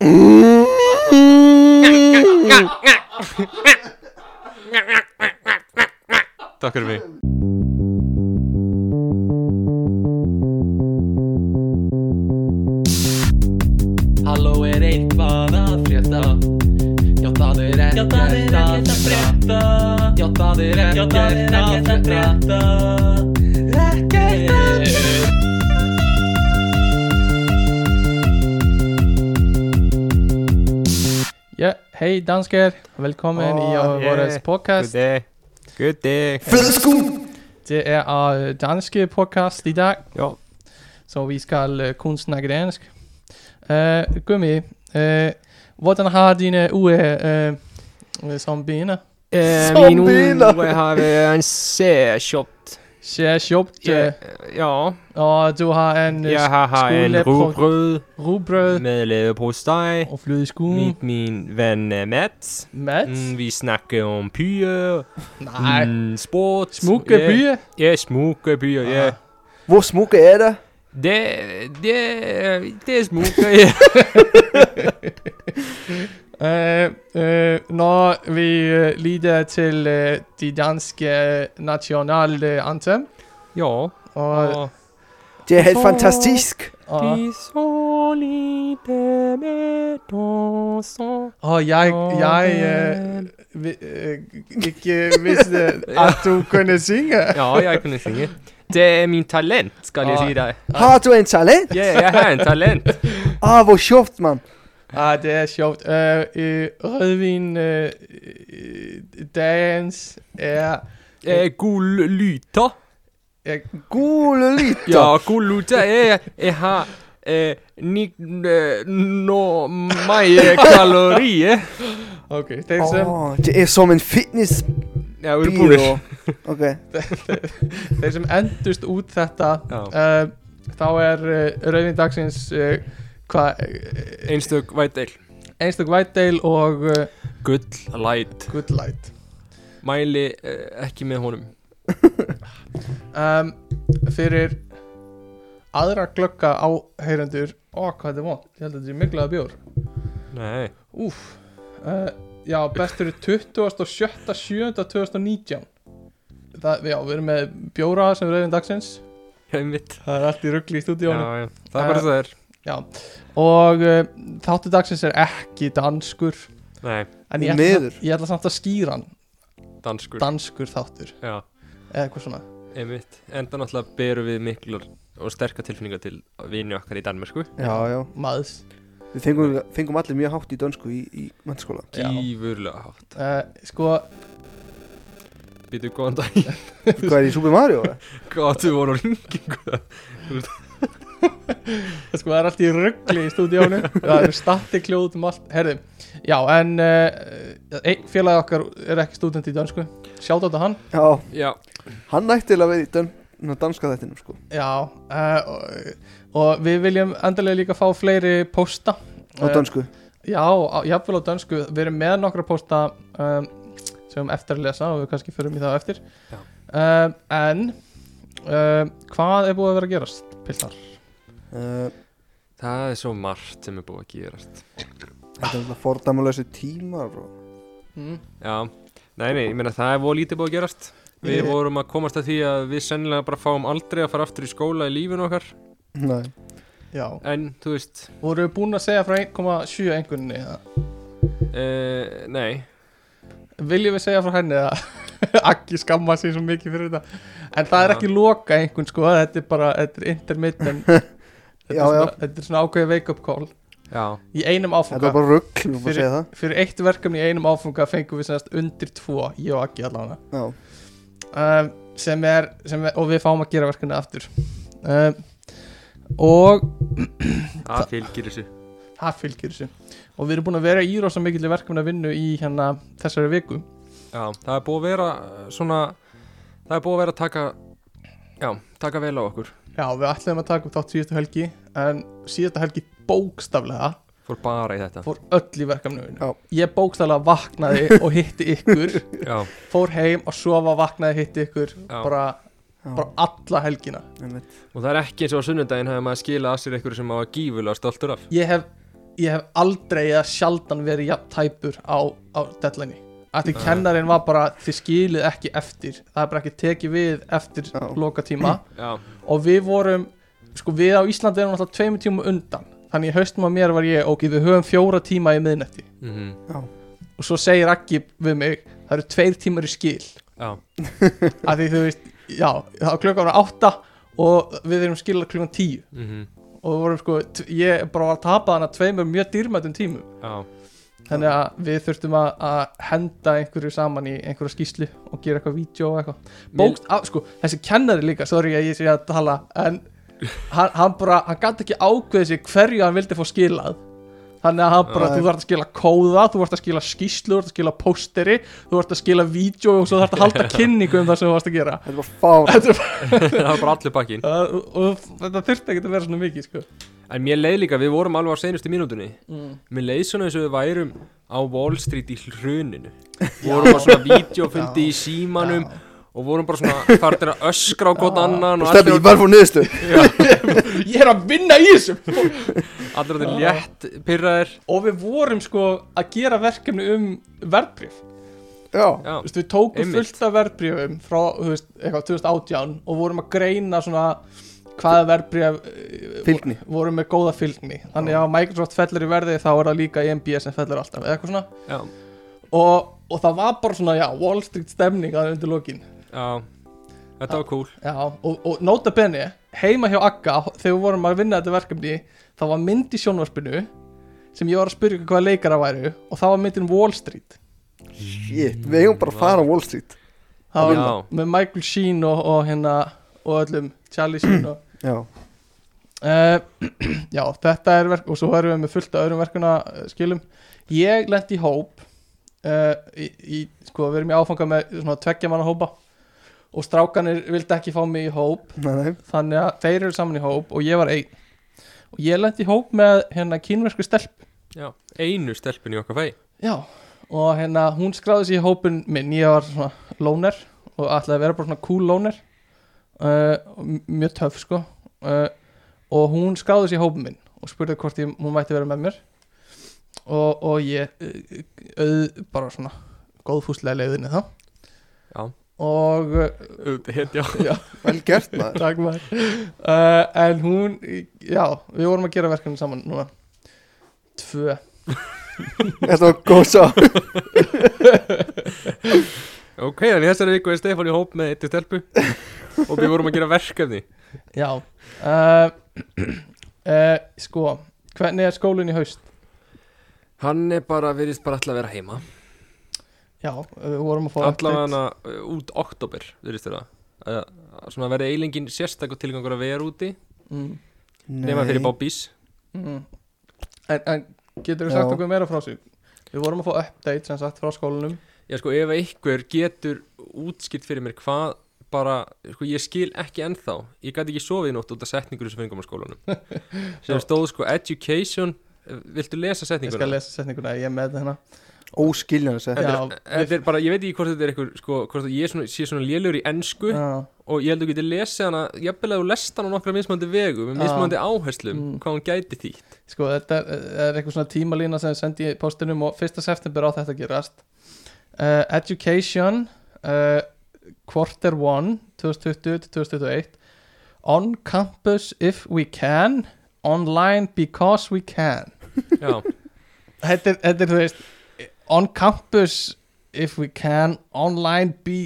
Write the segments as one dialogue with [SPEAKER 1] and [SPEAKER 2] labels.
[SPEAKER 1] Mm.
[SPEAKER 2] Takk fyrir mig
[SPEAKER 3] Halló er eitthvað að frétta Já það er ekkert að frétta Já það er ekkert að frétta Ekkert að frétta
[SPEAKER 4] Ja, hej danskar! Velkommen i
[SPEAKER 2] Åh,
[SPEAKER 4] uh,
[SPEAKER 2] ja.
[SPEAKER 4] vores podcast.
[SPEAKER 2] Goddag Goddag
[SPEAKER 4] Det er uh, danske podcast i dag,
[SPEAKER 2] Jo,
[SPEAKER 4] så vi skal uh, kun snakke dansk. Uh, gå med. Uh, hvordan har øh, dine uger uh, som bener?
[SPEAKER 2] eh,
[SPEAKER 4] Som
[SPEAKER 2] min
[SPEAKER 4] bilar.
[SPEAKER 2] oro har eh, en C-shot
[SPEAKER 4] Ser sjovt,
[SPEAKER 2] Ja,
[SPEAKER 4] yeah.
[SPEAKER 2] Ja,
[SPEAKER 4] og du har en uh,
[SPEAKER 2] jeg har, har en
[SPEAKER 4] skolebrød.
[SPEAKER 2] rugbrød
[SPEAKER 4] rugbrød
[SPEAKER 2] med leverpostej
[SPEAKER 4] og flødeskum.
[SPEAKER 2] med min ven eh, Mats.
[SPEAKER 4] Mad?
[SPEAKER 2] Mm, vi snakker om byer,
[SPEAKER 4] Nej.
[SPEAKER 2] mm, sport.
[SPEAKER 4] Smukke
[SPEAKER 2] ja.
[SPEAKER 4] byer? Ah.
[SPEAKER 2] Ja, smukke byer, ja.
[SPEAKER 1] Hvor smukke er der?
[SPEAKER 2] Det, det, det er smukke, ja.
[SPEAKER 4] Øh, øh, når vi øh, lider til øh, de danske øh, nationale øh, anthem,
[SPEAKER 2] ja.
[SPEAKER 4] og,
[SPEAKER 2] Og
[SPEAKER 1] Det er helt
[SPEAKER 2] Åh.
[SPEAKER 1] fantastisk.
[SPEAKER 4] og,
[SPEAKER 2] solide med danser.
[SPEAKER 4] og jeg, jeg øh, vi- øh, ikke øh, vidste, at du kunne synge.
[SPEAKER 2] Ja, jeg kunne synge. Det er min talent, skal jeg
[SPEAKER 4] Ja.
[SPEAKER 2] si deg.
[SPEAKER 1] Har du en talent?
[SPEAKER 2] Ja, jeg har en talent.
[SPEAKER 1] Ah, hvor sjovt, mand.
[SPEAKER 4] Ah, det er sjovt. Øh, øh, rødvin øh, øh, dagens er
[SPEAKER 2] Eh, god lyta.
[SPEAKER 4] er
[SPEAKER 1] Gule lytter.
[SPEAKER 2] Ja, god lyta er Jeg har eh, ni, eh, nå mye kalorier.
[SPEAKER 4] Okay, det er som,
[SPEAKER 1] Åh, det er som en fitness
[SPEAKER 2] Ja,
[SPEAKER 1] bil. Okay.
[SPEAKER 4] þeir sem endust út þetta
[SPEAKER 2] Já.
[SPEAKER 4] uh, þá er uh, rauðin dagsins uh, hvað uh,
[SPEAKER 2] En støk, veit til.
[SPEAKER 4] einstök vætdeil og uh,
[SPEAKER 2] Gull light.
[SPEAKER 4] good light
[SPEAKER 2] Mæli eh, ekki með honum.
[SPEAKER 4] um, fyrir aðra glögga áheyrendur ó hvað þetta er vond, ég held að þetta er miklaða bjór
[SPEAKER 2] Nei.
[SPEAKER 4] úf uh, já, bestur er 27.7.2019 Það, já, við erum með bjóra sem rauðin dagsins
[SPEAKER 2] Já, mitt.
[SPEAKER 4] það er allt í ruggli í
[SPEAKER 2] Já,
[SPEAKER 4] stúdíónu
[SPEAKER 2] já. Það er bara það er.
[SPEAKER 4] og uh, þáttu dagsins er ekki danskur
[SPEAKER 2] Nei,
[SPEAKER 4] En
[SPEAKER 1] Því
[SPEAKER 4] ég ætla,
[SPEAKER 1] miður.
[SPEAKER 4] ég ætla samt að skýra hann
[SPEAKER 2] danskur.
[SPEAKER 4] Danskur þáttur
[SPEAKER 2] Já,
[SPEAKER 4] Eða eitthvað svona
[SPEAKER 2] einmitt. Enda náttúrulega berum við miklar og sterkar tilfinningar til vini okkar í Danmarku.
[SPEAKER 1] Já, já.
[SPEAKER 4] Maðs
[SPEAKER 1] Við fengum, fengum allir mjög hátt í dönsku í, í mannskóla.
[SPEAKER 4] Já.
[SPEAKER 2] Gífurlega hátt.
[SPEAKER 4] uh, Sko
[SPEAKER 2] Býtu góðan dag,
[SPEAKER 1] Hvað er í Super Mario? eða?
[SPEAKER 2] gáttu voru á ringingu.
[SPEAKER 4] Sko það er allt í ruggli í stúdíónu Það eru statti kljóð um allt Herði Já en uh, Einn félagi okkar er ekki stúdent í dansku Sjátt á þetta hann
[SPEAKER 1] Já,
[SPEAKER 2] Já,
[SPEAKER 1] hann nætti til að vera í dön, ná, danska þættinum, sko.
[SPEAKER 4] Já uh, og, og við viljum endalega líka fá fleiri pósta
[SPEAKER 1] Á dansku.
[SPEAKER 4] Já, á- jafnvel á dansku Við erum með nokkra pósta um, sem eftir að lesa og við kannski förum í það á eftir
[SPEAKER 2] Já.
[SPEAKER 4] um, En um, hvað er búið að vera að gerast, piltar?
[SPEAKER 1] Uh,
[SPEAKER 2] það er svo margt sem er búið að gerast.
[SPEAKER 1] þetta er alltaf fordæmuleysi tímar og...
[SPEAKER 4] Mm.
[SPEAKER 2] Já, nei, nei, ég meina það er voru lítið búið að gerast.
[SPEAKER 4] Eh,
[SPEAKER 2] Við
[SPEAKER 1] Ég-
[SPEAKER 2] vorum að komast að því að við sennilega bara fáum aldrei að fara aftur í skóla í lífinu okkar.
[SPEAKER 1] Nei.
[SPEAKER 4] Já
[SPEAKER 2] En, þú veist,
[SPEAKER 4] Voru búin að segja frá 1,7 engunni eða?
[SPEAKER 2] uh, nei,
[SPEAKER 4] Viljum við segja frá henni að Akki skamma sig svo mikið fyrir þetta En það er
[SPEAKER 2] Já.
[SPEAKER 4] ekki loka einhvern sko Þetta er bara, þetta er intermittent þetta, er
[SPEAKER 1] Já,
[SPEAKER 4] svona,
[SPEAKER 1] já.
[SPEAKER 4] þetta er svona ákveðið wake up call
[SPEAKER 2] já,
[SPEAKER 4] Í einum
[SPEAKER 1] Þetta
[SPEAKER 4] áfunga
[SPEAKER 1] er bara rugg, við erum að segja það.
[SPEAKER 4] Fyrir eitt verkefni í einum áfunga fengum við semast undir tvo Ég og Akki allavega
[SPEAKER 1] Já.
[SPEAKER 4] um, sem er, sem er, og við fáum að gera verkefni aftur um, og
[SPEAKER 2] það fylgir þessu.
[SPEAKER 4] það fylgir þessu og við erum búin að vera í rosa mikill verkefni að vinnu í hérna þessari viku
[SPEAKER 2] Já, það er búið að vera eh, svona, það er búið að vera að taka, já, taka vel á okkur.
[SPEAKER 4] já, við ætlum að taka upp þátt síðustu helgi en síðustu helgi bókstaflega
[SPEAKER 2] Fór bara í þetta.
[SPEAKER 4] fór öll í verkefni
[SPEAKER 1] Já.
[SPEAKER 4] vinnu ég bókstaflega vaknaði og hitti ykkur
[SPEAKER 2] Já,
[SPEAKER 4] fór heim og sofa vaknaði hitti ykkur
[SPEAKER 2] Já.
[SPEAKER 4] bara,
[SPEAKER 1] Já.
[SPEAKER 4] bara alla helgina
[SPEAKER 1] einmitt.
[SPEAKER 2] og það er ekki eins og á sunnudaginn hefði maður skilað að sér einhverju sem maður var gífulega stoltur af.
[SPEAKER 4] ég hef, ég hef aldrei eða sjaldan verið jafn tæpur á, á deadline að því kennarinn var bara þið skilið ekki eftir það er bara ekki tekið við eftir
[SPEAKER 1] Já.
[SPEAKER 4] lokatíma
[SPEAKER 2] já,
[SPEAKER 4] og við vorum sko við á Íslandi erum alltaf tveimur tíma undan þannig í haustum að mér var ég ok, við höfum fjóra tíma í miðnetti
[SPEAKER 2] mhm,
[SPEAKER 1] já,
[SPEAKER 4] og svo segir Aggi við mig það eru tveir tímar í skil
[SPEAKER 2] já
[SPEAKER 4] að því þú veist, já, það var klukkan var átta og við erum skilað klukkan tíu
[SPEAKER 2] mhm,
[SPEAKER 4] og við vorum sko, t- ég bara var að tapa hana tveimur mjög dýrmætum tímum
[SPEAKER 2] já,
[SPEAKER 4] þannig að við þurftum að, að henda einhverju saman í einhverju skýslu og gera eitthvað vídeo og eitthvað Bókst, að, sko, þessi kennari líka, sorry að ég sé að tala en hann, hann bara, hann gæti ekki ákveðið sig hverju hann vildi fá skilað þannig að hann bara,
[SPEAKER 1] Nei.
[SPEAKER 4] þú þarf að skila kóða þú þarf að skila skýslu, þú þarf að skila pósteri þú þarf að skila vídeo og svo þarf að halda kynningu um það sem þú varst að gera
[SPEAKER 1] þetta var fár
[SPEAKER 4] Þetta er bara-
[SPEAKER 2] það var bara allur bakkin
[SPEAKER 4] Það- og, og þetta þurfti ekki að vera svona mikið sko.
[SPEAKER 2] En mér leið líka, við vorum alveg á seinustu mínútunni
[SPEAKER 4] mm.
[SPEAKER 2] Mér leið svona eins og við værum á Wall Street í hruninu Vorum á svona vídeofundi í símanum Og vorum bara svona fartir að öskra á gott annan Og
[SPEAKER 1] Stefni,
[SPEAKER 2] allir
[SPEAKER 1] ég var fór niðurstu
[SPEAKER 4] ég er að vinna í þessu
[SPEAKER 2] allir orðnir létt pyrraðir
[SPEAKER 4] og við vorum sko að gera verkefni um verðbríf
[SPEAKER 1] Já,
[SPEAKER 2] Já,
[SPEAKER 4] Vist, við tókum
[SPEAKER 2] Sko, Einmitt.
[SPEAKER 4] fullt af verðbrífum frá þú veist, eitthvað, 2018 og vorum að greina svona hvaða verðbríf
[SPEAKER 1] fylgni
[SPEAKER 4] vorum með góða fylgni þannig að ef Microsoft fellur í verði þá er það líka E EMB sem fellur alltaf eða eitthvað svona
[SPEAKER 2] já,
[SPEAKER 4] og, og það var bara svona já, Wall Street stemning að undir lokin
[SPEAKER 2] já Þetta var cool
[SPEAKER 4] Já, og, og nota bene, heima hjá Agga, þegar við vorum að vinna þetta verkefni, það var mynd í sjónvarpinu sem ég var að spyrja ykkur hvaða leikara væru og það var myndin Wall Street.
[SPEAKER 1] Shit, við eigum bara að fara á Wall Street
[SPEAKER 4] Það var
[SPEAKER 2] Já.
[SPEAKER 4] með Michael Sheen og, og hérna og öllum, Charlie Sheen og...
[SPEAKER 1] Já,
[SPEAKER 4] Uh, já, þetta er verk og svo erum við með fullt af öðrum verkuna eh, skilum. Ég lent í hóp, uh, í, í, sko við erum í áfanga með svona tveggja manna hópa og strákanir vildi ekki fá mig í hóp
[SPEAKER 1] nei, nei
[SPEAKER 4] þannig að þeir eru saman í hóp og ég var einn og ég lendi í hóp með hérna kínversku stelp
[SPEAKER 2] Já, einu stelpun í okkar fæ
[SPEAKER 4] já og hérna hún skráði sér í hópin minn ég var svona lóner og ætlaði að vera bara svona cool lóner uh, m- mjög töff sko uh, og hún skráði sér í hópin minn og spurði hvort ég, hún mætti vera með mér og, og ég uh, auð, bara svona góðfúslega leiðinni þá
[SPEAKER 2] Já.
[SPEAKER 4] og uh,
[SPEAKER 2] Auðvitað, já
[SPEAKER 1] Vel gert maður
[SPEAKER 4] Takk maður uh, En hún, já, við vorum að gera verkefni saman núna Tvö
[SPEAKER 1] Þetta var góð sá
[SPEAKER 2] Ok, þannig í þessari viku er Stefán í hóp með eittu stelpu Og við vorum að gera verkefni
[SPEAKER 4] Já uh, uh, Sko, hvernig er skólinn í haust?
[SPEAKER 2] Hann er bara, virðist bara alltaf að vera heima
[SPEAKER 4] Já, eh, við vorum að fá
[SPEAKER 2] Allavega uh, út oktober, virðist þér það uh, Svona verði eilingin sérstakur tilgangur að vera úti
[SPEAKER 4] mm,
[SPEAKER 2] Nefna fyrir Bobbys
[SPEAKER 4] mm. En, en getur þú
[SPEAKER 1] Já.
[SPEAKER 4] sagt okkur meira frá sig? Við vorum að fá update sem sagt frá skólanum
[SPEAKER 2] Já sko, ef einhver getur útskipt fyrir mér hvað bara, sko, ég skil ekki ennþá Ég gæti ekki sofið í nótt út af setningur sem fengum á skólanum sem stóð sko, education eh, Viltu lesa
[SPEAKER 4] Ég skal
[SPEAKER 2] setninguna?
[SPEAKER 4] lesa setninguna, ég er með þetta hérna
[SPEAKER 1] Óskiljan að segja
[SPEAKER 2] Þetta
[SPEAKER 4] Já,
[SPEAKER 2] er, eh, þetta er bara, ég veit ekki hvort þetta er einhver sko, hvort ég er svona, sé svona lélugur í ensku
[SPEAKER 4] Já,
[SPEAKER 2] og ég held að þú getur lesið hana jafnvel að þú lest hana á nokkra mismandi vegu með
[SPEAKER 4] Já.
[SPEAKER 2] mismandi áherslum,
[SPEAKER 4] Mm.
[SPEAKER 2] hvað hún gæti þýtt
[SPEAKER 4] Sko, þetta er, er eitthvað svona tímalína sem ég sendi í postinum og 1. september á þetta að gerast uh, Education uh, Quarter 1 2020-2021 On campus if we can Online because we can
[SPEAKER 2] Já,
[SPEAKER 4] Þetta er, þetta er þú veist On campus if we can Online be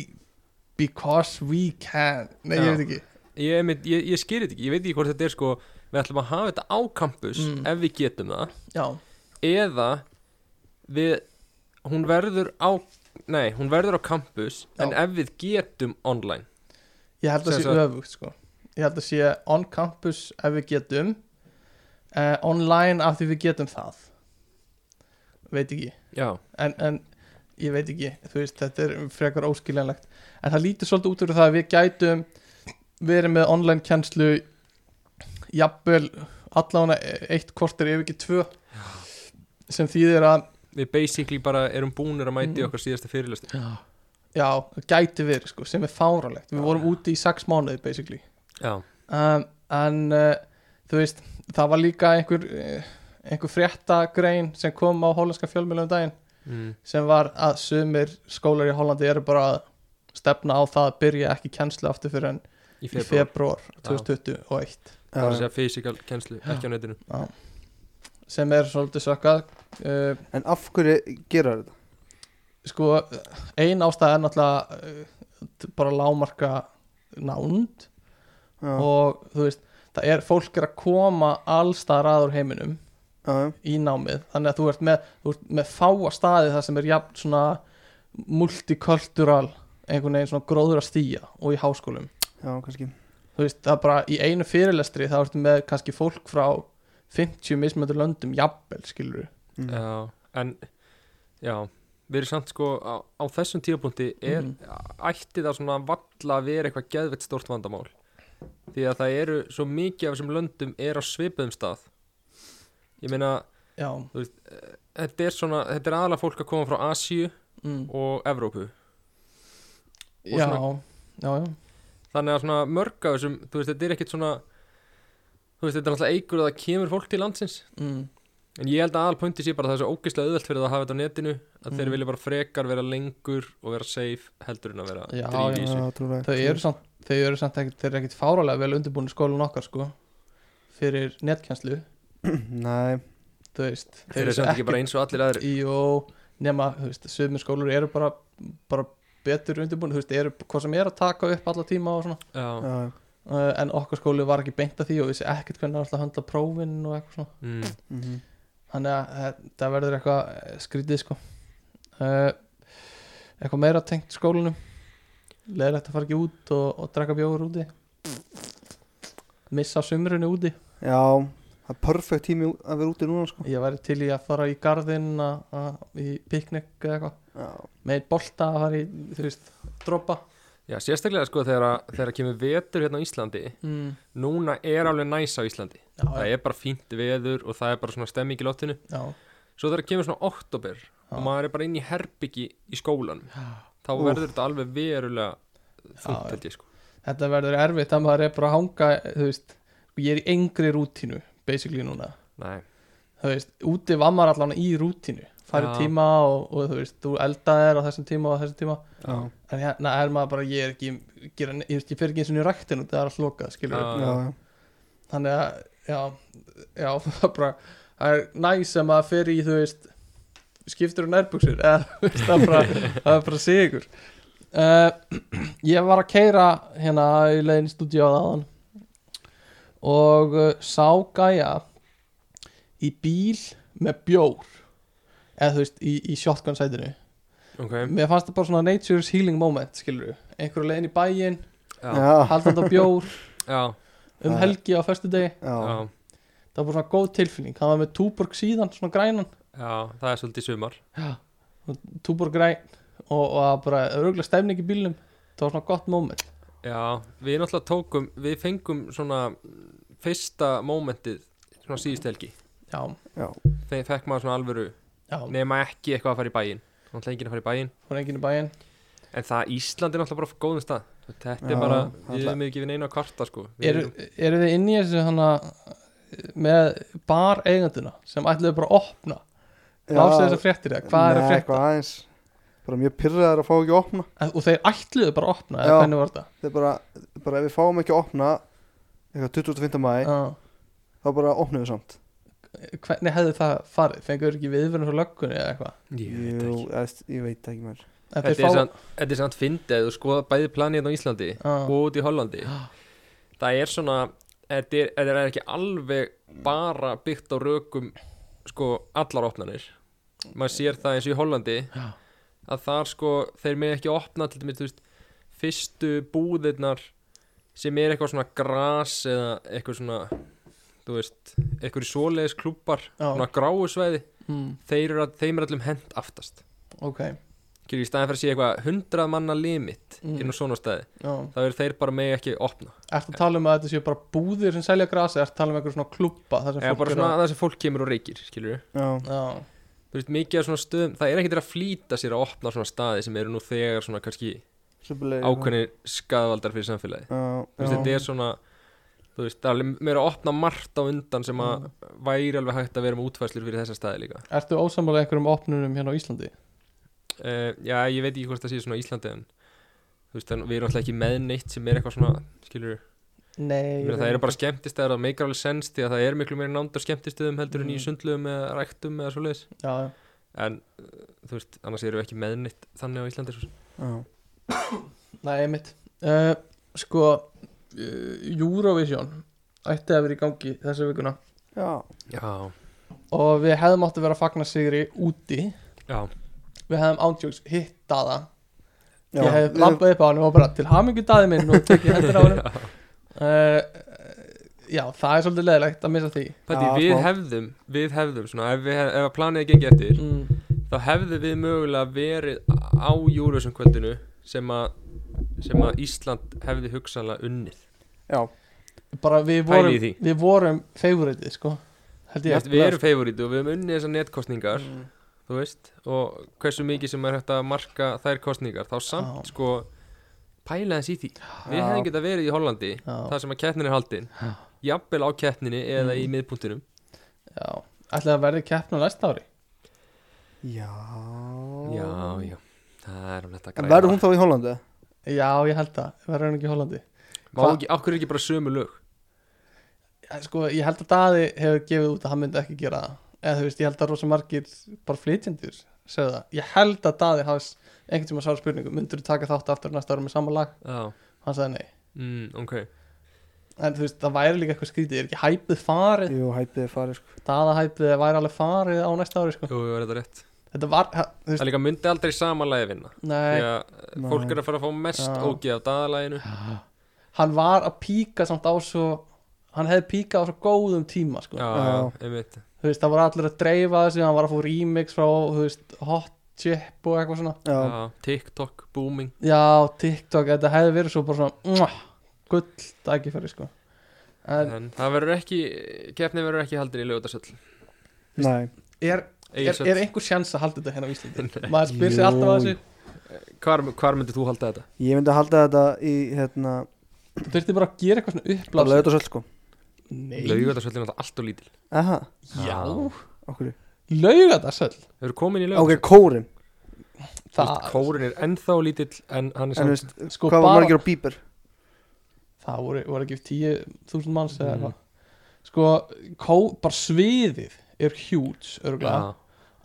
[SPEAKER 4] because we can Nei,
[SPEAKER 2] Já.
[SPEAKER 4] ég veit ekki
[SPEAKER 2] ég, einmitt- ég, ég skýr þetta ekki, ég veit ekki hvort þetta er sko við ætlum að hafa þetta á campus
[SPEAKER 4] Mm.
[SPEAKER 2] ef við getum það,
[SPEAKER 4] Já,
[SPEAKER 2] eða við, hún verður á nei, hún verður á campus
[SPEAKER 4] Já.
[SPEAKER 2] en ef við getum online
[SPEAKER 4] Ég held að
[SPEAKER 2] Sem
[SPEAKER 4] sé öfugt sko Ég held að sé on campus ef við getum uh, Online af því við getum það Veit ekki
[SPEAKER 2] Já,
[SPEAKER 4] En, en ég veit ekki Þú veist þetta er frekar óskiljanlegt En það lítur svolítið út úr það að við gætum Verið með online kennslu Jafnvel Allána eitt kortir ef ekki tvö Sem þýðir að
[SPEAKER 2] við basically bara erum búnir að mæti
[SPEAKER 4] Mm.
[SPEAKER 2] okkar síðasta fyrirlustu
[SPEAKER 4] Já, gæti verið sko Sem er fáránlegt Við vorum úti í sex mánuði basically
[SPEAKER 2] Já,
[SPEAKER 4] um, en uh, þú veist það var líka einhver, eh, einhver fréttagrein sem kom á hólandska fjölmjölu um daginn
[SPEAKER 2] mm.
[SPEAKER 4] sem var að sumir skólar í Hollandi eru bara að stefna á það að byrja ekki kennslu aftur fyrir en
[SPEAKER 2] í
[SPEAKER 4] í
[SPEAKER 2] februar
[SPEAKER 4] februar 2021
[SPEAKER 2] það er að segja fysikal kennslu, ekki á netinu
[SPEAKER 4] sem er svolítið sökkað uh,
[SPEAKER 1] En af hverju gera þetta?
[SPEAKER 4] sko, ein ástæða er náttúrulega eh, t- bara lámarka nánd
[SPEAKER 1] Já,
[SPEAKER 4] og þú veist, það er fólk er að koma allstaðar að úr heiminum
[SPEAKER 1] já, já.
[SPEAKER 4] í námið þannig að þú ert með, þú ert með fáa staði það sem er jafn svona multikultural einhvern veginn svona gróður að stýja og í háskólum
[SPEAKER 1] já, kannski
[SPEAKER 4] þú veist, það er bara í einu fyrirlestri þá ertu með kannski fólk frá 50 mismöndur löndum jafnvel, skilur
[SPEAKER 1] Mm.
[SPEAKER 2] Já, en já, við erum samt sko á, á þessum tíapunkti er
[SPEAKER 4] Mhm.
[SPEAKER 2] ætti það svona valla að vera eitthvað geðveitt stórt vandamál því að það eru svo mikið af þessum löndum er á svipuðum stað ég meina,
[SPEAKER 4] já,
[SPEAKER 2] þetta er svona þetta er aðalega fólk að koma frá Asíu
[SPEAKER 4] mm,
[SPEAKER 2] og Evrópu
[SPEAKER 4] já,
[SPEAKER 2] svona-
[SPEAKER 4] já, já
[SPEAKER 2] þannig að svona mörg af þessum þú veist, þetta er ekkit svona þú veist, þetta er alltaf eigur að það kemur fólk til landsins
[SPEAKER 4] mm,
[SPEAKER 2] En ég held að aðalpunkti sé bara að það er svo ógeðslega auðvelt fyrir það að hafa þetta á netinu að þeir
[SPEAKER 4] Mm.
[SPEAKER 2] vilja bara frekar vera lengur og vera safe heldur en að vera
[SPEAKER 4] Já,
[SPEAKER 2] drífi í
[SPEAKER 1] Já,
[SPEAKER 2] þessu.
[SPEAKER 1] trúlega.
[SPEAKER 4] þau eru samt, þau eru samt ekkit, þeir eru ekkit fáralega vel undirbúin skólan okkar sko fyrir netkjænslu,
[SPEAKER 1] Mm. Nei,
[SPEAKER 4] þú veist
[SPEAKER 2] Þeir eru samt ekki bara eins og allir aðrir
[SPEAKER 4] Jó, nema, þú veist, sömur skólar eru bara, bara betur undirbúin, þú veist, eru hvað sem er að taka upp alla tíma og svona
[SPEAKER 2] Já,
[SPEAKER 1] já,
[SPEAKER 4] uh, en okkar skóli var ekki beint að því og vissi ekkert hvernig alltaf höndla prófin og eitthvað svona
[SPEAKER 2] mm.
[SPEAKER 1] mhm.
[SPEAKER 4] þannig að þetta verður eitthvað eh, skrítið sko uh, eitthvað meira tengt skólanum leðilegt að fara ekki út og, og drekka bjóður úti missa sumrunni úti
[SPEAKER 1] já Það er perfekt tími ú- að vera úti núna sko
[SPEAKER 4] ég væri til í að fara í garðinn að- að- í piknik eða eitthvað
[SPEAKER 1] Já,
[SPEAKER 4] með einn bolta að fara í, þú veist, droppa
[SPEAKER 2] Já sérstaklega sko þegar að, þegar að kemur vetur hérna á Íslandi
[SPEAKER 4] mm.
[SPEAKER 2] Núna er alveg næs á Íslandi
[SPEAKER 4] já,
[SPEAKER 2] Það er bara fínt veður og það er bara svona stemming í lottinu
[SPEAKER 4] já,
[SPEAKER 2] Svo þegar kemur svona oktober og maður er bara inn í herbyggi í skólanum Þá
[SPEAKER 1] Úff.
[SPEAKER 2] verður þetta alveg verulega
[SPEAKER 4] Já,
[SPEAKER 2] þungt held ég sko
[SPEAKER 4] þetta verður erfitt að maður er bara að hanga þú veist, ég er í engri rútínu basically núna,
[SPEAKER 2] Nei,
[SPEAKER 4] þú veist, úti var maður allan í rútínu, farið
[SPEAKER 2] Já.
[SPEAKER 4] tíma og, og þú veist, þú eldaðir á þessum tíma og á þessum tíma,
[SPEAKER 1] já,
[SPEAKER 4] en hérna er maður bara ég er ekki, gera, ne- ég, veist, ég fer ekki eins og niður ræktin og það er að sloka, skilur
[SPEAKER 2] Já.
[SPEAKER 1] já, já.
[SPEAKER 4] þannig að, já, já það er bara, það er næs sem maður fer í, þú veist skiptur og nærbuksur, eða þú veist, það er bara, það er bara sigur uh, ég var að keira hérna í leiðin í stúdíu á þaðan og uh, sá gæja í bíl með bjór eða þú veist, í, í shotgun sætinu
[SPEAKER 2] ok
[SPEAKER 4] mér fannst það bara svona nature's healing moment, skilur við einhverju leiðin í bæinn,
[SPEAKER 2] Já,
[SPEAKER 1] Já,
[SPEAKER 4] haldandi á bjór
[SPEAKER 2] já,
[SPEAKER 4] um
[SPEAKER 1] Það-
[SPEAKER 4] helgi á föstu
[SPEAKER 2] já,
[SPEAKER 1] já,
[SPEAKER 4] það var bara svona góð tilfinning hann var með túborg síðan, svona grænan
[SPEAKER 2] já, það er svolítið sumar
[SPEAKER 4] túborg græn og, og það var bara örgulega stefning í bílnum það var svona gott moment
[SPEAKER 2] Já, við náttúrulega tókum, við fengum svona fyrsta mómentið svona síðust helgi
[SPEAKER 4] já,
[SPEAKER 1] já,
[SPEAKER 2] þegar fekk maður svona alvöru
[SPEAKER 4] já,
[SPEAKER 2] nema ekki eitthvað að fara í bæinn náttúrulega enginn að fara í bæinn
[SPEAKER 4] fór enginn í bæinn
[SPEAKER 2] en það Ísland er náttúrulega bara á góðum stað þetta
[SPEAKER 1] Já,
[SPEAKER 2] er bara, við
[SPEAKER 1] náttúrulega.
[SPEAKER 2] erum ekki við neina að kvarta sko Við
[SPEAKER 4] eru,
[SPEAKER 2] erum-
[SPEAKER 4] eru þið inn í þessu hana með bar eiganduna sem ætluðu bara að opna lástu þessar fréttir eða, hvað er að
[SPEAKER 1] Nei,
[SPEAKER 4] frétta
[SPEAKER 1] eitthvað aðeins Bara mjög pyrraðar að fá ekki að opna
[SPEAKER 4] og þeir ætluðu bara að opna,
[SPEAKER 1] Já.
[SPEAKER 4] eða hvernig var þetta
[SPEAKER 1] Það er bara, bara ef við fáum ekki að opna eitthvað 25. mæ
[SPEAKER 4] Já.
[SPEAKER 1] þá bara opnum við samt
[SPEAKER 4] hvernig hefði það farið, fengur ekki viðverðin frá löggunni eða eitthvað
[SPEAKER 2] ég veit
[SPEAKER 1] Jú,
[SPEAKER 2] ekki
[SPEAKER 1] eðst, ég veit ekki mér
[SPEAKER 4] En þeir
[SPEAKER 2] Þetta er
[SPEAKER 4] fá-
[SPEAKER 2] samt- þetta er samt fyndið að þú skoða bæði planið á Íslandi
[SPEAKER 4] Já.
[SPEAKER 2] og út í Hollandi það er svona þetta er, þetta er ekki alveg bara byggt á rökum sko allar opnanir maður sér það eins og í Hollandi
[SPEAKER 4] Já.
[SPEAKER 2] að þar sko þeir með ekki opna til dæmis þú veist fyrstu búðirnar sem er eitthvað svona gras eða eitthvað svona þú veist, eitthvað svoleiðis klúpar
[SPEAKER 4] Já.
[SPEAKER 2] svona gráu svæði
[SPEAKER 4] mm,
[SPEAKER 2] þeir eru, að- þeim er allum hent aftast
[SPEAKER 4] ok,
[SPEAKER 2] Kyrkir, í staðin fyrir að sé eitthvað 100 manna limit
[SPEAKER 4] Mm.
[SPEAKER 2] inn á svona staði
[SPEAKER 4] já
[SPEAKER 2] þá eru þeir bara með ekki opna
[SPEAKER 4] Ertu að tala um að þetta séu bara búðir sem selja grasi Ertu að tala um einhver svona klubba Það sem
[SPEAKER 2] eða
[SPEAKER 4] fólk
[SPEAKER 2] bara
[SPEAKER 4] er
[SPEAKER 2] svona það sem fólk kemur og reykir skilur
[SPEAKER 1] Já,
[SPEAKER 4] að
[SPEAKER 2] þú veist mikið af svona stöðum það er ekkert að flýta sér að opna svona staði sem eru nú þegar svona kannski
[SPEAKER 1] sömulegir
[SPEAKER 2] ákveðnir skadvaldar fyrir samfélagi
[SPEAKER 1] Já,
[SPEAKER 2] þú veist
[SPEAKER 1] já,
[SPEAKER 2] þetta er svona þú veist, það er alveg meira að opna margt á undan sem að væri alveg hægt að vera með útfæslur fyrir þessa staði líka
[SPEAKER 4] Ertu ósamála einhverjum opnunum hérna á Íslandi?
[SPEAKER 2] uh, já, ég veit ekki hvort það sé svona á Íslandi en þú veist, en við erum alltaf ekki með neitt sem er eitthvað svona, skilur
[SPEAKER 4] Nei
[SPEAKER 2] Meina, það eru bara skemmtistæður að meikar alveg sens því að það er miklu meira nándar skemmtistöðum heldur en í
[SPEAKER 4] Mm.
[SPEAKER 2] sundlöðum eða ræktum eða svoleiðis
[SPEAKER 4] Já, já.
[SPEAKER 2] en uh, þú veist, annars erum við ekki meðnitt þannig á Íslandi sko. svo sem.
[SPEAKER 1] Já.
[SPEAKER 4] Nei, einmitt uh, Sko, uh, Eurovision ætti að vera í gangi þessa vikuna
[SPEAKER 1] Já.
[SPEAKER 2] Já,
[SPEAKER 4] og við hefðum átt að vera að fagna sigri úti
[SPEAKER 2] já,
[SPEAKER 4] við hefðum ándjóks hitta það
[SPEAKER 1] Já.
[SPEAKER 4] ég hef
[SPEAKER 1] Við-
[SPEAKER 4] lampað upp á hann og bara til hamingu daði minn og tekið hendur á hann uh, já, það er svolítið leðilegt að missa því
[SPEAKER 2] Patti,
[SPEAKER 1] Já,
[SPEAKER 2] við
[SPEAKER 1] smá.
[SPEAKER 2] hefðum, við hefðum svona, ef, við hef, ef að planið gengi eftir
[SPEAKER 4] mm.
[SPEAKER 2] þá hefðum við mögulega verið á Júruvísum kvöldinu sem að sem að Ísland hefði hugsanlega unnið
[SPEAKER 1] Já.
[SPEAKER 4] bara við
[SPEAKER 2] Pælið í
[SPEAKER 4] vorum,
[SPEAKER 2] því.
[SPEAKER 4] við vorum favoritið sko held
[SPEAKER 2] Þú
[SPEAKER 4] ég
[SPEAKER 2] veist, Við erum favorítu og við höfum unnið þessar netkostningar þú veist, og hversu mikið sem er hægt að marka þær kostningar þá samt
[SPEAKER 4] Já.
[SPEAKER 2] sko pæla þess í því við
[SPEAKER 1] Já.
[SPEAKER 2] hefðum getað verið í Hollandi
[SPEAKER 4] já,
[SPEAKER 2] þar sem að kettnin er haldin jafnvel á kettninni eða í miðpunktinum
[SPEAKER 4] já, ætlaði að verði keppna næsta ári
[SPEAKER 1] Já.
[SPEAKER 2] já, já, það er um þetta
[SPEAKER 1] En verður hún þá í Hollandi? þá
[SPEAKER 4] já, ég held það, verður hann ekki í Hollandi
[SPEAKER 2] Má
[SPEAKER 4] Hva-
[SPEAKER 2] ekki, okkur er ekki bara sömu lög
[SPEAKER 4] Eh, sko, ég held að Daði hefur gefið út að hann myndi ekki gera það eða þú veist, ég held að rosa margir bara flytjendur segðu það, ég held að Daði hafs einhvern tíma svara spurningu, myndur þú taka þátt aftur næsta ára með sama lag,
[SPEAKER 2] já,
[SPEAKER 4] hann sagði nei
[SPEAKER 2] mm, ok
[SPEAKER 4] en þú veist, það væri líka eitthvað skrítið, er ekki hæpið farið
[SPEAKER 1] Jú, hæpið er farið sko.
[SPEAKER 4] Daða hæpið væri alveg farið á næsta ári sko.
[SPEAKER 2] Jú, ég var þetta rétt
[SPEAKER 4] þetta var, ha- þú
[SPEAKER 2] Það
[SPEAKER 4] veist,
[SPEAKER 2] líka myndi aldrei samanlægi vinna Því
[SPEAKER 4] nei
[SPEAKER 2] að eh,
[SPEAKER 1] Nei.
[SPEAKER 2] fólk er að fara að fá mest
[SPEAKER 4] Já.
[SPEAKER 2] ógið af daðalæginu
[SPEAKER 4] hann var að píka samt á svo hann hefði píkað á svo góðum tíma sko.
[SPEAKER 2] Já,
[SPEAKER 1] Já.
[SPEAKER 2] einmitt
[SPEAKER 4] þú veist, það voru allir að dreifa þessu hann var að fá remix frá, þú veist, hot chip og eitthvað svona
[SPEAKER 1] Já.
[SPEAKER 2] Já, TikTok, booming
[SPEAKER 4] Já, TikTok, þetta hefði verið svo bara svona mwah, gull dagifæri sko en
[SPEAKER 2] En það verður ekki, keppni verður ekki haldir í lögutasöll
[SPEAKER 1] Nei.
[SPEAKER 4] er, er,
[SPEAKER 2] Egilsöll,
[SPEAKER 4] er einhver sjans að halda þetta hérna á Íslandi? maður spyr sér alltaf að
[SPEAKER 1] Jú.
[SPEAKER 4] þessu
[SPEAKER 2] hvar, hvar myndir þú halda þetta?
[SPEAKER 1] Ég myndi að halda þetta í hérna
[SPEAKER 4] þú þurfti bara að gera eitthvað svona
[SPEAKER 1] bara
[SPEAKER 4] uppblási
[SPEAKER 1] lögut og söll sko.
[SPEAKER 4] Nei,
[SPEAKER 2] Lögutasöll er náttúrulega allt og lítil
[SPEAKER 1] Aha,
[SPEAKER 4] já,
[SPEAKER 1] okkur.
[SPEAKER 4] laugardarsöll
[SPEAKER 2] Þau eru komin í
[SPEAKER 1] Ok,
[SPEAKER 2] lögutasöll
[SPEAKER 1] kórin.
[SPEAKER 4] það,
[SPEAKER 2] Kórin er ennþá lítill en hann er
[SPEAKER 1] En þú
[SPEAKER 2] samt
[SPEAKER 1] veist,
[SPEAKER 4] Sko,
[SPEAKER 1] hvað
[SPEAKER 4] bara-
[SPEAKER 1] var margir á bíber?
[SPEAKER 4] það voru, voru ekki 10.000 manns eða
[SPEAKER 1] Mhm.
[SPEAKER 2] Mm.
[SPEAKER 4] eitthvað sko, kó, bara sviðið er hjúts,
[SPEAKER 2] Já,
[SPEAKER 4] örgulega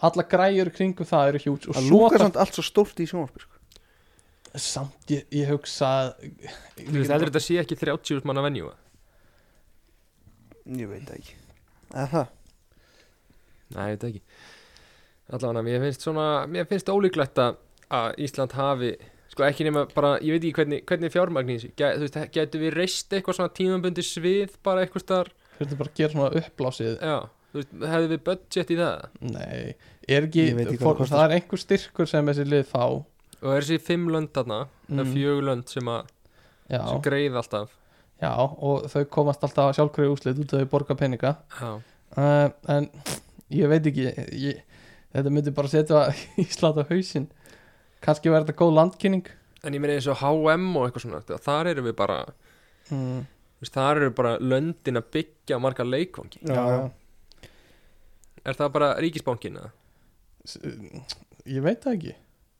[SPEAKER 4] alla græjur kringum það eru hjúts og
[SPEAKER 1] Að
[SPEAKER 4] svo
[SPEAKER 1] lúka samt allt svo stórt í sjónvarpi sko.
[SPEAKER 4] samt ég, ég hugsa að-
[SPEAKER 2] Þú veist, heldur þetta sé ekki 30 manna venjú
[SPEAKER 1] Ég veit það ekki. Eða það?
[SPEAKER 2] Nei, ég veit það ekki Allavega, mér finnst svona, mér finnst ólíklegt að, að Ísland hafi Sko ekki nema bara, ég veit ekki hvernig, hvernig fjármagn í þessu Gæ, Þú veist, gætu við reist eitthvað svona tímabundi svið bara eitthvað star
[SPEAKER 4] þurfti bara að gera svona uppblásið
[SPEAKER 2] Já, þú veist, hefðu við budget í það
[SPEAKER 4] Nei, er ekki,
[SPEAKER 1] Ég veit ekki hvað
[SPEAKER 4] fór,
[SPEAKER 1] það kostar.
[SPEAKER 4] það er einhver styrkur sem þessi lið fá
[SPEAKER 2] Og er þessi fimm lönd þarna, mm. eða
[SPEAKER 4] Mm.
[SPEAKER 2] fjögur lönd sem að
[SPEAKER 4] já,
[SPEAKER 2] sem greið alltaf
[SPEAKER 4] já, og þau komast alltaf sjálfkvæði úslit út af þau borga peninga
[SPEAKER 2] Já,
[SPEAKER 4] uh, en ég veit ekki ég, þetta myndi bara setja Ísland á hausinn kannski verður þetta góð landkynning
[SPEAKER 2] en ég meina eins og H&M og eitthvað svona það- Þar eru við bara,
[SPEAKER 4] mm,
[SPEAKER 2] þú veist, þar eru bara löndin að byggja marga leikvangi
[SPEAKER 1] Já, já.
[SPEAKER 2] Er það bara ríkisbankin eða?
[SPEAKER 4] S- ég veit það ekki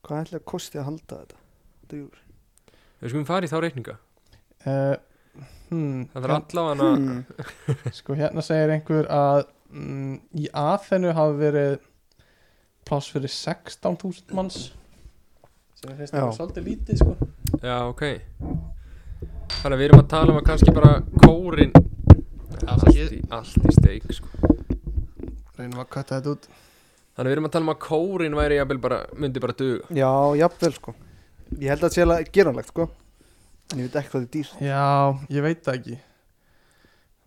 [SPEAKER 1] Hvað ætla að kosti að halda þetta? Þetta er júr.
[SPEAKER 2] Við skulum fara í þá reikninga
[SPEAKER 4] uh, hmm,
[SPEAKER 2] Það er allavega
[SPEAKER 1] Hmm.
[SPEAKER 4] sko hérna segir einhver að mm, í aðfennu hafa verið pláss fyrir 16.000 manns sem ég finnst
[SPEAKER 1] Já.
[SPEAKER 4] það svolítið lítið sko
[SPEAKER 2] Já, ok Þannig að við erum að tala um að kannski bara kórin allt í, allt í steik sko.
[SPEAKER 4] reynum að kvæta þetta út
[SPEAKER 2] Þannig að við erum að tala um að kórin væri jafnvel bara, myndi bara duga
[SPEAKER 1] Já, jafnvel sko. Ég held að þetta sé alveg geranlegt sko. En ég veit ekki hvað þetta er dýrt.
[SPEAKER 4] já, ég veit það ekki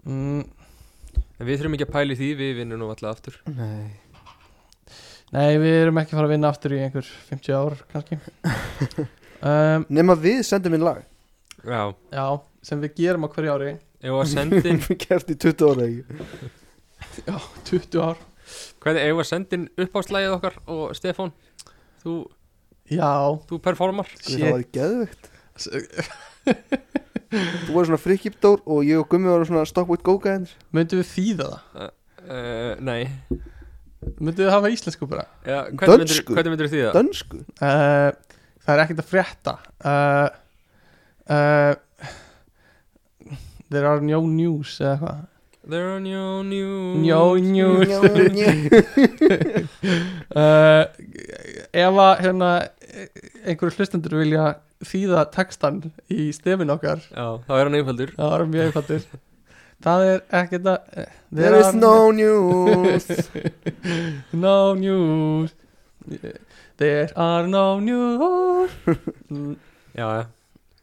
[SPEAKER 4] mm,
[SPEAKER 2] En við þurfum ekki að pæli því, við vinnum nú alltaf aftur
[SPEAKER 1] Nei.
[SPEAKER 4] nei, við erum ekki fara að vinna aftur í einhver 50 ár kannski um,
[SPEAKER 1] Nefn að við sendum inn lag.
[SPEAKER 2] Já,
[SPEAKER 4] já, sem við gerum á hverju ári
[SPEAKER 2] ef að sendin
[SPEAKER 1] Við kæft í 20 ára ekki.
[SPEAKER 4] 20 ár
[SPEAKER 2] Hvernig, ef að sendin uppáslægið okkar og Stefán Þú,
[SPEAKER 4] já,
[SPEAKER 2] þú performar
[SPEAKER 1] Það var geðvegt.
[SPEAKER 4] s-
[SPEAKER 1] Þú var svona frikipdór og ég og Gummi varum svona stop with go-gæðinir
[SPEAKER 4] Myndum við þýða það?
[SPEAKER 2] uh, Nei
[SPEAKER 4] Myndum við hafa íslensku bara?
[SPEAKER 2] ja, Hvernig myndir,
[SPEAKER 1] Dönsku.
[SPEAKER 2] hvernig myndir því það?
[SPEAKER 1] Dönsku
[SPEAKER 4] uh, Það er ekkert að frétta uh, uh, There are no news eða hvað
[SPEAKER 2] There are no news
[SPEAKER 4] No
[SPEAKER 1] Mm,
[SPEAKER 4] news uh, Ef að hérna, einhverju hlustendur vilja þýða textan í stefin okkar
[SPEAKER 2] Já, þá er hann einfaldur
[SPEAKER 4] það var mjög einfaldur Það er ekkert að eh,
[SPEAKER 1] There is no news
[SPEAKER 4] no news There are no news Mm,
[SPEAKER 2] Já, já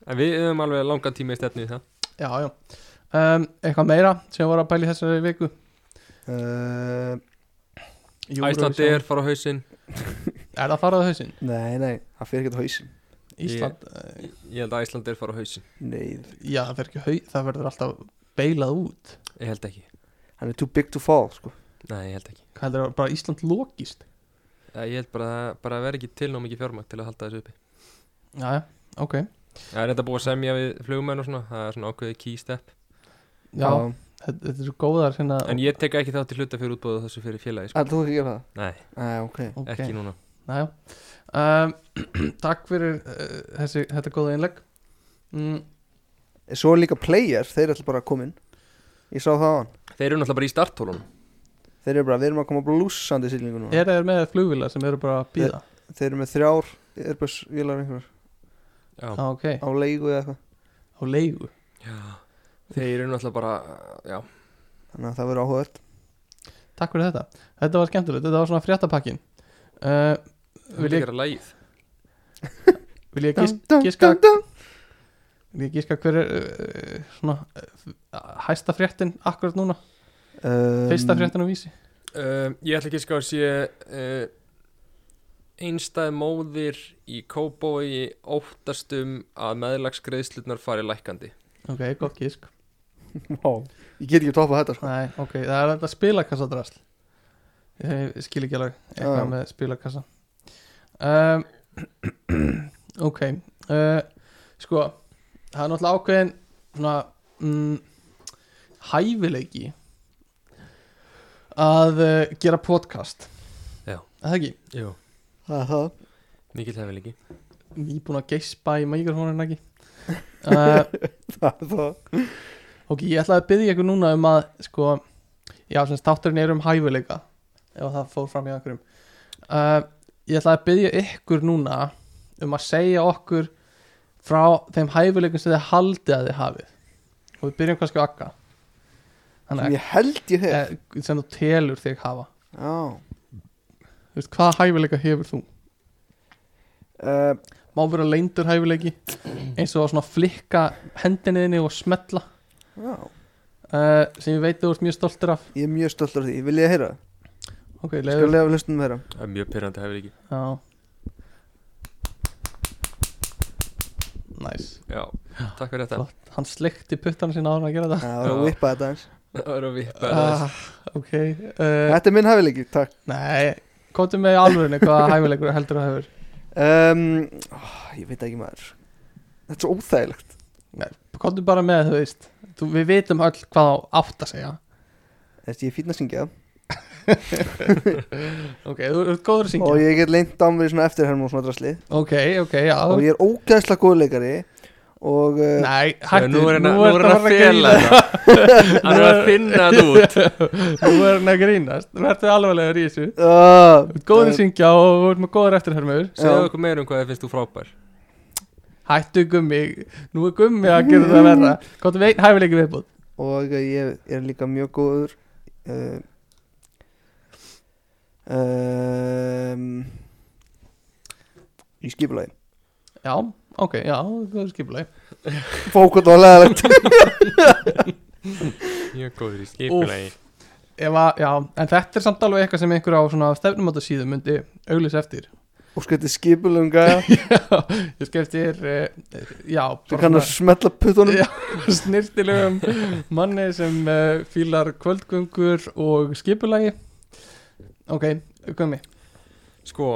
[SPEAKER 2] En við höfum alveg langan tíma í stefnu í það
[SPEAKER 4] Já, já um, Eitthvað meira sem voru að pæli þessari viku
[SPEAKER 1] uh,
[SPEAKER 4] Eurovision.
[SPEAKER 2] Æslandi er fara á hausinn
[SPEAKER 4] Er það farað á hausinn?
[SPEAKER 1] Nei, nei, það fyrir ekkert á hausin
[SPEAKER 4] Ísland yeah.
[SPEAKER 2] Ég held að Æslandi er fara á hausinn
[SPEAKER 1] Nei,
[SPEAKER 4] Já, það fer ekki haus Það verður alltaf beilað út
[SPEAKER 2] Ég held ekki
[SPEAKER 1] hann er too big to fall sko.
[SPEAKER 2] Nei, ég held ekki
[SPEAKER 4] Hvað heldur það? Bara Ísland lokist
[SPEAKER 2] Eh, Ég held bara, að- bara að vera ekki til ná mikið fjármagn til að halda þessu uppi
[SPEAKER 4] Já, já, ok
[SPEAKER 2] Það er þetta búið að semja við flugmenn og svona Það er svona ákveðið key step
[SPEAKER 4] Já, þetta, þetta er svo góðar hérna
[SPEAKER 2] En ég tek ekki þátt í hluta fyrir útbóðu þessu fyrir félagi sko.
[SPEAKER 1] Það þú ekki að gera það?
[SPEAKER 2] Nei,
[SPEAKER 1] Æ, ok
[SPEAKER 4] Ok.
[SPEAKER 2] ekki núna
[SPEAKER 4] Já, já um, Takk fyrir uh, þessi, þetta góða innlegg mm,
[SPEAKER 1] Svo er líka player, þeir ætla bara að koma inn Ég sá það á hann
[SPEAKER 2] Þeir eru náttúrulega bara í starthólunum
[SPEAKER 1] Þeir eru bara, við erum að koma blúsandi siglingu núna
[SPEAKER 4] Er það með flugvila sem eru bara að býða?
[SPEAKER 1] Þeir eru með þrjár Airbus vélar einhverjar
[SPEAKER 2] Já.
[SPEAKER 4] Já, Ah, ok
[SPEAKER 1] Á leigu eða eitthvað
[SPEAKER 4] Á leigu
[SPEAKER 2] Já Þeir eru náttúrulega bara, já
[SPEAKER 1] Þannig að það verður áhugavert
[SPEAKER 4] Takk fyrir þetta Þetta var skemmtilegt Þetta var svona fréttapakkin uh,
[SPEAKER 2] Vil
[SPEAKER 4] Vil
[SPEAKER 2] ég
[SPEAKER 4] ég,
[SPEAKER 2] gera lægið?
[SPEAKER 4] vil ég gís,
[SPEAKER 1] Dun, dun,
[SPEAKER 4] gíska
[SPEAKER 1] dun, dun.
[SPEAKER 4] Vil ég gíska hver er uh, svona uh, hæsta fréttin akkurat núna
[SPEAKER 1] Um,
[SPEAKER 4] Fyrsta fréttin á vísi
[SPEAKER 2] Um, ég ætla ekki að ská að sé uh, einstæð móðir í kóbói óttastum að meðlagsgreðslutnar fari lækandi
[SPEAKER 4] Ok, gott gísk
[SPEAKER 1] Vá, Ég get ekki að toppa þetta sko.
[SPEAKER 4] Nei, ok, það er þetta spilakassadrasl Ég skil ekki alveg
[SPEAKER 1] Já, já.
[SPEAKER 4] eitthvað með spilakassa um, Ok uh, Sko, það er náttúrulega ákveðin svona mm, hæfileiki að uh, gera podcast
[SPEAKER 2] Já.
[SPEAKER 4] Er Það ekki,
[SPEAKER 2] Jú,
[SPEAKER 1] Það er það
[SPEAKER 2] mikill hefði líki
[SPEAKER 4] nýbúin að geispa í mikrofónin ekki uh,
[SPEAKER 1] Það er það
[SPEAKER 4] Ok, ég ætlaði að byggja ykkur núna um að sko, já, sem státturinn er um hæfileika ef það fór fram í einhverjum uh, Ég ætlaði að byggja ykkur núna um að segja okkur frá þeim hæfileikum sem þið haldið að þið hafið og við byrjum kannski á akka
[SPEAKER 1] Sem
[SPEAKER 4] Þannig
[SPEAKER 1] ég held ég hef
[SPEAKER 4] að eh, sem þú telur þig hafa
[SPEAKER 1] Já
[SPEAKER 4] Þú veist, hvaða hæfileika hefur þú?
[SPEAKER 1] uh,
[SPEAKER 4] Má vera leindur hæfileiki eins og svona flikka hendinniðinni og smetla
[SPEAKER 1] Já
[SPEAKER 4] uh, sem ég veit þú ert mjög stoltur af
[SPEAKER 1] Ég er mjög stolt af því Vil ég heyra?
[SPEAKER 4] Ok,
[SPEAKER 1] Skal
[SPEAKER 4] leiður
[SPEAKER 1] lefa hlustum meira
[SPEAKER 2] Það er mjög pyrrandi hefði líki
[SPEAKER 4] Já Næs
[SPEAKER 2] Já, takk fyrir þetta
[SPEAKER 4] Flott. Hann sleikti puttana sína ára að gera þetta
[SPEAKER 1] Það var að
[SPEAKER 2] Já.
[SPEAKER 1] vippa þetta eins
[SPEAKER 4] Eh.
[SPEAKER 2] Það var að vippa
[SPEAKER 4] ah,
[SPEAKER 2] aðeins.
[SPEAKER 4] Ok uh,
[SPEAKER 1] Þetta er minn hæfileiki, takk
[SPEAKER 4] Nei, komdu með í alvörinu hvaða hæfileikur heldur að hefur
[SPEAKER 1] um, ó, Ég veit ekki maður Þetta er svo óþægilegt
[SPEAKER 4] Komdu bara með þú veist þú, Við vitum öll hvað á átt að segja
[SPEAKER 1] Þessi ég er fínn að syngja
[SPEAKER 4] Ok, þú þú ert góður að syngja
[SPEAKER 1] Og ég get leint á mér í svona eftirhermum og svona drasli
[SPEAKER 4] Ok, ok, já
[SPEAKER 1] Og ég er ógæðslega góð leikari Og uh,
[SPEAKER 4] Nei,
[SPEAKER 2] Já,
[SPEAKER 4] hættu
[SPEAKER 2] Nú er hann að-
[SPEAKER 4] nú
[SPEAKER 2] nú er hann að
[SPEAKER 4] að
[SPEAKER 2] fela
[SPEAKER 4] grínast.
[SPEAKER 2] þetta Hann er að finna þetta út
[SPEAKER 4] Nú er hann að grínast Vertu alvarlegur í þessu
[SPEAKER 1] uh,
[SPEAKER 4] Þú ert góður að syngja og þú ert með góður eftirhermur
[SPEAKER 2] Segðu okkur meira um hvað þið finnst þú frábær
[SPEAKER 4] Hættu gummi, nú er gummi að gera það verra Hvað er hæfileiki viðbúð?
[SPEAKER 1] Og uh, ég er líka mjög góður uh, um, Í skipulagi
[SPEAKER 4] Já, ok, já, það er skipulegi
[SPEAKER 1] Fókut og leðalegt
[SPEAKER 2] Mjög góður í skipulagi
[SPEAKER 4] Ef að, já, en þetta er samt alveg eitthvað sem einhver á svona stefnumóta síðum myndi auglýsa eftir
[SPEAKER 1] Og sko þetta er skipulagum gæja
[SPEAKER 4] Ég skefti þér, uh, já
[SPEAKER 1] Svo kann að smetla puttunum
[SPEAKER 4] Já, snirtilegum manni sem uh, fílar kvöldgöngur og skipulegi Ok, gummi
[SPEAKER 2] Sko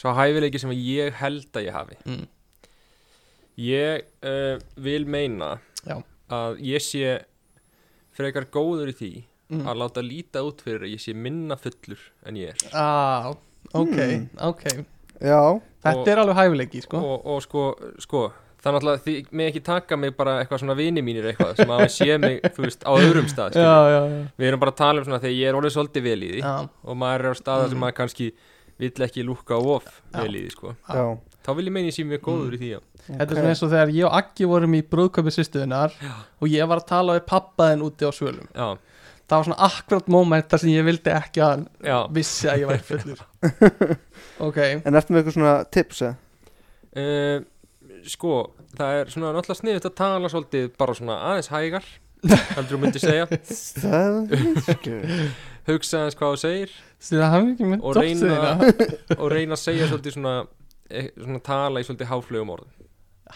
[SPEAKER 2] Svo hæfileiki sem ég held að ég hafi
[SPEAKER 4] mm.
[SPEAKER 2] Ég uh, vil meina
[SPEAKER 4] Já.
[SPEAKER 2] að ég sé frekar góður í því
[SPEAKER 4] mm.
[SPEAKER 2] að láta líta út fyrir að ég sé minna fullur en ég er
[SPEAKER 4] ah, ok,
[SPEAKER 1] Mm.
[SPEAKER 4] ok
[SPEAKER 1] já,
[SPEAKER 4] þetta
[SPEAKER 2] Og-
[SPEAKER 4] er alveg hæfileiki sko.
[SPEAKER 2] og, og sko, sko þannig að þið með ekki taka mig bara eitthvað svona vini mínir eitthvað sem að sé mig, þú veist, á öðrum stað
[SPEAKER 4] já,
[SPEAKER 2] skilur.
[SPEAKER 4] já, já,
[SPEAKER 2] við erum bara að tala um svona þegar ég er orðið svolítið vel í því
[SPEAKER 4] já. Mm.
[SPEAKER 2] og maður er á staða sem maður kannski vill ekki lúkka of
[SPEAKER 4] Já.
[SPEAKER 2] vel í því sko
[SPEAKER 4] Já.
[SPEAKER 1] já
[SPEAKER 2] þá vil ég meina ég sé mjög góður í því já.
[SPEAKER 4] Ah. Þetta er svona eins og þegar ég og Aggi vorum í brúðköpi sýstuðinar og ég var að tala við pappaðin úti á svölum.
[SPEAKER 2] Já,
[SPEAKER 4] Það var svona akkurat moment þar sem ég vildi ekki að hann
[SPEAKER 2] já.
[SPEAKER 4] vissi að ég væri fullur. ok,
[SPEAKER 1] En eftir með eitthvað svona tips, eh? eða?
[SPEAKER 2] Uh, sko, það er svona náttúrulega sniðut að tala svolítið bara svona aðeins hægar heldur þú myndi segja
[SPEAKER 1] Það er
[SPEAKER 2] hugsa aðeins hvað þú segir
[SPEAKER 4] stýra hann ekki með hérna?
[SPEAKER 2] Og reyna-
[SPEAKER 4] dóttuðina.
[SPEAKER 2] og reyna að segja svolítið svona, eh, svona tala í svolítið háflögum orðum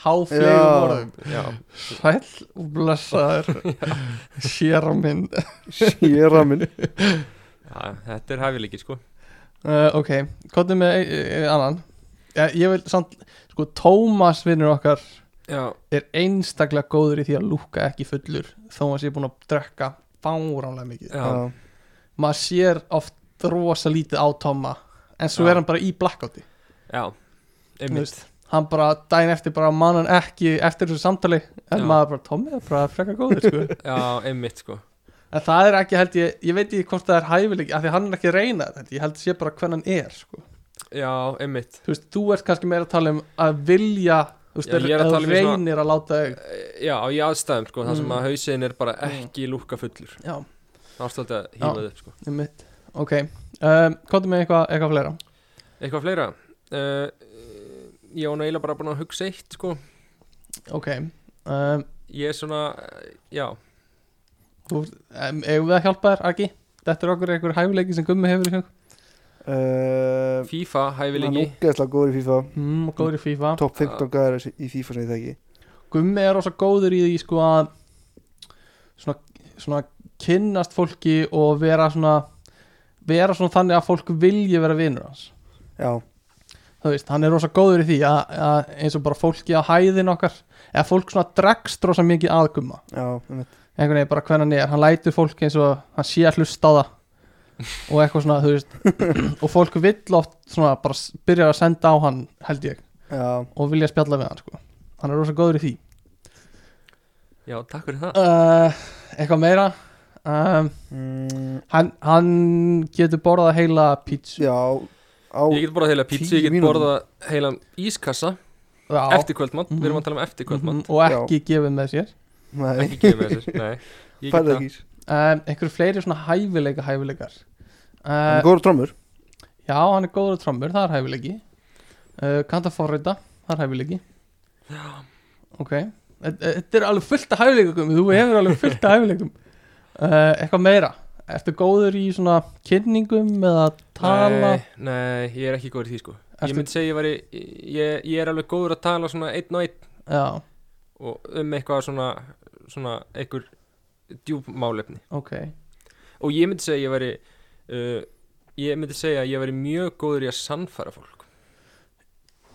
[SPEAKER 4] Háflegum
[SPEAKER 1] Já.
[SPEAKER 4] orðum.
[SPEAKER 2] já,
[SPEAKER 4] um Sæll og blessaður. Sér á minn.
[SPEAKER 1] Sér að minn
[SPEAKER 2] ja, þetta er hæfileiki sko
[SPEAKER 4] Uh, ok, hvað er með uh, annan? Ja, ég vil samt, sko, Tómas vinnur okkar
[SPEAKER 2] já,
[SPEAKER 4] er einstaklega góður í því að lúka ekki fullur þó að sé búin að drekka fáránlega mikið.
[SPEAKER 2] já,
[SPEAKER 1] Já,
[SPEAKER 4] maður sér oft rosa lítið á Tomma en svo
[SPEAKER 2] Já.
[SPEAKER 4] er hann bara í blackouti
[SPEAKER 2] já
[SPEAKER 4] þú
[SPEAKER 2] einmitt,
[SPEAKER 4] veist. hann bara daginn eftir bara man hann ekki eftir þessu samtali en
[SPEAKER 2] Já.
[SPEAKER 4] maður bara Tommi er bara frekar góður sko.
[SPEAKER 2] já, einmitt sko
[SPEAKER 4] en það er ekki held ég, ég veit ekki hvort það er hæfileik af því hann er ekki að reyna þetta, held ég. ég held sé bara hvern hann er sko.
[SPEAKER 2] já, einmitt
[SPEAKER 4] þú veist, þú ert kannski meira að tala um að vilja þú veist,
[SPEAKER 2] Já,
[SPEAKER 4] er,
[SPEAKER 2] ég er að
[SPEAKER 4] að
[SPEAKER 2] tala um í svona-
[SPEAKER 4] reynir að láta þig
[SPEAKER 2] Eh, já, í aðstæðum sko, það sem
[SPEAKER 4] Mm.
[SPEAKER 2] að hausin er bara ekki lúkka fullur
[SPEAKER 4] já,
[SPEAKER 2] þá er svolítið að
[SPEAKER 4] Já.
[SPEAKER 2] hýmaði upp sko
[SPEAKER 4] um mitt ok, um, hvað með eitthvað, eitthvað fleira
[SPEAKER 2] eitthvað fleira uh, ég án eiginlega bara búin að hugsa eitt sko
[SPEAKER 4] ok, um,
[SPEAKER 2] ég er svona, eh, já
[SPEAKER 4] þú, um, eigum við að hjálpa þér, Aggi? Þetta er okkur einhver hæfileiki sem Gummi hefur í hug
[SPEAKER 1] uh,
[SPEAKER 2] FIFA
[SPEAKER 1] Hann
[SPEAKER 2] hæfileiki
[SPEAKER 1] úgeðslega góður í FIFA
[SPEAKER 4] mm, og góður í FIFA
[SPEAKER 1] Top 15 gæðar í FIFA sem ég þekki
[SPEAKER 4] Gummi er rosa góður í því sko að svona, svona kynnast fólki og vera svona vera svona þannig að fólk vilji vera vinur hans
[SPEAKER 1] Já,
[SPEAKER 4] þú veist, hann er rosa góður í því að, að eins og bara fólki á hæðin okkar eða fólk svona dregst rosa mikið að Gumma
[SPEAKER 1] já, einmitt.
[SPEAKER 4] einhvern veginn bara hvernig hann er, hann lætur fólk eins og hann sé að hlusta á það og eitthvað svona, þú veist og fólk vill oft svona bara s- byrjar að senda á hann, held ég
[SPEAKER 1] já
[SPEAKER 4] og vilja spjalla við hann sko hann er rosa góður í því
[SPEAKER 2] já, takk fyrir það
[SPEAKER 4] uh, eitthvað meira um,
[SPEAKER 1] mm,
[SPEAKER 4] hann, hann getur borðað heila pítsu
[SPEAKER 1] Já, á
[SPEAKER 2] ég get borðað heila pizza,
[SPEAKER 1] tíu
[SPEAKER 2] ég get
[SPEAKER 1] mínútum.
[SPEAKER 2] borðað heilan ískassa
[SPEAKER 4] Já,
[SPEAKER 2] eftir kvöldmatt, við erum
[SPEAKER 4] Mhm.
[SPEAKER 2] að tala um eftir
[SPEAKER 4] mhm,
[SPEAKER 2] kvöldmatt
[SPEAKER 4] og ekki gefið með sér
[SPEAKER 1] Nei,
[SPEAKER 2] ekki gefið með sér, nei Ég get
[SPEAKER 1] færðu
[SPEAKER 2] það.
[SPEAKER 1] ekki í.
[SPEAKER 4] um, einhver fleiri svona hæfileika hæfileikar
[SPEAKER 2] Eh,
[SPEAKER 1] Hann er
[SPEAKER 4] uh,
[SPEAKER 1] góður trommur
[SPEAKER 4] já, hann er góður á trommur, það er hæfileiki uh, kanta forrita, það er hæfileiki ok Þe- þetta er alveg fullt af hæfileikum þú hefur alveg fullt af hæfileikum uh, eitthvað meira ertu góður í svona kynningum eða tala
[SPEAKER 2] Nei, nei, ég er ekki góður í því sko
[SPEAKER 4] Ertu-
[SPEAKER 2] Ég myndi segja ég væri, ég, ég er alveg góður að tala svona einn og einn
[SPEAKER 4] já,
[SPEAKER 2] og um eitthvað svona, svona einhver djúpmálefni
[SPEAKER 4] ok
[SPEAKER 2] og ég myndi segja ég væri uh, ég myndi segja ég væri mjög góður í að sannfæra fólk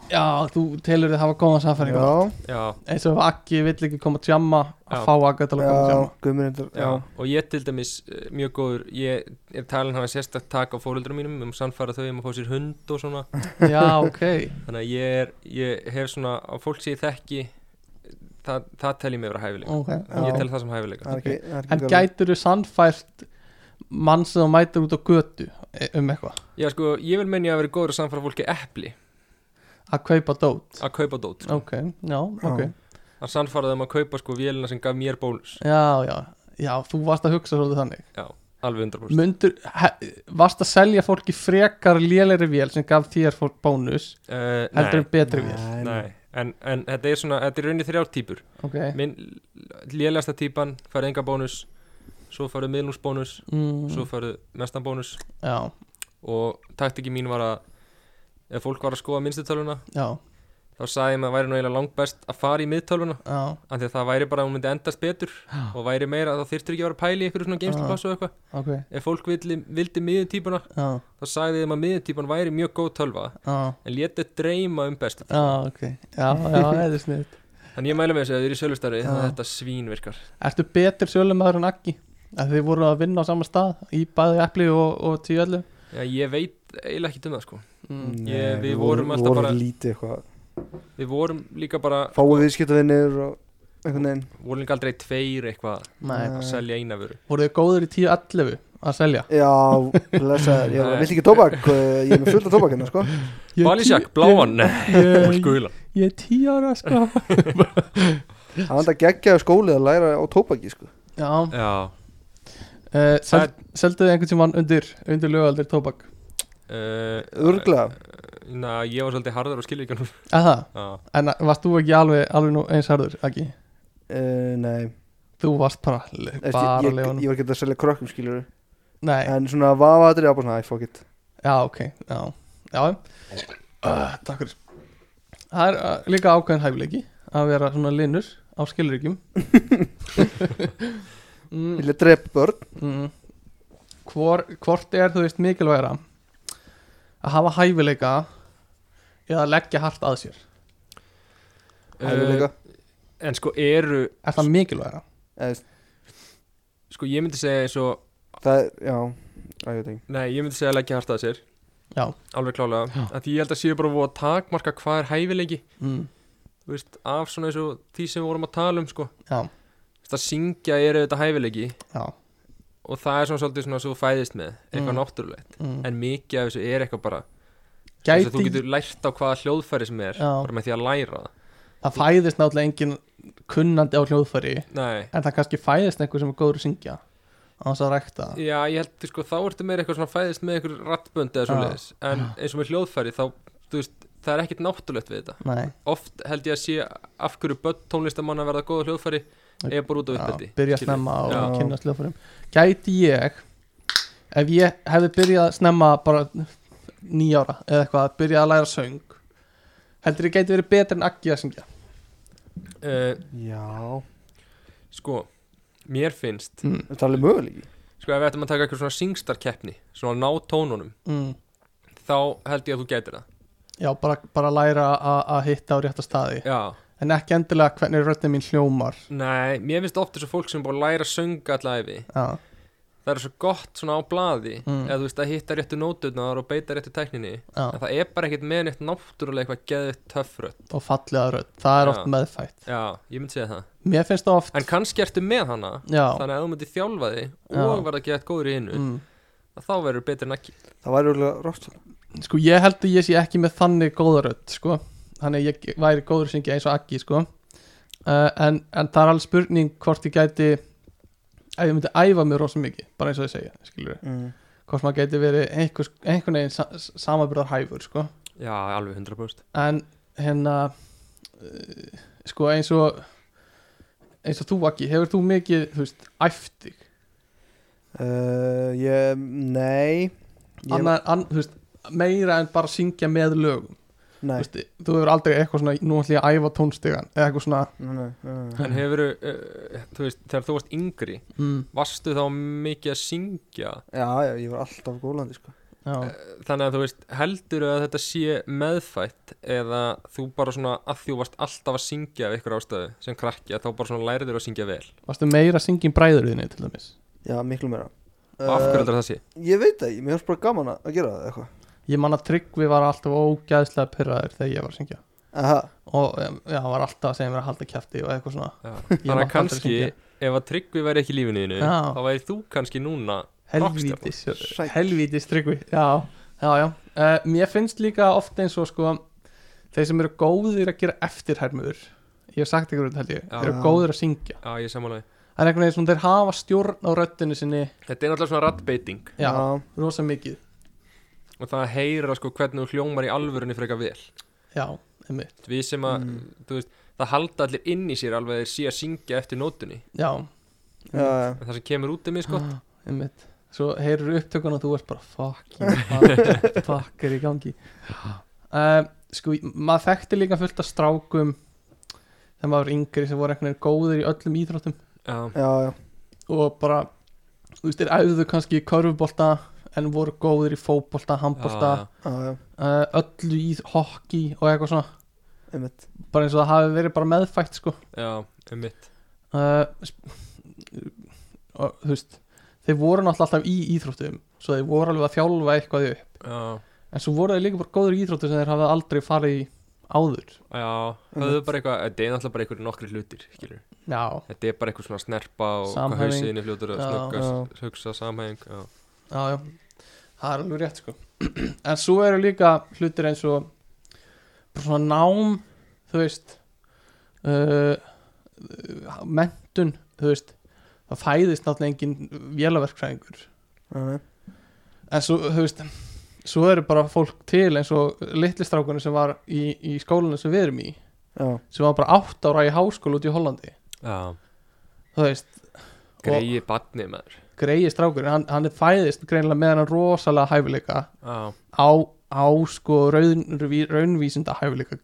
[SPEAKER 4] já, þú telur þið hafa góðan samfæringar
[SPEAKER 1] Já,
[SPEAKER 2] Já,
[SPEAKER 4] eins og Akki vill ekki koma að tjamma
[SPEAKER 2] Já.
[SPEAKER 4] að fá Akki til að koma að
[SPEAKER 1] já,
[SPEAKER 4] tjamma
[SPEAKER 1] guðmurindar
[SPEAKER 2] um já,
[SPEAKER 1] Já,
[SPEAKER 2] og ég til dæmis uh, mjög góður, ég er talin hafa sérstakt tak á fóröldrum mínum um að sannfæra þau um að fá sér hund og svona
[SPEAKER 4] já, ok,
[SPEAKER 2] þannig að ég er, ég hef svona á fólk sem ég þekki það, það tel ég mig vera hæfileika
[SPEAKER 4] ok
[SPEAKER 1] Já.
[SPEAKER 2] ég tel það sem hæfileika
[SPEAKER 1] það er ekki það er ekki
[SPEAKER 4] en
[SPEAKER 1] gaman.
[SPEAKER 4] gætur þú sannfært mann sem þú mætir út á götu e- um eitthvað,
[SPEAKER 2] já sko, ég vil menja að vera góður að sannfæra fólki epli
[SPEAKER 4] að kaupa dót
[SPEAKER 2] að kaupa dót, sko.
[SPEAKER 4] ok, já, ok
[SPEAKER 1] Já.
[SPEAKER 2] að sannfæra þeim að kaupa sko vélina sem gaf mér bónus
[SPEAKER 4] já, já, já, þú varst að hugsa svolítið þannig
[SPEAKER 2] alveg 100%
[SPEAKER 4] Mundur, he, varst að selja fólki frekar lélegri vél sem gaf þér fólk bónus
[SPEAKER 2] uh,
[SPEAKER 4] heldur um- en betri vél
[SPEAKER 1] Nei, nei.
[SPEAKER 2] nei En, en þetta er svona, þetta er raunin þrjár típur
[SPEAKER 4] ok,
[SPEAKER 2] minn lélasta típan farið enga bónus svo farið miðlungsbónus svo
[SPEAKER 4] mm,
[SPEAKER 2] farið mestan bónus
[SPEAKER 4] já,
[SPEAKER 2] og taktiki mín var að ef fólk var að skoða minnstutölvuna
[SPEAKER 4] já,
[SPEAKER 2] þá sagði ég maður að væri nú eiginlega langbest að fara í miðtölvuna
[SPEAKER 4] já
[SPEAKER 2] af því að það væri bara að hún myndi endast betur og væri meira að það þyrftur ekki að vera að pæli ykkur
[SPEAKER 4] Ah.
[SPEAKER 2] svona geimslupass og eitthvað
[SPEAKER 4] ok,
[SPEAKER 2] ef fólk vildi, vildi miðjutýpuna
[SPEAKER 4] já,
[SPEAKER 2] þá sagði þeim að miðjutýpan væri mjög góð tölva
[SPEAKER 4] já
[SPEAKER 2] en létið dreyma um bestu
[SPEAKER 4] Já, ok, já, já, það er sniðt
[SPEAKER 2] En ég mæla með þessu að þið eru í sölustari
[SPEAKER 4] Já.
[SPEAKER 2] þannig að þetta svín virkar
[SPEAKER 4] Ertu betur sölumæður en Aggi? Að þið voru að vinna á sama stað í bæði epli og, og tíu ellu
[SPEAKER 2] Já, ég veit eiginlega ekki um það sko
[SPEAKER 4] mm.
[SPEAKER 2] Ég- við
[SPEAKER 1] Nei,
[SPEAKER 2] vorum alltaf
[SPEAKER 1] vorum
[SPEAKER 2] bara-
[SPEAKER 1] lítið eitthvað
[SPEAKER 2] Við vorum líka bara,
[SPEAKER 1] Fáið viðskiptavinnir og einhvern veginn
[SPEAKER 2] vorum líka aldrei tveir eitthvað
[SPEAKER 4] Nei,
[SPEAKER 2] að
[SPEAKER 1] Nei.
[SPEAKER 2] selja eina vöru
[SPEAKER 4] voru þið góður í tíu ellu að selja?
[SPEAKER 1] Já, lesaður, ég
[SPEAKER 2] Nei.
[SPEAKER 1] vilt ekki tóbak eh, Ég er með fullt af tóbak hérna, sko
[SPEAKER 4] Ég er
[SPEAKER 2] Balisjak,
[SPEAKER 4] tíu-
[SPEAKER 2] bláan, nei,
[SPEAKER 4] ég, ég,
[SPEAKER 2] guðla
[SPEAKER 4] ég er tíu ára sko
[SPEAKER 1] Það vant að geggja skólið að læra á tóbaki, sko
[SPEAKER 4] Já,
[SPEAKER 2] Já,
[SPEAKER 4] uh,
[SPEAKER 2] það
[SPEAKER 4] sel, selduðu einhvern tímann undir, undir lögaldir tóbak?
[SPEAKER 2] er
[SPEAKER 1] Örglega
[SPEAKER 2] Na, Eh, ég var svolítið harður og skilja ekki nú
[SPEAKER 4] Eða,
[SPEAKER 2] Já,
[SPEAKER 4] en varst þú ekki alveg, alveg nú eins harður, ekki?
[SPEAKER 1] Uh, nei,
[SPEAKER 4] Þú varst bara, le-
[SPEAKER 1] Eftir,
[SPEAKER 4] bara
[SPEAKER 1] ég,
[SPEAKER 4] lefunum
[SPEAKER 1] ég var ekki að selja krökkum skiljur
[SPEAKER 4] Nei,
[SPEAKER 1] En svona vafa þetta er bara svona, æ, fuck it
[SPEAKER 4] já, ok, já, já uh, Takk fyrir Það er uh, líka ákveðin hæfileiki að vera svona linur á skilríkjum
[SPEAKER 1] Ég
[SPEAKER 4] mm,
[SPEAKER 1] vil drepa börn
[SPEAKER 4] mm. Hvor, Hvort er þú veist mikilvægra að hafa hæfileika eða leggja hart að sér?
[SPEAKER 1] Hæfileika
[SPEAKER 2] uh, En sko eru,
[SPEAKER 4] Er það mikilvægra?
[SPEAKER 1] Eða, veist,
[SPEAKER 2] sko ég myndi segja eins og
[SPEAKER 1] Það er, já, að ég veit ekki
[SPEAKER 2] Nei, ég myndi segja að leggja hart að sér
[SPEAKER 4] Já.
[SPEAKER 2] Alveg klálega, að því ég held að séu bara að takmarka hvað er hæfileiki
[SPEAKER 4] Mm.
[SPEAKER 2] þú veist, af svona eins og því sem við vorum að tala um sko.
[SPEAKER 4] Já,
[SPEAKER 2] Þú veist, að syngja er auðvitað hæfileiki
[SPEAKER 4] já
[SPEAKER 2] og það er svona svolítið svona svo þú fæðist með eitthvað
[SPEAKER 4] Mm.
[SPEAKER 2] náttúrulegt,
[SPEAKER 4] mm.
[SPEAKER 2] en mikið af þessu er eitthvað bara, þess að þú
[SPEAKER 4] Gæti,
[SPEAKER 2] getur lært á hvaða hljóðfæri sem er,
[SPEAKER 4] Já.
[SPEAKER 2] bara með því að læra það
[SPEAKER 4] það fæðist náttúrulega engin kunnandi á hljóðfæri
[SPEAKER 2] Nei,
[SPEAKER 4] en það kannski fæðist einhver sem er góður að syngja á þess að rækta það.
[SPEAKER 2] já, ég held, sko, þá ertu meira eitthvað svona fæðist með einhver rattbönd eða
[SPEAKER 4] Já.
[SPEAKER 2] svoleiðis, en eins og með hljóðfæri þá, þú veist, það er ekkert náttúrulegt við þetta
[SPEAKER 4] Nei,
[SPEAKER 2] oft held ég að sé af hverju börn tónlistamanna verða góða hljóðfæri eða bara út af
[SPEAKER 4] já,
[SPEAKER 2] uppeldi
[SPEAKER 4] byrja
[SPEAKER 2] skilur.
[SPEAKER 4] snemma
[SPEAKER 2] Já.
[SPEAKER 4] og kynna hljóðfærum Gæti ég ef ég hefði byrjað snemma bara nýja ára eða eitthvað, byrjað að læra söng heldur ég gæti verið betur en ekki að syngja
[SPEAKER 2] Eh,
[SPEAKER 1] Já,
[SPEAKER 2] sko, mér finnst
[SPEAKER 4] mm.
[SPEAKER 1] þetta er alveg möguleiki
[SPEAKER 2] sko ef við ættum að taka eitthvað svona singstarkeppni svona að ná tónunum
[SPEAKER 4] Mm.
[SPEAKER 2] þá held ég að þú gætir það
[SPEAKER 4] Já, bara, bara læra a- að hitta á rétta staði
[SPEAKER 2] já,
[SPEAKER 4] en ekki endilega hvernig röddin mín hljómar
[SPEAKER 2] nei, mér finnst ofta þessu fólk sem er búið að læra að sönga allæfi
[SPEAKER 4] Já,
[SPEAKER 2] það er svo gott svona á blaði
[SPEAKER 4] Mm.
[SPEAKER 2] eða þú veist að hitta réttu nóturnar og beita réttu tækninni
[SPEAKER 4] já,
[SPEAKER 2] en það er bara ekkert með neitt náttúrulega eitthvað geðið töffrött
[SPEAKER 4] og fallega rödd það er
[SPEAKER 2] Já.
[SPEAKER 4] oft meðfætt
[SPEAKER 2] já, ég myndi segja það
[SPEAKER 4] Mér finnst það oft
[SPEAKER 2] en kannski ertu með hana
[SPEAKER 4] Já,
[SPEAKER 2] þannig að ef þú myndir þjálfa þig
[SPEAKER 4] Já.
[SPEAKER 2] og verða geðið góður í innu
[SPEAKER 4] mm.
[SPEAKER 2] að þá verður betur en ekki
[SPEAKER 1] Það væri örgulega rátt svona.
[SPEAKER 4] Sko ég held að ég sé ekki með þannig góðarödd sko. Þannig að ég væri góður að syngja eins og Aggi sko. uh, en, en það er alveg spurning hvort ég gæti ef ég myndi æfa mig rosa mikið bara eins og ég segja, skilur við
[SPEAKER 1] mm.
[SPEAKER 4] hvort maður gæti verið einhvers, einhvern veginn sa samabyrðar hæfur sko.
[SPEAKER 2] já, alveg 100%
[SPEAKER 4] en hérna uh, sko eins og eins og þú Aggi, hefur þú mikið þú veist, æftig
[SPEAKER 1] uh, Ég, nei ég,
[SPEAKER 4] annar, an, þú veist, meira en bara syngja með lögum
[SPEAKER 1] Nei,
[SPEAKER 4] þú, veist, þú hefur aldrei eitthvað svona nú ætlum ég að æfa tónstegan eða eitthvað svona
[SPEAKER 1] nei, nei, nei,
[SPEAKER 2] en hefur, uh, þú veist, þegar þú varst yngri
[SPEAKER 4] mm,
[SPEAKER 2] varstu þá mikið að syngja
[SPEAKER 1] Já, já, ég var alltaf gólandi, sko
[SPEAKER 4] já,
[SPEAKER 2] þannig að þú veist, heldur að þetta sé meðfætt eða þú bara svona að þú varst alltaf að syngja af ykkur ástöðu sem krakki að þá bara svona lærir þér að syngja vel
[SPEAKER 4] varstu meira að syngja í bræðurðinni til dæmis
[SPEAKER 1] Já, miklu meira
[SPEAKER 2] og af hverju
[SPEAKER 1] Eh,
[SPEAKER 2] heldur það sé?
[SPEAKER 1] Ég veit það, ekki, mér finnst bara gaman að að gera það eitthvað
[SPEAKER 4] ég man að Tryggvi var alltaf ógæðslega pyrraður þegar ég var að syngja
[SPEAKER 1] Aha,
[SPEAKER 4] og um, já, hann var alltaf að segja mér að halda kjæfti og eitthvað svona
[SPEAKER 2] Já.
[SPEAKER 4] Ég
[SPEAKER 2] þannig
[SPEAKER 4] var
[SPEAKER 2] að kannski
[SPEAKER 4] aldrei að
[SPEAKER 2] ef að Tryggvi væri ekki í lífinu þínu
[SPEAKER 4] Já.
[SPEAKER 2] þá væri þú kannski núna
[SPEAKER 4] helvítis,
[SPEAKER 1] Sæll.
[SPEAKER 4] helvítis Tryggvi já, já, já uh, mér finnst líka oft eins og sko þeir sem eru góðir að gera eftirhermur ég hef sagt ykkur þetta held ég
[SPEAKER 2] Já.
[SPEAKER 4] eru góðir að syngja
[SPEAKER 2] já, ég samanlega
[SPEAKER 4] það er einhvern veginn svona þeir hafa stjórn á röddinu sinni
[SPEAKER 2] þetta er náttúrulega svona rattbeiting
[SPEAKER 4] já, rosa mikið
[SPEAKER 2] og það að heyra sko hvernig þú hljómar í alvörunni frekar vel
[SPEAKER 4] já, einmitt,
[SPEAKER 2] við sem að,
[SPEAKER 4] Mm.
[SPEAKER 2] þú veist, það halda allir inn í sér alveg að þeir sé að syngja eftir nótunni
[SPEAKER 4] já,
[SPEAKER 1] já, Mm. já
[SPEAKER 2] en það sem kemur út um sko. er misgott
[SPEAKER 4] Ah, einmitt svo heyrur upptökun og þú ert bara fuck, ég, fuck, fuck er í gangi uh, sko, maður þekkti líka fullt af strákum þegar maður var yngri sem voru einhvern veginn góðir í öllum íþróttum
[SPEAKER 2] já,
[SPEAKER 1] Já, já,
[SPEAKER 4] og bara, þú veist, þeir æfðu kannski í körfubolta en voru góðir í fótbolta, handbolta eh,
[SPEAKER 2] já,
[SPEAKER 1] já, já
[SPEAKER 4] uh, öllu í hockey og eitthvað svona
[SPEAKER 1] einmitt
[SPEAKER 4] bara eins og það hafi verið bara meðfætt sko
[SPEAKER 2] Já, um mitt
[SPEAKER 4] uh, sp- og, þú veist þeir voru náttúrulega alltaf í íþróttum svo þeir voru alveg að fjálfa eitthvað í upp
[SPEAKER 2] Já,
[SPEAKER 4] en svo voru þeir líka bara góður í íþróttum sem þeir hafa aldrei farið í áður
[SPEAKER 2] já, það er
[SPEAKER 1] Einmitt.
[SPEAKER 2] bara eitthvað Þetta er náttúrulega bara einhverju nokkri hlutir, skilur
[SPEAKER 4] já,
[SPEAKER 2] Þetta er bara eitthvað svona snerpa og hvað
[SPEAKER 4] Samhæfing.
[SPEAKER 2] hausinni fljótur að
[SPEAKER 4] Já,
[SPEAKER 2] snöggast Hugsa samhæng, já
[SPEAKER 4] já, já það er alveg rétt sko en svo eru líka hlutir eins og bara svona nám þú veist uh, uh, mentun þú veist það fæðist náttúrulega engin vélaverkfræðingur
[SPEAKER 1] Nei, nei.
[SPEAKER 4] en svo, þú veist svo eru bara fólk til eins og litlistrákunni sem var í, í skólanu sem við erum í
[SPEAKER 1] Já,
[SPEAKER 4] sem var bara átt ára í háskóla út í Hollandi
[SPEAKER 2] Já,
[SPEAKER 4] þú veist,
[SPEAKER 2] greiði barni maður
[SPEAKER 4] greiði strákunni hann, hann er fæðist greinilega með hann rosalega hæfileika
[SPEAKER 2] Já,
[SPEAKER 4] á, á sko raun, raunvísinda hæfileika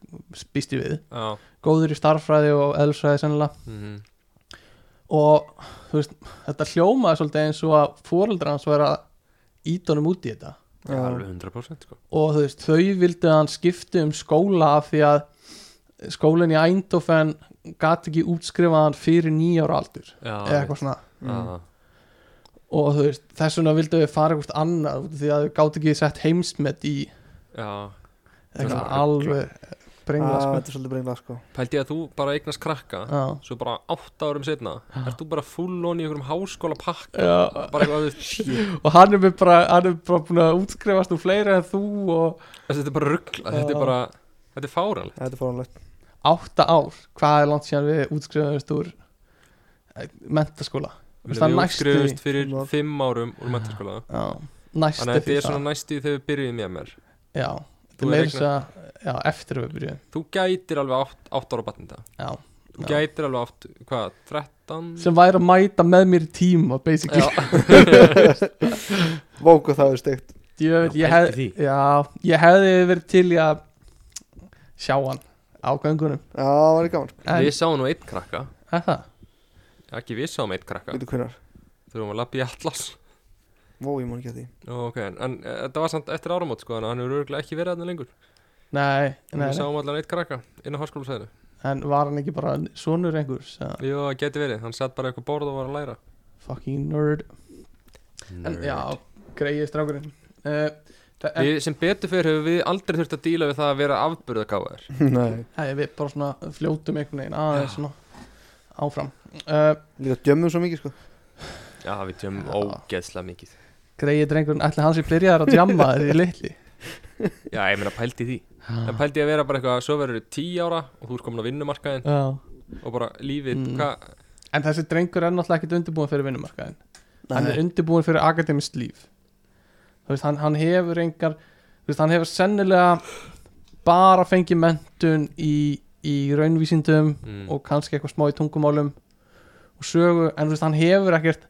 [SPEAKER 4] býst ég við,
[SPEAKER 2] já,
[SPEAKER 4] góður í starffræði og eðlisfræði sennilega
[SPEAKER 2] mhm
[SPEAKER 4] og þú veist, þetta hljómaði svolítið eins og að fóreldra hans vera ídónum út í þetta
[SPEAKER 2] Já,
[SPEAKER 1] Já.
[SPEAKER 2] alveg 100% sko
[SPEAKER 4] og þú veist, þau vildu að hann skipti um skóla af því að skólinn í Eindhoven gat ekki útskrifað hann fyrir nýja ára aldur
[SPEAKER 2] Já,
[SPEAKER 4] eða eitthvað svona
[SPEAKER 1] Ah.
[SPEAKER 4] mm.
[SPEAKER 2] já,
[SPEAKER 4] og þú veist, þess vegna vildu við fara eitthvað annað út af því að þau gátt ekki sett heimsmet í
[SPEAKER 2] já Það er
[SPEAKER 4] eitthvað
[SPEAKER 2] svona
[SPEAKER 4] alveg brengla
[SPEAKER 1] Ah,
[SPEAKER 4] sko.
[SPEAKER 1] þetta er svolítið brengla sko
[SPEAKER 2] Pældi að þú bara eignast krakka
[SPEAKER 4] Já.
[SPEAKER 2] Svo bara átta árum setna Ert þú bara full on í einhverjum háskóla pakk
[SPEAKER 4] Já.
[SPEAKER 2] Bara eitthvað við Shit.
[SPEAKER 4] og hann er með bara hann er bara búin að útskrifast úr fleira en þú og
[SPEAKER 2] Þetta er bara ruggla Þetta er bara Þetta er fáral
[SPEAKER 1] Þetta er fórhunlegt
[SPEAKER 4] átta ár hvað er langt síðan við útskrifast úr eh, mentaskóla Þú
[SPEAKER 2] Við
[SPEAKER 4] veist, það er næstu því.
[SPEAKER 2] útskriðumst fyrir
[SPEAKER 1] Fimm ár.
[SPEAKER 2] fimm árum úr mentaskóla
[SPEAKER 4] já,
[SPEAKER 2] Þannig
[SPEAKER 4] næstu
[SPEAKER 2] að þetta
[SPEAKER 4] því
[SPEAKER 2] er svona næstu þegar við byrjuðum ég mér
[SPEAKER 4] já,
[SPEAKER 2] Þú
[SPEAKER 4] þetta er meira
[SPEAKER 2] er
[SPEAKER 4] þess að já, eftir að við byrjuðum
[SPEAKER 2] Þú gætir alveg átt, átt ára batninda
[SPEAKER 4] já,
[SPEAKER 2] Þú
[SPEAKER 4] Já.
[SPEAKER 2] gætir alveg átt, hvað, 13?
[SPEAKER 4] sem væri að mæta með mér í tíma basically
[SPEAKER 2] Já,
[SPEAKER 1] Vóku það er steikt
[SPEAKER 4] Djöfull,
[SPEAKER 3] Já,
[SPEAKER 4] ég,
[SPEAKER 3] pældu
[SPEAKER 4] hef, já, ég hefði verið til í að sjá hann á göngunum
[SPEAKER 1] Já, það var í gaman
[SPEAKER 4] en
[SPEAKER 2] Við sáum nú einn krakka
[SPEAKER 4] er það
[SPEAKER 2] Ekki við sáum einn krakka
[SPEAKER 1] Veitu hvenar
[SPEAKER 2] Þú erum að lappa í allas
[SPEAKER 1] Vó, ég man ekki að því
[SPEAKER 2] Ó, Ok, en en, eh, þetta var samt eftir áramót sko Þannig að hann hefur örgulega ekki verið þarna lengur
[SPEAKER 4] nei,
[SPEAKER 2] En Við
[SPEAKER 4] nei, nei,
[SPEAKER 2] sáum allan einn krakka inn á háskólusæðinu
[SPEAKER 4] en var hann ekki bara sonur einhvers eða?
[SPEAKER 2] Jó, það geti verið, hann satt bara eitthvað borð og var að læra
[SPEAKER 4] fucking nerd, en já, greiði strákurinn uh, það, en,
[SPEAKER 2] Við sem betur fyrir hefur við aldrei þurft að díla við það að vera afburðagáðar
[SPEAKER 1] Nei
[SPEAKER 4] hei, við bara svona fljótum einhvern veginn aðeins svona áfram uh,
[SPEAKER 1] Líka djömmum svo mikið sko
[SPEAKER 2] Já, við tjömmum
[SPEAKER 4] Já.
[SPEAKER 2] ógeðslega mikið
[SPEAKER 4] greiði drengurinn, ætli hans í byrjaðar að djamma þér í litli
[SPEAKER 2] Já, ég meina pældi í því Það pældi ég að vera bara eitthvað Svo verður þú tí ára og þú er komin á vinnumarkaðin
[SPEAKER 4] já
[SPEAKER 2] Og bara lífið
[SPEAKER 4] Mm.
[SPEAKER 2] hvað,
[SPEAKER 4] En þessi drengur er náttúrulega ekkert undirbúin fyrir vinnumarkaðin Hann er
[SPEAKER 1] Nei.
[SPEAKER 4] undirbúin fyrir akademist líf Þú veist, hann, hann hefur engar Þú veist, hann hefur sennilega bara fengið mentun í, í raunvísindum
[SPEAKER 2] mm,
[SPEAKER 4] og kannski eitthvað smá í tungumálum og sögu, en þú veist, hann hefur ekkert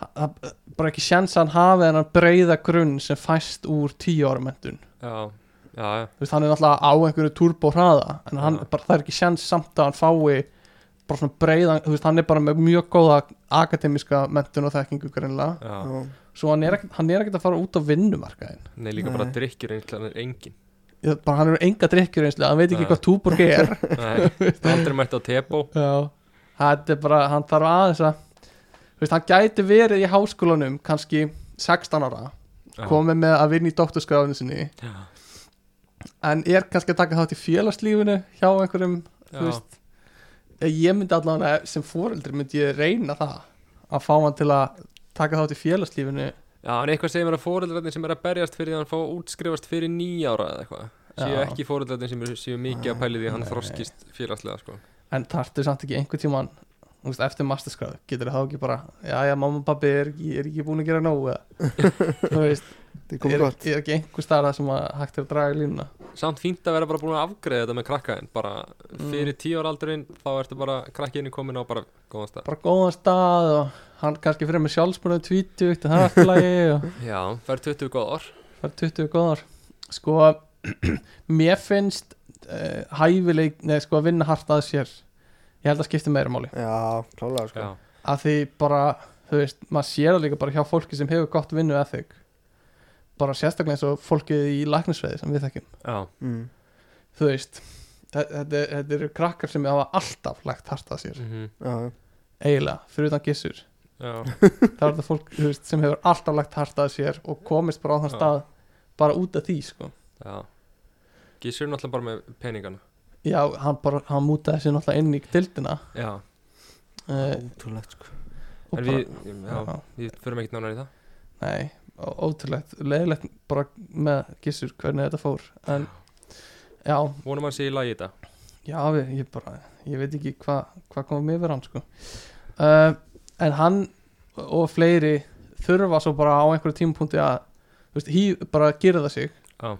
[SPEAKER 4] það- það- bara ekki sjans að hann hafi þennan breyða grunn sem fæst úr tíu ára mentun
[SPEAKER 2] Já, já, já,
[SPEAKER 4] þú veist, hann er náttúrulega á einhverju turbo hraða en hann,
[SPEAKER 2] Já.
[SPEAKER 4] bara, það er ekki sjans samt að hann fái bara svona breiðan, þú veist, hann er bara með mjög góða akademiska mentun og þekkingu greinlega,
[SPEAKER 2] já.
[SPEAKER 1] Já.
[SPEAKER 4] svo hann er, ekkert- hann er ekkert að fara út á vinnumarkaðin,
[SPEAKER 2] Nei, líka bara
[SPEAKER 1] Nei.
[SPEAKER 2] drikkjur einhvern veginn engin
[SPEAKER 4] Ég- bara hann er enga drikkjur einslega, hann veit ekki
[SPEAKER 2] Nei.
[SPEAKER 4] hvað túborg er
[SPEAKER 2] Nei, aldrei mætt á tebo
[SPEAKER 4] já, þetta er bara, hann þarf aðeins að þú veist, hann gæti verið í háskólanum kannski 16 ára
[SPEAKER 2] Já.
[SPEAKER 4] komið með að vinna í doktorskráðinu sinni
[SPEAKER 2] Já,
[SPEAKER 4] en er kannski að taka þátt í félagslífinu hjá einhverjum
[SPEAKER 2] já,
[SPEAKER 4] þú veist ég myndi allavega eh, sem foreldri myndi ég reyna það að fá hann til að taka þátt í félagslífinu
[SPEAKER 2] já en eitthvað segir mér að fóreldrarnir sem er að berjast fyrir því að hann fá útskrifast fyrir nýja ára eða eitthvað Séu
[SPEAKER 4] Já. Ah,
[SPEAKER 2] ekki fóreldrarnir sem eru- séu mikið að pæli því að hann
[SPEAKER 4] Nei.
[SPEAKER 2] þroskist félagslega sko
[SPEAKER 4] en þarftu samt ekki einhvern tímann þú veist, eftir masterskráð getur það ekki bara já já mamma og pabbi er ekki, er ekki búin að gera nógu eða þú veist
[SPEAKER 1] Það er komið
[SPEAKER 4] er,
[SPEAKER 1] gott
[SPEAKER 4] er ekki einhver starf sem að hægt er að draga línuna
[SPEAKER 2] Samt fínt að vera bara búin að afgreða þetta með krakkaðin Bara
[SPEAKER 4] Mm.
[SPEAKER 2] fyrir tíu ára aldurinn Þá ertu bara krakkiðinni komin á bara góðan stað
[SPEAKER 4] bara góðan stað og hann kannski fyrir með sjálfsmörðum tvítugt og það er alltaf lagi og
[SPEAKER 2] Já, fær 20 góð ár
[SPEAKER 4] það er 20 góðar sko mér finnst uh, hæfileik, neða sko að vinna hart að sér ég held að skipta meira máli
[SPEAKER 1] Já, klálega sko
[SPEAKER 2] Já,
[SPEAKER 4] að því bara, þú veist, maður sér það líka bara hjá fólki sem hefur gott vinnu eða þig bara sérstaklega eins og fólkið í læknisveið sem við þekkjum,
[SPEAKER 2] já
[SPEAKER 1] mm.
[SPEAKER 4] þú veist Þe- þetta, þetta eru krakkar sem hafa alltaf lagt hart að sér,
[SPEAKER 2] Mhm.
[SPEAKER 1] já,
[SPEAKER 4] eiginlega, fyrir utan gissur
[SPEAKER 2] Já,
[SPEAKER 4] það er þetta fólk þú veist, sem hefur alltaf lagt hart að sér og komist bara á þann
[SPEAKER 2] Já.
[SPEAKER 4] stað bara út af því sko.
[SPEAKER 2] já Gissur er náttúrulega bara með peningana
[SPEAKER 4] já, hann, bara, hann mútaði sér náttúrulega inn í dildina
[SPEAKER 2] Já,
[SPEAKER 4] uh,
[SPEAKER 1] ótrúlegt sko
[SPEAKER 4] og
[SPEAKER 2] en
[SPEAKER 4] bara,
[SPEAKER 2] við, já, við förum ekkert nánar í það
[SPEAKER 4] nei, ó- ótrúlegt leiðilegt bara með gissur hvernig þetta fór en já,
[SPEAKER 2] Vonum hann sé í lagi í þetta
[SPEAKER 4] já ég, ég bara ég veit ekki hvað hva komum yfir hann sko. uh, en hann og fleiri þurfa svo bara á einhverju tímapunkti að þú veist, hí, bara gera það sig
[SPEAKER 2] Já.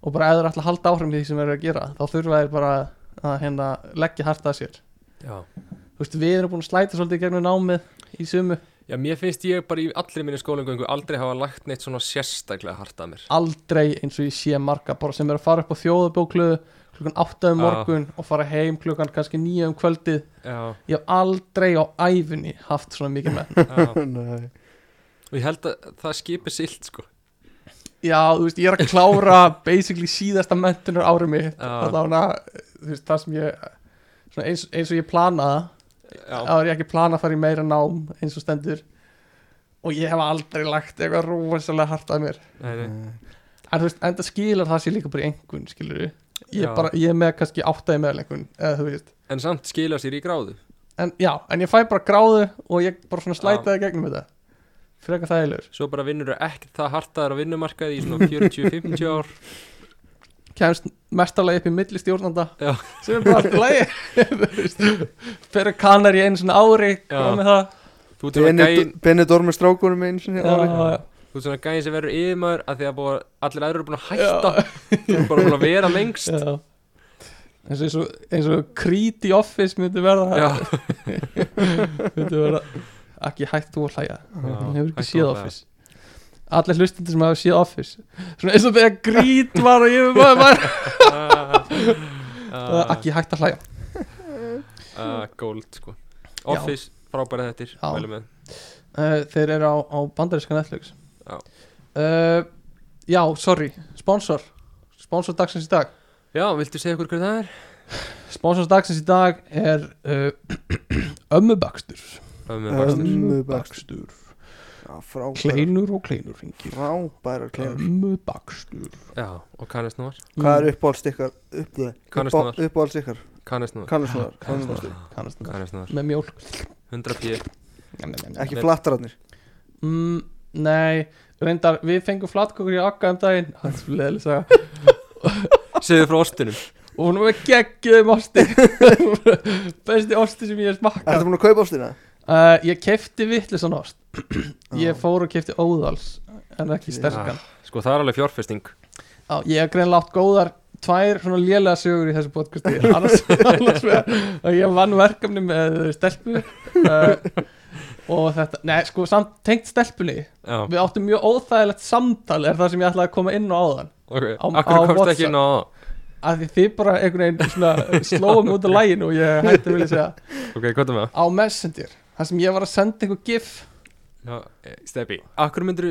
[SPEAKER 4] og bara eða ætla að halda áfram í því sem þeir eru að gera þá þurfa þeir bara að hérna, leggja hart að sér
[SPEAKER 2] Já
[SPEAKER 4] Þú veist, við erum búin að slæta svolítið í gegnum námið í sumu
[SPEAKER 2] Já, mér finnst ég bara í allri minni skólingöngu aldrei hafa lagt neitt svona sérstaklega hart að mér
[SPEAKER 4] aldrei eins og ég sé marga bara sem eru að fara upp á þjóðabóklu klukkan 8 um
[SPEAKER 2] Já.
[SPEAKER 4] morgun og fara heim klukkan kannski 9 um kvöldið
[SPEAKER 2] Já,
[SPEAKER 4] ég hef aldrei á æfunni haft svona mikið með
[SPEAKER 2] já
[SPEAKER 1] Nei.
[SPEAKER 2] Og ég held að það skipi silt sko
[SPEAKER 4] já, þú veist, ég er að klára basically síðasta mentunar árið mitt
[SPEAKER 2] Já.
[SPEAKER 4] þannig að þú veist, það sem ég svona eins, eins og ég planaði
[SPEAKER 2] Já,
[SPEAKER 4] þá er ég ekki að plana að fara í meira nám eins og stendur og ég hef aldrei lagt eitthvað rosalega hart að mér
[SPEAKER 2] nei, nei.
[SPEAKER 1] Nei.
[SPEAKER 4] En þú veist, enda skilar það sér líka bara í engun, skilur við Ég
[SPEAKER 2] Já.
[SPEAKER 4] er bara, ég er með kannski áttaði með einhvern, eða þú veist
[SPEAKER 2] En samt skila sér í gráðu
[SPEAKER 4] En já, en ég fæ bara gráðu og ég bara svona slætaði gegnum þetta Frekar þægilegur
[SPEAKER 2] Svo bara vinnur það ekkert það hartaðar á vinnumarkaði í svona 40-50 ár
[SPEAKER 4] Kæmst mestarlega upp í milli stjórnanda
[SPEAKER 2] Já.
[SPEAKER 4] Sem er bara alltaf lægi Þú veist, Fyrir kanar í einu svona ári
[SPEAKER 2] Já.
[SPEAKER 4] Hvað með það?
[SPEAKER 2] Þú ert svona gæinn-
[SPEAKER 1] Benid- Benidorm með strákunum einu sinni
[SPEAKER 4] Já,
[SPEAKER 1] ári.
[SPEAKER 4] já,
[SPEAKER 2] þú ert svona gæðin sem verður yfirmaður að því að búa, allir aðrir eru búin að hætta þú ert bara búin að vera lengst
[SPEAKER 4] já Eins og, eins og, eins og Creed í Office myndi verða
[SPEAKER 2] já,
[SPEAKER 4] myndi verða ekki hægt þú að hlæja hún hefur ekki
[SPEAKER 2] hættu
[SPEAKER 4] séð
[SPEAKER 2] að hlæja.
[SPEAKER 4] Office allir hlustundir sem hafa séð Office svona eins og þegar grít var og ég var, var það er
[SPEAKER 2] Ah,
[SPEAKER 4] ekki hægt að hlæja
[SPEAKER 2] ah, gold sko Office, frábæra þettir
[SPEAKER 4] Já.
[SPEAKER 2] mælum við.
[SPEAKER 4] uh, þeir eru á, á bandaríska Netflix
[SPEAKER 2] Já.
[SPEAKER 4] uh, já, sorry sponsor, sponsor dagsins í dag
[SPEAKER 2] já, viltu segja okkur hver það er?
[SPEAKER 4] sponsor dagsins í dag er uh, ömmubakstur
[SPEAKER 2] Ömmubakstur
[SPEAKER 1] Ömmubakstur. Já, frábæra
[SPEAKER 4] kleinur og kleinur hringir
[SPEAKER 1] frábæra
[SPEAKER 4] Mm.
[SPEAKER 1] kleinur
[SPEAKER 4] ömmubakstur Mm.
[SPEAKER 2] já, og kannisnúar
[SPEAKER 1] hvað er uppáhalds ykkar upp,
[SPEAKER 2] Kannusnúðar.
[SPEAKER 1] uppá- uppáhalds ykkar
[SPEAKER 2] kannisnúar
[SPEAKER 1] kannusnúðar kannusnúðar.
[SPEAKER 4] kannast það
[SPEAKER 2] kannisnúar,
[SPEAKER 4] með mjólk
[SPEAKER 2] 100 pí
[SPEAKER 1] ekki flattararnir
[SPEAKER 4] mm, Nei, reyndar, við fengum flatkökur í Akka um daginn Það er svo leðilega saga
[SPEAKER 2] segðu frá ostinum
[SPEAKER 4] Og hún var geggjum osti Besti osti sem ég
[SPEAKER 1] ertu
[SPEAKER 4] hef smakkað
[SPEAKER 1] búin að kaupa ástina?
[SPEAKER 4] uh, Ég kefti vittlisann ost Ég fór og kefti óðals En ekki sterkan
[SPEAKER 2] sko það er alveg fjárfesting
[SPEAKER 4] Já, ég hef greinlega átt góðar Tvær svona lélega sögur í þessu podcasti Annars, annars vegar að Ég vann verkefni með stelpu uh, Og þetta, nei, sko, samt tengt stelpunni
[SPEAKER 2] já,
[SPEAKER 4] Við áttum mjög óþægilegt samtal Er það sem ég ætlaði að koma inn á áðan
[SPEAKER 2] ok,
[SPEAKER 4] Á- á
[SPEAKER 2] akkur komst
[SPEAKER 4] WhatsApp.
[SPEAKER 2] ekki inn á það?
[SPEAKER 4] að því þið bara einhvern veginn svona slóum út af læginu og ég hætti að vilja segja
[SPEAKER 2] ok, hvað er með það?
[SPEAKER 4] á Messenger, þar sem ég var að senda einhver gif
[SPEAKER 2] Já, eh, Stebbi, akkur myndir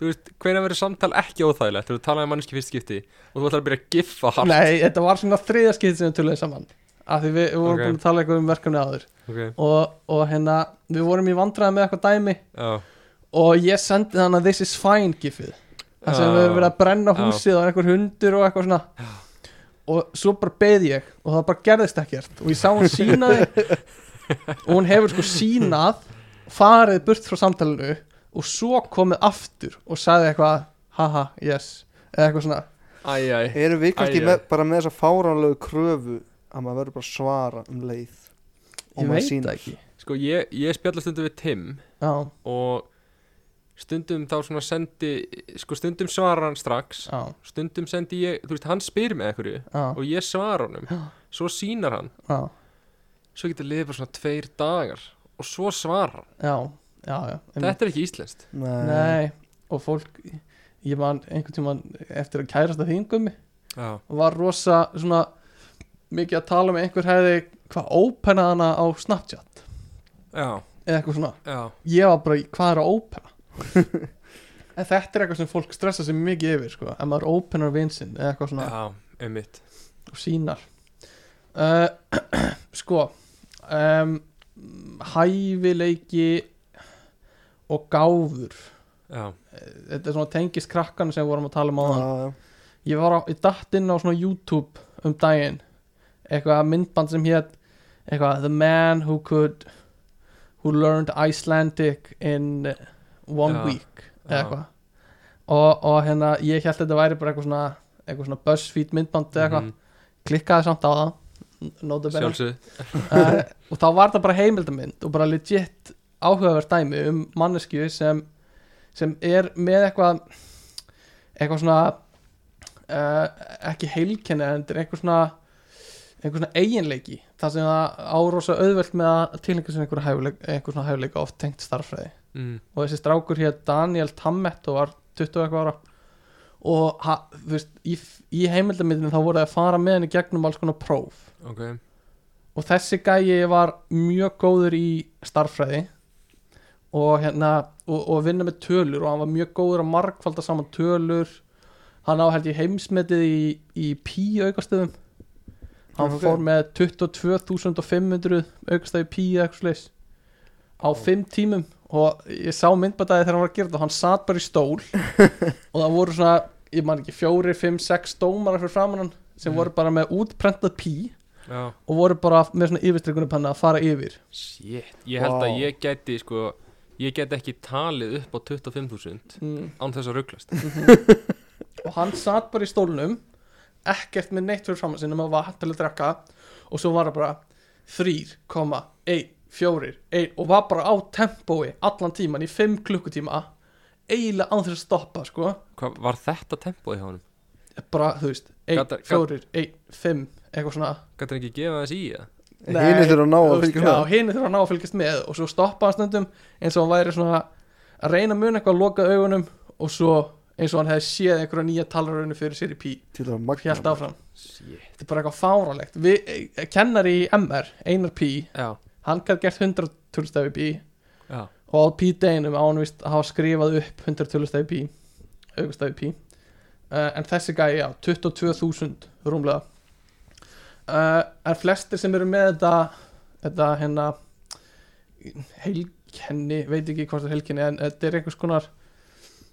[SPEAKER 2] þú veist, hvernig verður samtal ekki óþægilegt þegar þú talaði um manneski fyrst skipti og þú ætlar að byrja að giffa hart
[SPEAKER 4] nei, þetta var svona þriðaskið sem við töluðum saman að því við, við vorum
[SPEAKER 2] Ok.
[SPEAKER 4] búin að tala eitthvað um verkefni áður
[SPEAKER 2] okay.
[SPEAKER 4] og, og hérna, við vorum í vandræði með eitthvað dæmi
[SPEAKER 2] Já,
[SPEAKER 4] og ég sendi þannig að this is fine gifið þar sem
[SPEAKER 2] Já.
[SPEAKER 4] við höfum verið að brenna
[SPEAKER 2] Já.
[SPEAKER 4] húsið og einhver hundur og eitthvað svona og svo bara beð ég og það bara gerðist ekkert og ég sá hún sínaði og hún hefur sko sínað farið burt frá samtalenu og svo komið aftur og sagði eitthvað haha, yes eða eitthvað svona
[SPEAKER 2] æj, æj
[SPEAKER 1] erum við kannski
[SPEAKER 2] Æ, æ.
[SPEAKER 1] með, bara með þessa fáránlegu kröfu að maður verður bara að svara um leið Og
[SPEAKER 4] ég
[SPEAKER 1] maður
[SPEAKER 4] veit
[SPEAKER 1] sýnir.
[SPEAKER 4] það ekki
[SPEAKER 2] Sko ég, ég spjalla stundum við Tim
[SPEAKER 4] já,
[SPEAKER 2] og stundum þá svona sendi sko stundum svarar hann strax
[SPEAKER 4] já,
[SPEAKER 2] stundum sendi ég, þú veist hann spyr með einhverju
[SPEAKER 4] já,
[SPEAKER 2] og ég svara honum
[SPEAKER 4] Já.
[SPEAKER 2] svo sínar hann,
[SPEAKER 4] já,
[SPEAKER 2] svo getur liðið bara svona tveir dagar og svo svarar hann
[SPEAKER 4] já, já, já einmitt.
[SPEAKER 2] þetta er ekki íslenskt
[SPEAKER 1] nei,
[SPEAKER 4] nei, og fólk ég man einhvern tímann eftir að kærast að þingum
[SPEAKER 2] Já,
[SPEAKER 4] var rosa svona mikið að tala með einhver hefði hvað ópenað hana á Snapchat
[SPEAKER 2] já,
[SPEAKER 4] eða eitthvað svona
[SPEAKER 2] já,
[SPEAKER 4] ég var bara, í, hvað er að ópena en þetta er eitthvað sem fólk stressa sig mikið yfir sko, en maður ópenar vinsinn eða eitthvað svona
[SPEAKER 2] já, einmitt
[SPEAKER 4] og sínar uh, Sko um, Hæfileiki Og gáfur Eh,
[SPEAKER 2] já,
[SPEAKER 4] Þetta er svona tengist krakkan sem við vorum að tala um á það
[SPEAKER 1] Já, já.
[SPEAKER 4] Ég var á, ég datt inn á svona YouTube um daginn Eitthvað myndband sem hétt Eitthvað The man who could Who learned Icelandic in one
[SPEAKER 2] Já,
[SPEAKER 4] week Eða
[SPEAKER 2] já.
[SPEAKER 4] eitthvað og, og hérna ég held þetta væri bara eitthvað svona Eitthvað svona BuzzFeed myndband eða eitthvað
[SPEAKER 2] mhm,
[SPEAKER 4] klikkaði samt á það nota bene.
[SPEAKER 2] sjálfsögð
[SPEAKER 4] uh, og þá var það bara heimildamind og bara legit áhugavert dæmi um mannesku sem, sem er með eitthvað eitthvað svona uh, ekki heilkenni en þetta er eitthvað svona einhver svona eiginleiki þar sem það árósa auðvelt með að tilhengu sem einhver, hæfuleik, einhver svona hæfuleika oft tengt starffræði
[SPEAKER 2] mm,
[SPEAKER 4] og þessi strákur hér Daniel Tammet og var 20 og eitthvað ára og ha, þú veist, í, í heimildamindinu þá voru það að fara með henni gegnum alls konar próf
[SPEAKER 2] ok,
[SPEAKER 4] og þessi gæi var mjög góður í starffræði og hérna og, og vinna með tölur og hann var mjög góður að markfalda saman tölur hann á held ég heimsmetið í, í pí aukastöðum hann
[SPEAKER 1] Ok.
[SPEAKER 4] fór með 22.500 aukastöð í pí eitthvað slags á fimm tímum og ég sá myndbætaði þegar hann var að gera þetta og hann satt bara í stól og það voru svona, ég man ekki, fjóri, fimm, sex dómara fyrir framann hann sem voru bara með útprentað pí
[SPEAKER 2] já
[SPEAKER 4] og voru bara með svona yfirstrykunapenna að fara yfir
[SPEAKER 2] Shit, ég held
[SPEAKER 1] Vá.
[SPEAKER 2] að ég gæti sko Ég gæti ekki talið upp á 25.000 án þess að rugglast
[SPEAKER 4] og hann satt bara í stólnum ekkert með neitt fyrir framann sinna með vatn til að drekka og svo var það bara 3,1 4, 1 og var bara á tempói allan tíman í 5 klukkutíma eiginlega án þess að stoppa sko
[SPEAKER 2] Hva, Var þetta tempóið hjá honum?
[SPEAKER 4] bara þú veist 1,
[SPEAKER 2] Gat- gat-
[SPEAKER 4] 4, 1, 5 eitthvað svona
[SPEAKER 2] Gæti hann ekki gefa þess í það?
[SPEAKER 1] Hinir þurfa að ná að
[SPEAKER 4] þú veist,
[SPEAKER 1] fylgja
[SPEAKER 4] já,
[SPEAKER 1] með.
[SPEAKER 4] hinir þurfa að ná að fylgjast með og svo stoppa hann stundum eins og hann væri svona að reyna mun eitthvað að loka augunum og svo eins og hann hefði séð einhverja nýja talaröðinu fyrir sér í pí
[SPEAKER 1] Til að magna
[SPEAKER 4] hjælt áfram,
[SPEAKER 2] Shit
[SPEAKER 4] þetta er bara eitthvað fáralegt Við, eh, kennari í MR, Einar Pí
[SPEAKER 2] Já,
[SPEAKER 4] hann gætt gert 100 tölustafi pí
[SPEAKER 2] já,
[SPEAKER 4] og á pí deginum á hann vist að hafa skrifað upp 100 tölustafi pí augustafi pí uh, en þessi gæi, já, 22.000 rúmlega uh, en flestir sem eru með þetta þetta hérna heilkenni, veit ekki hvort það er heilkenni en þetta er einhvers konar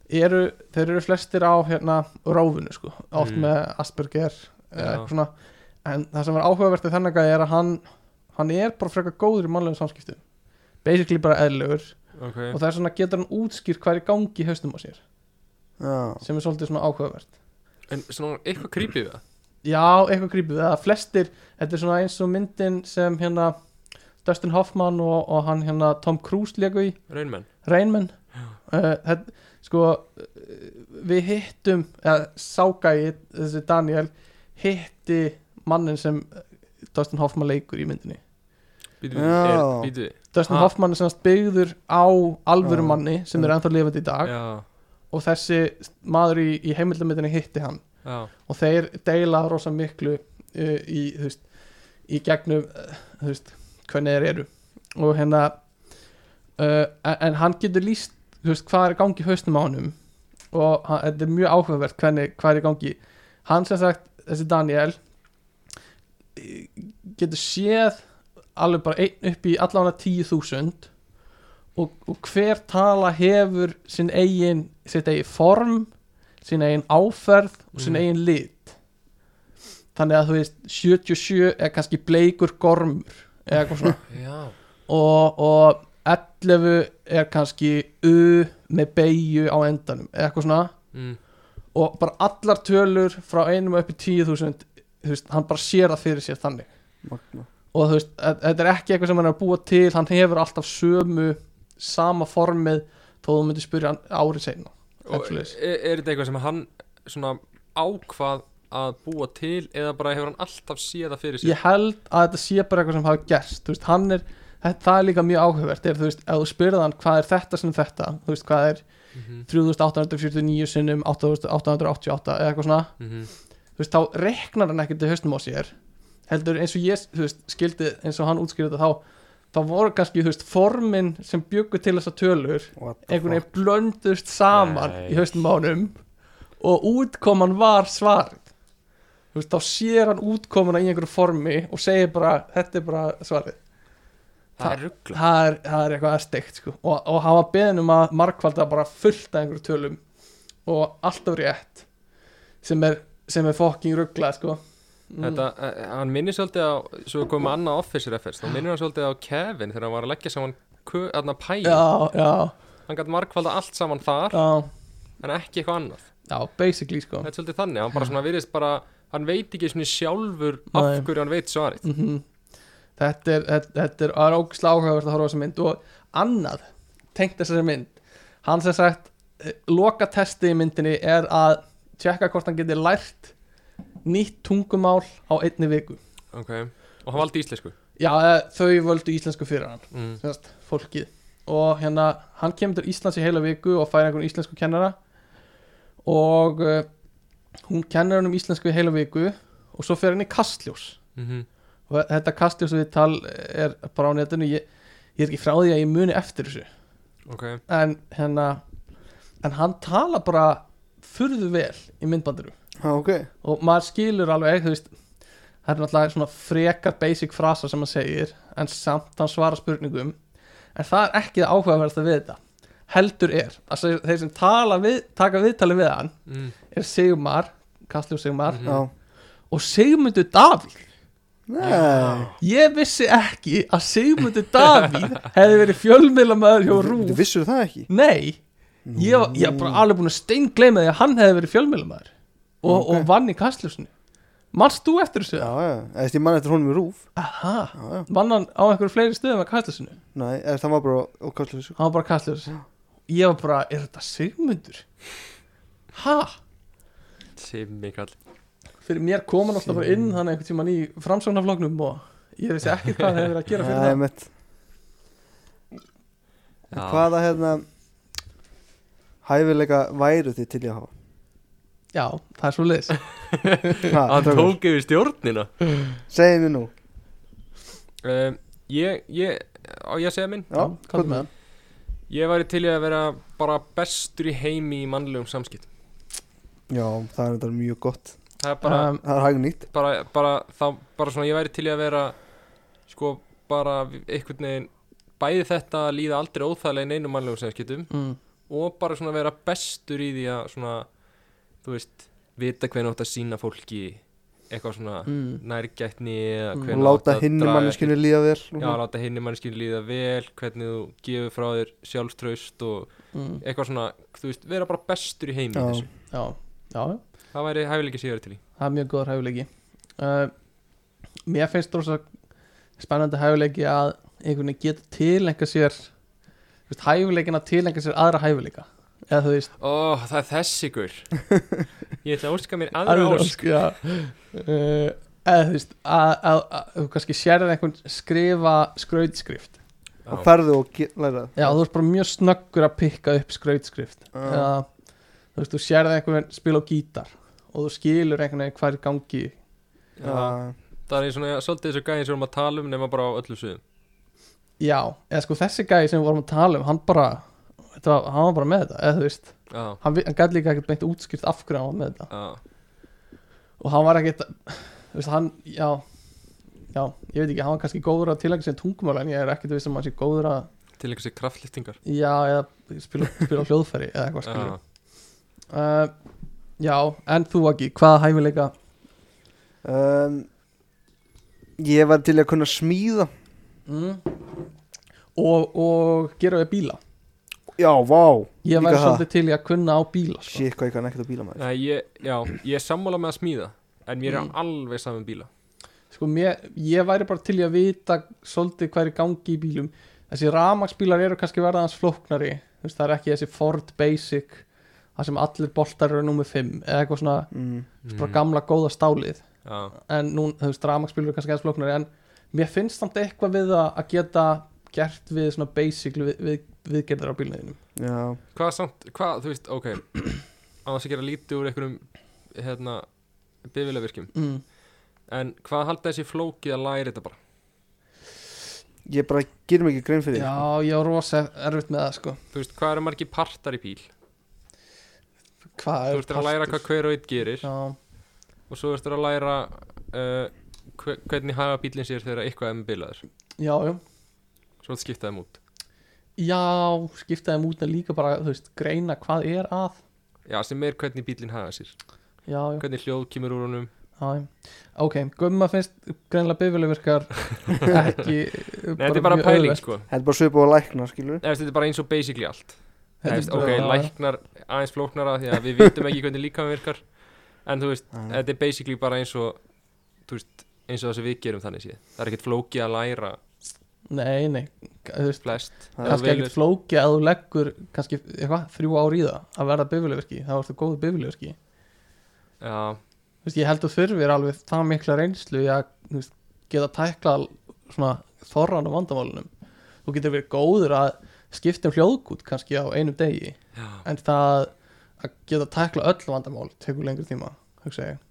[SPEAKER 4] eru, þeir eru flestir á hérna ráfunu sko, oft
[SPEAKER 2] Mm.
[SPEAKER 4] með Asperger eða
[SPEAKER 2] Já.
[SPEAKER 4] eitthvað svona en það sem er áhugavert í þennan gæði er að hann hann er bara frekar góður í mannlegum samskiptum basically bara eðlugur
[SPEAKER 2] ok
[SPEAKER 4] og það er svona getur hann útskýr hvað er í gangi í haustum á sér
[SPEAKER 1] Já,
[SPEAKER 4] sem er svolítið svona áhugavert
[SPEAKER 2] En svona eitthvað creepy við það?
[SPEAKER 4] Já, eitthvað grípið það flestir, þetta er svona eins og myndin sem hérna Dustin Hoffman og, og hann hérna Tom Cruise leku í
[SPEAKER 2] Raunmenn?
[SPEAKER 4] Rainman uh, þetta- sko eh, við hittum eða ságæði þessi Daniel hitti mannin sem eh, Dustin Hoffman leikur í myndinni
[SPEAKER 2] Býtu við,
[SPEAKER 1] Já.
[SPEAKER 2] er, býtu við
[SPEAKER 4] Dustin
[SPEAKER 2] Ha.
[SPEAKER 4] Hoffman er semast byggður á
[SPEAKER 1] Já.
[SPEAKER 4] alvöru manni sem er ennþá lifandi í dag
[SPEAKER 2] Já,
[SPEAKER 4] og þessi maður í, í heimildamöndinni hitti hann
[SPEAKER 2] já,
[SPEAKER 4] og þeir deila rosa miklu uh, í, þú veist, í gegnum uh, þú veist, hvernig þeir eru og hérna uh, en, en hann getur líst þú veist, hvað er í gangi í hausnum á honum og hann, þetta er mjög áhugavert hvernig, hvað er í gangi hann sem sagt, þessi Daniel eh, getur séð alveg bara einn upp í allan að 10.000 og, og hver tala hefur sinn eigin, sitt eigin form sín eigin áferð og sín
[SPEAKER 2] Mm.
[SPEAKER 4] eigin lit þannig að þú veist 77 er kannski bleikur gormur eða eitthvað svona
[SPEAKER 2] já
[SPEAKER 4] og, og 11 er kannski U með beigju á endanum eða eitthvað svona
[SPEAKER 2] mm,
[SPEAKER 4] og bara allar tölur frá einum upp í 10.000 þú veist, hann bara sér það fyrir sér þannig
[SPEAKER 1] magna
[SPEAKER 4] og þú veist, þe- þetta er ekki eitthvað sem hann er að búa til hann hefur alltaf sömu sama formið þó þú myndir spyrja hann árið seinna
[SPEAKER 2] Og er,
[SPEAKER 4] Absolutt.
[SPEAKER 2] er þetta eitthvað sem hann svona ákvað að búa til eða bara hefur hann alltaf séð það fyrir sér?
[SPEAKER 4] ég held að þetta sé bara eitthvað sem hafa gerst þú veist, hann er, þetta, það er líka mjög áhugavert er, þú veist, ef þú spyrði hann hvað er þetta sem þetta þú veist, hvað er
[SPEAKER 2] Yeah. Mm
[SPEAKER 4] 3849 sinnum 8888 eða eitthvað svona
[SPEAKER 2] -hmm.
[SPEAKER 4] þú veist, þá reknar hann ekkert í hausnum á sér heldur eins og ég, þú veist, skildi eins og hann útskýrði þetta þá þá voru kannski, þú veist, formin sem bjöggu til þessa tölur einhvern veginn blöndust saman
[SPEAKER 2] Nei.
[SPEAKER 4] í hausnum á honum og útkoman var svarið þú veist, þá sér hann útkomuna í einhverju formi og segir bara, þetta er bara svarið
[SPEAKER 2] það er ruggla
[SPEAKER 4] það er, það er eitthvað steikt sko. og, og hafa beðin um að markvalda bara fullt af einhverju tölum og alltaf rétt sem er, sem er fucking ruggla sko.
[SPEAKER 2] Þetta, eh, hann minnir svolítið á, svo við komum með annað office reference, þá minnir hann svolítið á Kevin þegar hann var að leggja saman kö- þarna pæin,
[SPEAKER 4] já, já,
[SPEAKER 2] hann gætt markvalda allt saman þar,
[SPEAKER 4] já,
[SPEAKER 2] en ekki eitthvað annað
[SPEAKER 4] já, basically sko.
[SPEAKER 2] þetta er svolítið þannig, hann bara svona virðist bara hann veit ekki svona sjálfur
[SPEAKER 4] Nei.
[SPEAKER 2] af hverju hann veit svarið
[SPEAKER 4] mm þetta er, þetta, þetta er, það er ógislega áhugavert að horfa á þessa mynd og annað tengt þessari mynd hann sem sagt, loka testi í myndinni er að tjekka hvort hann geti lært nýtt tungumál á einni viku
[SPEAKER 2] ok, og hann valdi íslensku
[SPEAKER 4] já, eða þau völdu íslensku fyrir hann
[SPEAKER 2] mm.
[SPEAKER 4] sem sagt, fólkið og hérna, hann kemur til Íslands í heila viku og fær einhvern íslensku kennara og uh, hún kennir hann um íslensku í heila viku og svo fer hann í kastljós
[SPEAKER 2] Mm
[SPEAKER 4] og þetta kastljósviðtal eh, er bara á netinu ég, ég er ekki frá því að ég muni eftir þessu
[SPEAKER 2] ok,
[SPEAKER 4] en hérna en hann tala bara furðu vel í myndbandinu
[SPEAKER 1] Já, ok
[SPEAKER 4] og maður skilur alveg þú veist það er náttúrulega svona frekar basic frasa sem hann segir en samt hann svarar spurningum en það er ekki það áhugaverðasta við þetta heldur er að þeir- þeir sem tala við, taka viðtali við hann
[SPEAKER 2] mm.
[SPEAKER 4] er Sigmar, Kastljó Sigmar
[SPEAKER 2] Mhm.
[SPEAKER 1] Já
[SPEAKER 4] og Sigmundur Davíð
[SPEAKER 1] Nei
[SPEAKER 4] Ég vissi ekki að Sigmundur Davíð hefði verið fjölmiðlamæður hjá
[SPEAKER 1] Þú
[SPEAKER 4] Rúf
[SPEAKER 1] vissur það ekki
[SPEAKER 4] Nei, ég var, ég var bara alveg búin að steingleima því að hann hefði verið fjölmiðlamæður og,
[SPEAKER 1] Ok.
[SPEAKER 4] og vann í kastljósinu Manst þú eftir þessu?
[SPEAKER 1] Já, já Eða ég man eftir honum í rúf
[SPEAKER 4] Aha,
[SPEAKER 1] Já, já
[SPEAKER 4] vann hann á einhverju fleiri stöðum að kastljósinu
[SPEAKER 1] Nei, eða það var bara á kastljósu
[SPEAKER 4] Hann var bara kastljós Ég var bara, er þetta Sigmundur? Ha?
[SPEAKER 2] simmi kall
[SPEAKER 4] Fyrir mér kom hann alltaf bara inn þannig einhvern tímann í framsóknarfloknum og ég vissi ekki hvað hann hefði verið að gera fyrir
[SPEAKER 1] Það
[SPEAKER 4] það
[SPEAKER 1] er mitt En
[SPEAKER 2] Já.
[SPEAKER 1] Hvaða hérna Hæfilega væru þið til ég að hafa
[SPEAKER 4] Já, það er svo leiðis
[SPEAKER 1] Ha,
[SPEAKER 2] hann
[SPEAKER 1] strákur,
[SPEAKER 2] tók yfir stjórnina
[SPEAKER 1] Segðu mér nú
[SPEAKER 2] um, ég, ég, á ég að segja minn
[SPEAKER 1] Já,
[SPEAKER 4] komdu með hann
[SPEAKER 2] ég væri til í að vera bara bestur í heimi í mannlegum samskipt
[SPEAKER 1] Já, það er þetta mjög gott
[SPEAKER 2] það er bara,
[SPEAKER 4] Um,
[SPEAKER 1] Það er hagnýtt
[SPEAKER 2] bara, bara, það, bara svona ég væri til í að vera sko bara einhvern veginn bæði þetta að líða aldrei óþægilega í neinum mannlegum samskiptum
[SPEAKER 4] mm.
[SPEAKER 2] og bara svona vera bestur í því að svona, þú veist vita hvernig átt að sína fólki eitthvað svona
[SPEAKER 4] Mm.
[SPEAKER 2] nærgætni eða
[SPEAKER 4] Mm.
[SPEAKER 2] hvenær
[SPEAKER 1] Og láta
[SPEAKER 2] átt að
[SPEAKER 1] hinni
[SPEAKER 2] draga
[SPEAKER 1] manneskinu líða vel
[SPEAKER 2] ekki- já, láta hinni manneskinu líða vel hvernig þú gefur frá þér sjálfströst og
[SPEAKER 4] Mm.
[SPEAKER 2] eitthvað svona, þú veist, vera bara bestur í heimi í
[SPEAKER 1] Já.
[SPEAKER 2] þessu,
[SPEAKER 4] Já, já,
[SPEAKER 2] það væri hæfileiki sem ég verið til í
[SPEAKER 4] það er mjög góður hæfuleiki uh, Mér finnst rosa spennandi hæfuleiki að einhvern veginn geta tilenga sér þú veist, hæfuleikin að tilenga sér aðra hæfuleika eða þú veist
[SPEAKER 2] ó, það er þessi gur ég ætla að óska mér aðra
[SPEAKER 4] aðra
[SPEAKER 2] ósk
[SPEAKER 4] ósk, já. uh, eða þú veist að, að, að þú kannski sérðir einhvern skrifa skrautskrift
[SPEAKER 1] Og
[SPEAKER 2] já,
[SPEAKER 1] ferðu og ge- læra
[SPEAKER 4] Já, þú ert bara mjög snöggur að pikka upp skrautskrift
[SPEAKER 1] Já.
[SPEAKER 4] eða þú veist, þú sérðir einhvern spila á gítar og þú skilur einhvern veginn hvað er í gangi
[SPEAKER 2] já. það er svona, svolítið þessu gæðin sem við erum að tala um nema bara á öllu suðum
[SPEAKER 4] Já, eða sko þessi gæði sem við vorum að tala um hann bara, þetta var, hann var bara með þetta eða þú veist,
[SPEAKER 2] já,
[SPEAKER 4] hann, vi- hann gæti líka ekkert beint útskýrt af hverju hann var með þetta
[SPEAKER 2] já,
[SPEAKER 4] og hann var ekkert, þú veist, hann já, já, ég veit ekki hann var kannski góður að tilhengja sér tungumál en ég er ekkert viss um að hann sé góður að,
[SPEAKER 2] til einhversi kraftlýftingar
[SPEAKER 4] já, eða spila, spila á hljóðfæri eða eitthvað
[SPEAKER 2] já,
[SPEAKER 4] skilur uh, Já, en þú ekki, hvaða hæfileika
[SPEAKER 1] um, Ég var til í að kunna smíða
[SPEAKER 4] mm. og, og gera við bíla
[SPEAKER 1] Já, vá
[SPEAKER 4] ég
[SPEAKER 1] Líka
[SPEAKER 4] væri
[SPEAKER 1] það.
[SPEAKER 4] svolítið til í að kunna á bíla sko.
[SPEAKER 1] Shit, hvað ég kann ekkert að bíla maður
[SPEAKER 2] Nei, ég, já, ég er sammála með að smíða En mér er
[SPEAKER 4] Mm.
[SPEAKER 2] alveg saman bíla
[SPEAKER 4] sko mér, ég væri bara til í að vita svolítið hvað er í gangi í bílum þessi ramagsbílar eru kannski verðans flóknari þú veist það er ekki þessi Ford Basic það sem allir boltar eru nummer 5 eða eitthvað svona
[SPEAKER 1] mm.
[SPEAKER 4] bara gamla góða stálið
[SPEAKER 2] Já,
[SPEAKER 4] en nú, þú veist ramagsbílar eru kannski aðeins flóknari en mér finnst samt eitthvað við það að geta gert við svona basic við, við, viðgerðar á bílniðinum
[SPEAKER 1] Já,
[SPEAKER 2] hvað samt, hvað, þú veist, ok Á þess að gera lítið úr einhverjum Hérna, bifilavirkjum
[SPEAKER 4] mm.
[SPEAKER 2] En hvað halda þessi flókið að læra þetta bara
[SPEAKER 1] ég bara gerum ekki grein fyrir því,
[SPEAKER 4] já, ég var rosa erfitt með það sko
[SPEAKER 2] Þú veist, hvað eru margir partar í bíl
[SPEAKER 4] hvað
[SPEAKER 2] Þú veist, er að læra hvað hver og einn gerir
[SPEAKER 4] já,
[SPEAKER 2] Og og svo ertu að læra uh, hve- hvernig haga bílinn sér þegar eitthvað er með bilaður
[SPEAKER 4] já, já,
[SPEAKER 2] svo ertu að skipta þeim út
[SPEAKER 4] já skipta þeim út en líka bara, þú veist, greina hvað er að
[SPEAKER 2] já, sem er hvernig bílinn haga sér
[SPEAKER 4] já, já,
[SPEAKER 2] hvernig hljóð kemur úr honum
[SPEAKER 4] já, já. ok, gumma finnst greinlega bifjöluverkar ekki
[SPEAKER 2] Nei, þetta er bara
[SPEAKER 4] mjög
[SPEAKER 2] pæling
[SPEAKER 4] auðvelt.
[SPEAKER 2] sko
[SPEAKER 1] Þetta er bara svipað á lækna, skilur
[SPEAKER 2] Nei, þetta er bara eins og basically allt Nei,
[SPEAKER 4] Þetta er
[SPEAKER 2] veist,
[SPEAKER 4] bara-
[SPEAKER 2] ok,
[SPEAKER 4] já, já.
[SPEAKER 2] læknar aðeins flóknara því að við vitum ekki hvernig líka virkar en þú veist,
[SPEAKER 4] Mm.
[SPEAKER 1] Já.
[SPEAKER 2] þetta er basically bara eins og þú veist, eins og það sem við gerum þannig séð það er ekkert flókið að læra
[SPEAKER 4] nei, nei, þú veist
[SPEAKER 2] flest
[SPEAKER 1] Það er
[SPEAKER 2] Ef þú
[SPEAKER 4] kannski
[SPEAKER 2] velur-
[SPEAKER 4] ekkert flóki að þú leggur kannski eitthvað, þrjú ár í það að verða bifurleverki, þá ertu góð bifurleverki
[SPEAKER 2] já,
[SPEAKER 4] þú veist, ég held að þurfir alveg það mikla reynslu í að þú veist, geta tækla svona þorran á vandamálunum þú getur verið góður að skipta um hljóðgút kannski á einum degi
[SPEAKER 2] já,
[SPEAKER 4] en það að geta tækla öll vandamál tekur lengur tíma hugsa ég,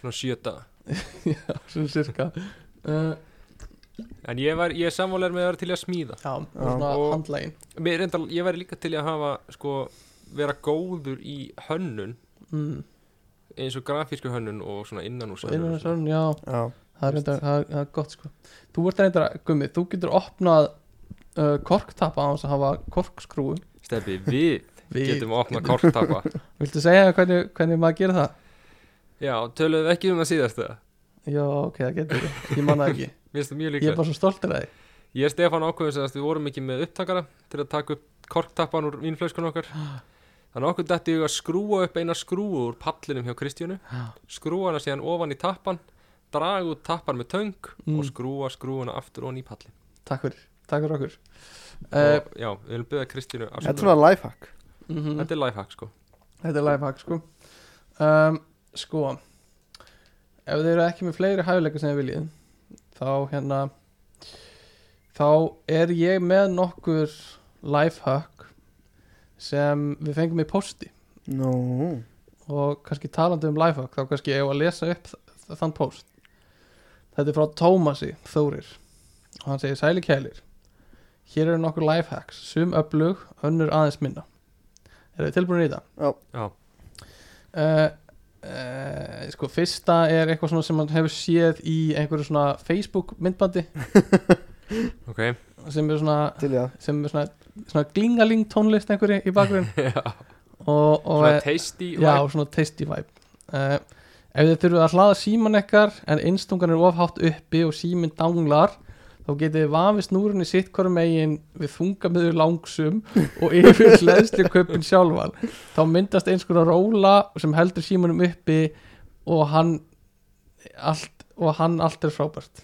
[SPEAKER 2] svona sjöta
[SPEAKER 4] já, svona cirka uh,
[SPEAKER 2] en ég, var, ég er samválegar með að vera til í að smíða
[SPEAKER 4] já, og svona
[SPEAKER 2] Og-
[SPEAKER 4] handlægin
[SPEAKER 2] Mér reyndar, ég væri líka til í að hafa sko, vera góður í hönnun
[SPEAKER 4] mm,
[SPEAKER 2] eins og grafísku hönnun og svona innan úr
[SPEAKER 4] og innan og svona, já
[SPEAKER 1] Já,
[SPEAKER 4] það er, reyndar, það, er, það er gott sko þú ert reyndar að, gummi, þú getur opnað uh, korktappa á þess að hafa korkskrúu
[SPEAKER 2] stefi, við
[SPEAKER 4] Við-
[SPEAKER 2] getum að opna kortapa
[SPEAKER 4] viltu segja hvernig, hvernig maður gerir það?
[SPEAKER 2] já, töluðum við ekki um það síðast það
[SPEAKER 4] já, ok, það getur ekki, ég manna ekki
[SPEAKER 2] Mér finnst það mjög
[SPEAKER 4] ég
[SPEAKER 2] líklegt
[SPEAKER 4] er bara svo stoltur að því
[SPEAKER 2] Ég og Stefán ákveðum sem að við vorum ekki með upptakara til að taka upp korktappan úr vínflöskun okkar Þannig að okkur dætti við að skrúa upp eina skrúu úr pallinum hjá Kristjánu skrúa hana síðan ofan í tappan draga út tappan með töng
[SPEAKER 4] Mm.
[SPEAKER 2] og skrúa skrúuna aftur ofan í pallin
[SPEAKER 4] takk fyrir, takk fyrir okkur uh,
[SPEAKER 2] og já, við viljum byggja Kristjánu
[SPEAKER 1] þetta er svona lifehack
[SPEAKER 4] mm
[SPEAKER 2] Þetta er lifehack sko
[SPEAKER 4] þetta er lifehack sko um, sko ef þið eru ekki með fleiri hæfileika sem þið viljið þá hérna þá er ég með nokkur lifehack sem við fengum í posti
[SPEAKER 1] Nú,
[SPEAKER 4] og kannski talandi um lifehack þá kannski ég á að lesa upp þ- þann post þetta er frá Tómasi Þórir og hann segir sæli kælir hér eru nokkur lifehacks sum öflug, önnur aðeins minna eru þið tilbúin í þetta?
[SPEAKER 1] Já.
[SPEAKER 2] Já.
[SPEAKER 4] Eh, eh, sko fyrsta er eitthvað svona sem hann hefur séð í einhverju svona Facebook myndbandi
[SPEAKER 2] Ok,
[SPEAKER 4] sem er svona,
[SPEAKER 1] til í það
[SPEAKER 4] sem er svona, svona glingaling tónlist einhverju í bakgrunn
[SPEAKER 2] já,
[SPEAKER 4] og, og
[SPEAKER 2] svona tasty
[SPEAKER 4] Já, svona tasty vibe uh, Ef þið þurfið að hlaða síman ekkar en einstungan er ofhátt uppi og síminn danglar þá getið þið vafið snúrunni sitt hverju megin við þungamöður langsum og yfir hlæðslu köpun sjálfan þá myndast eins konar róla sem heldur símanum uppi og hann allt, og hann allt er frábært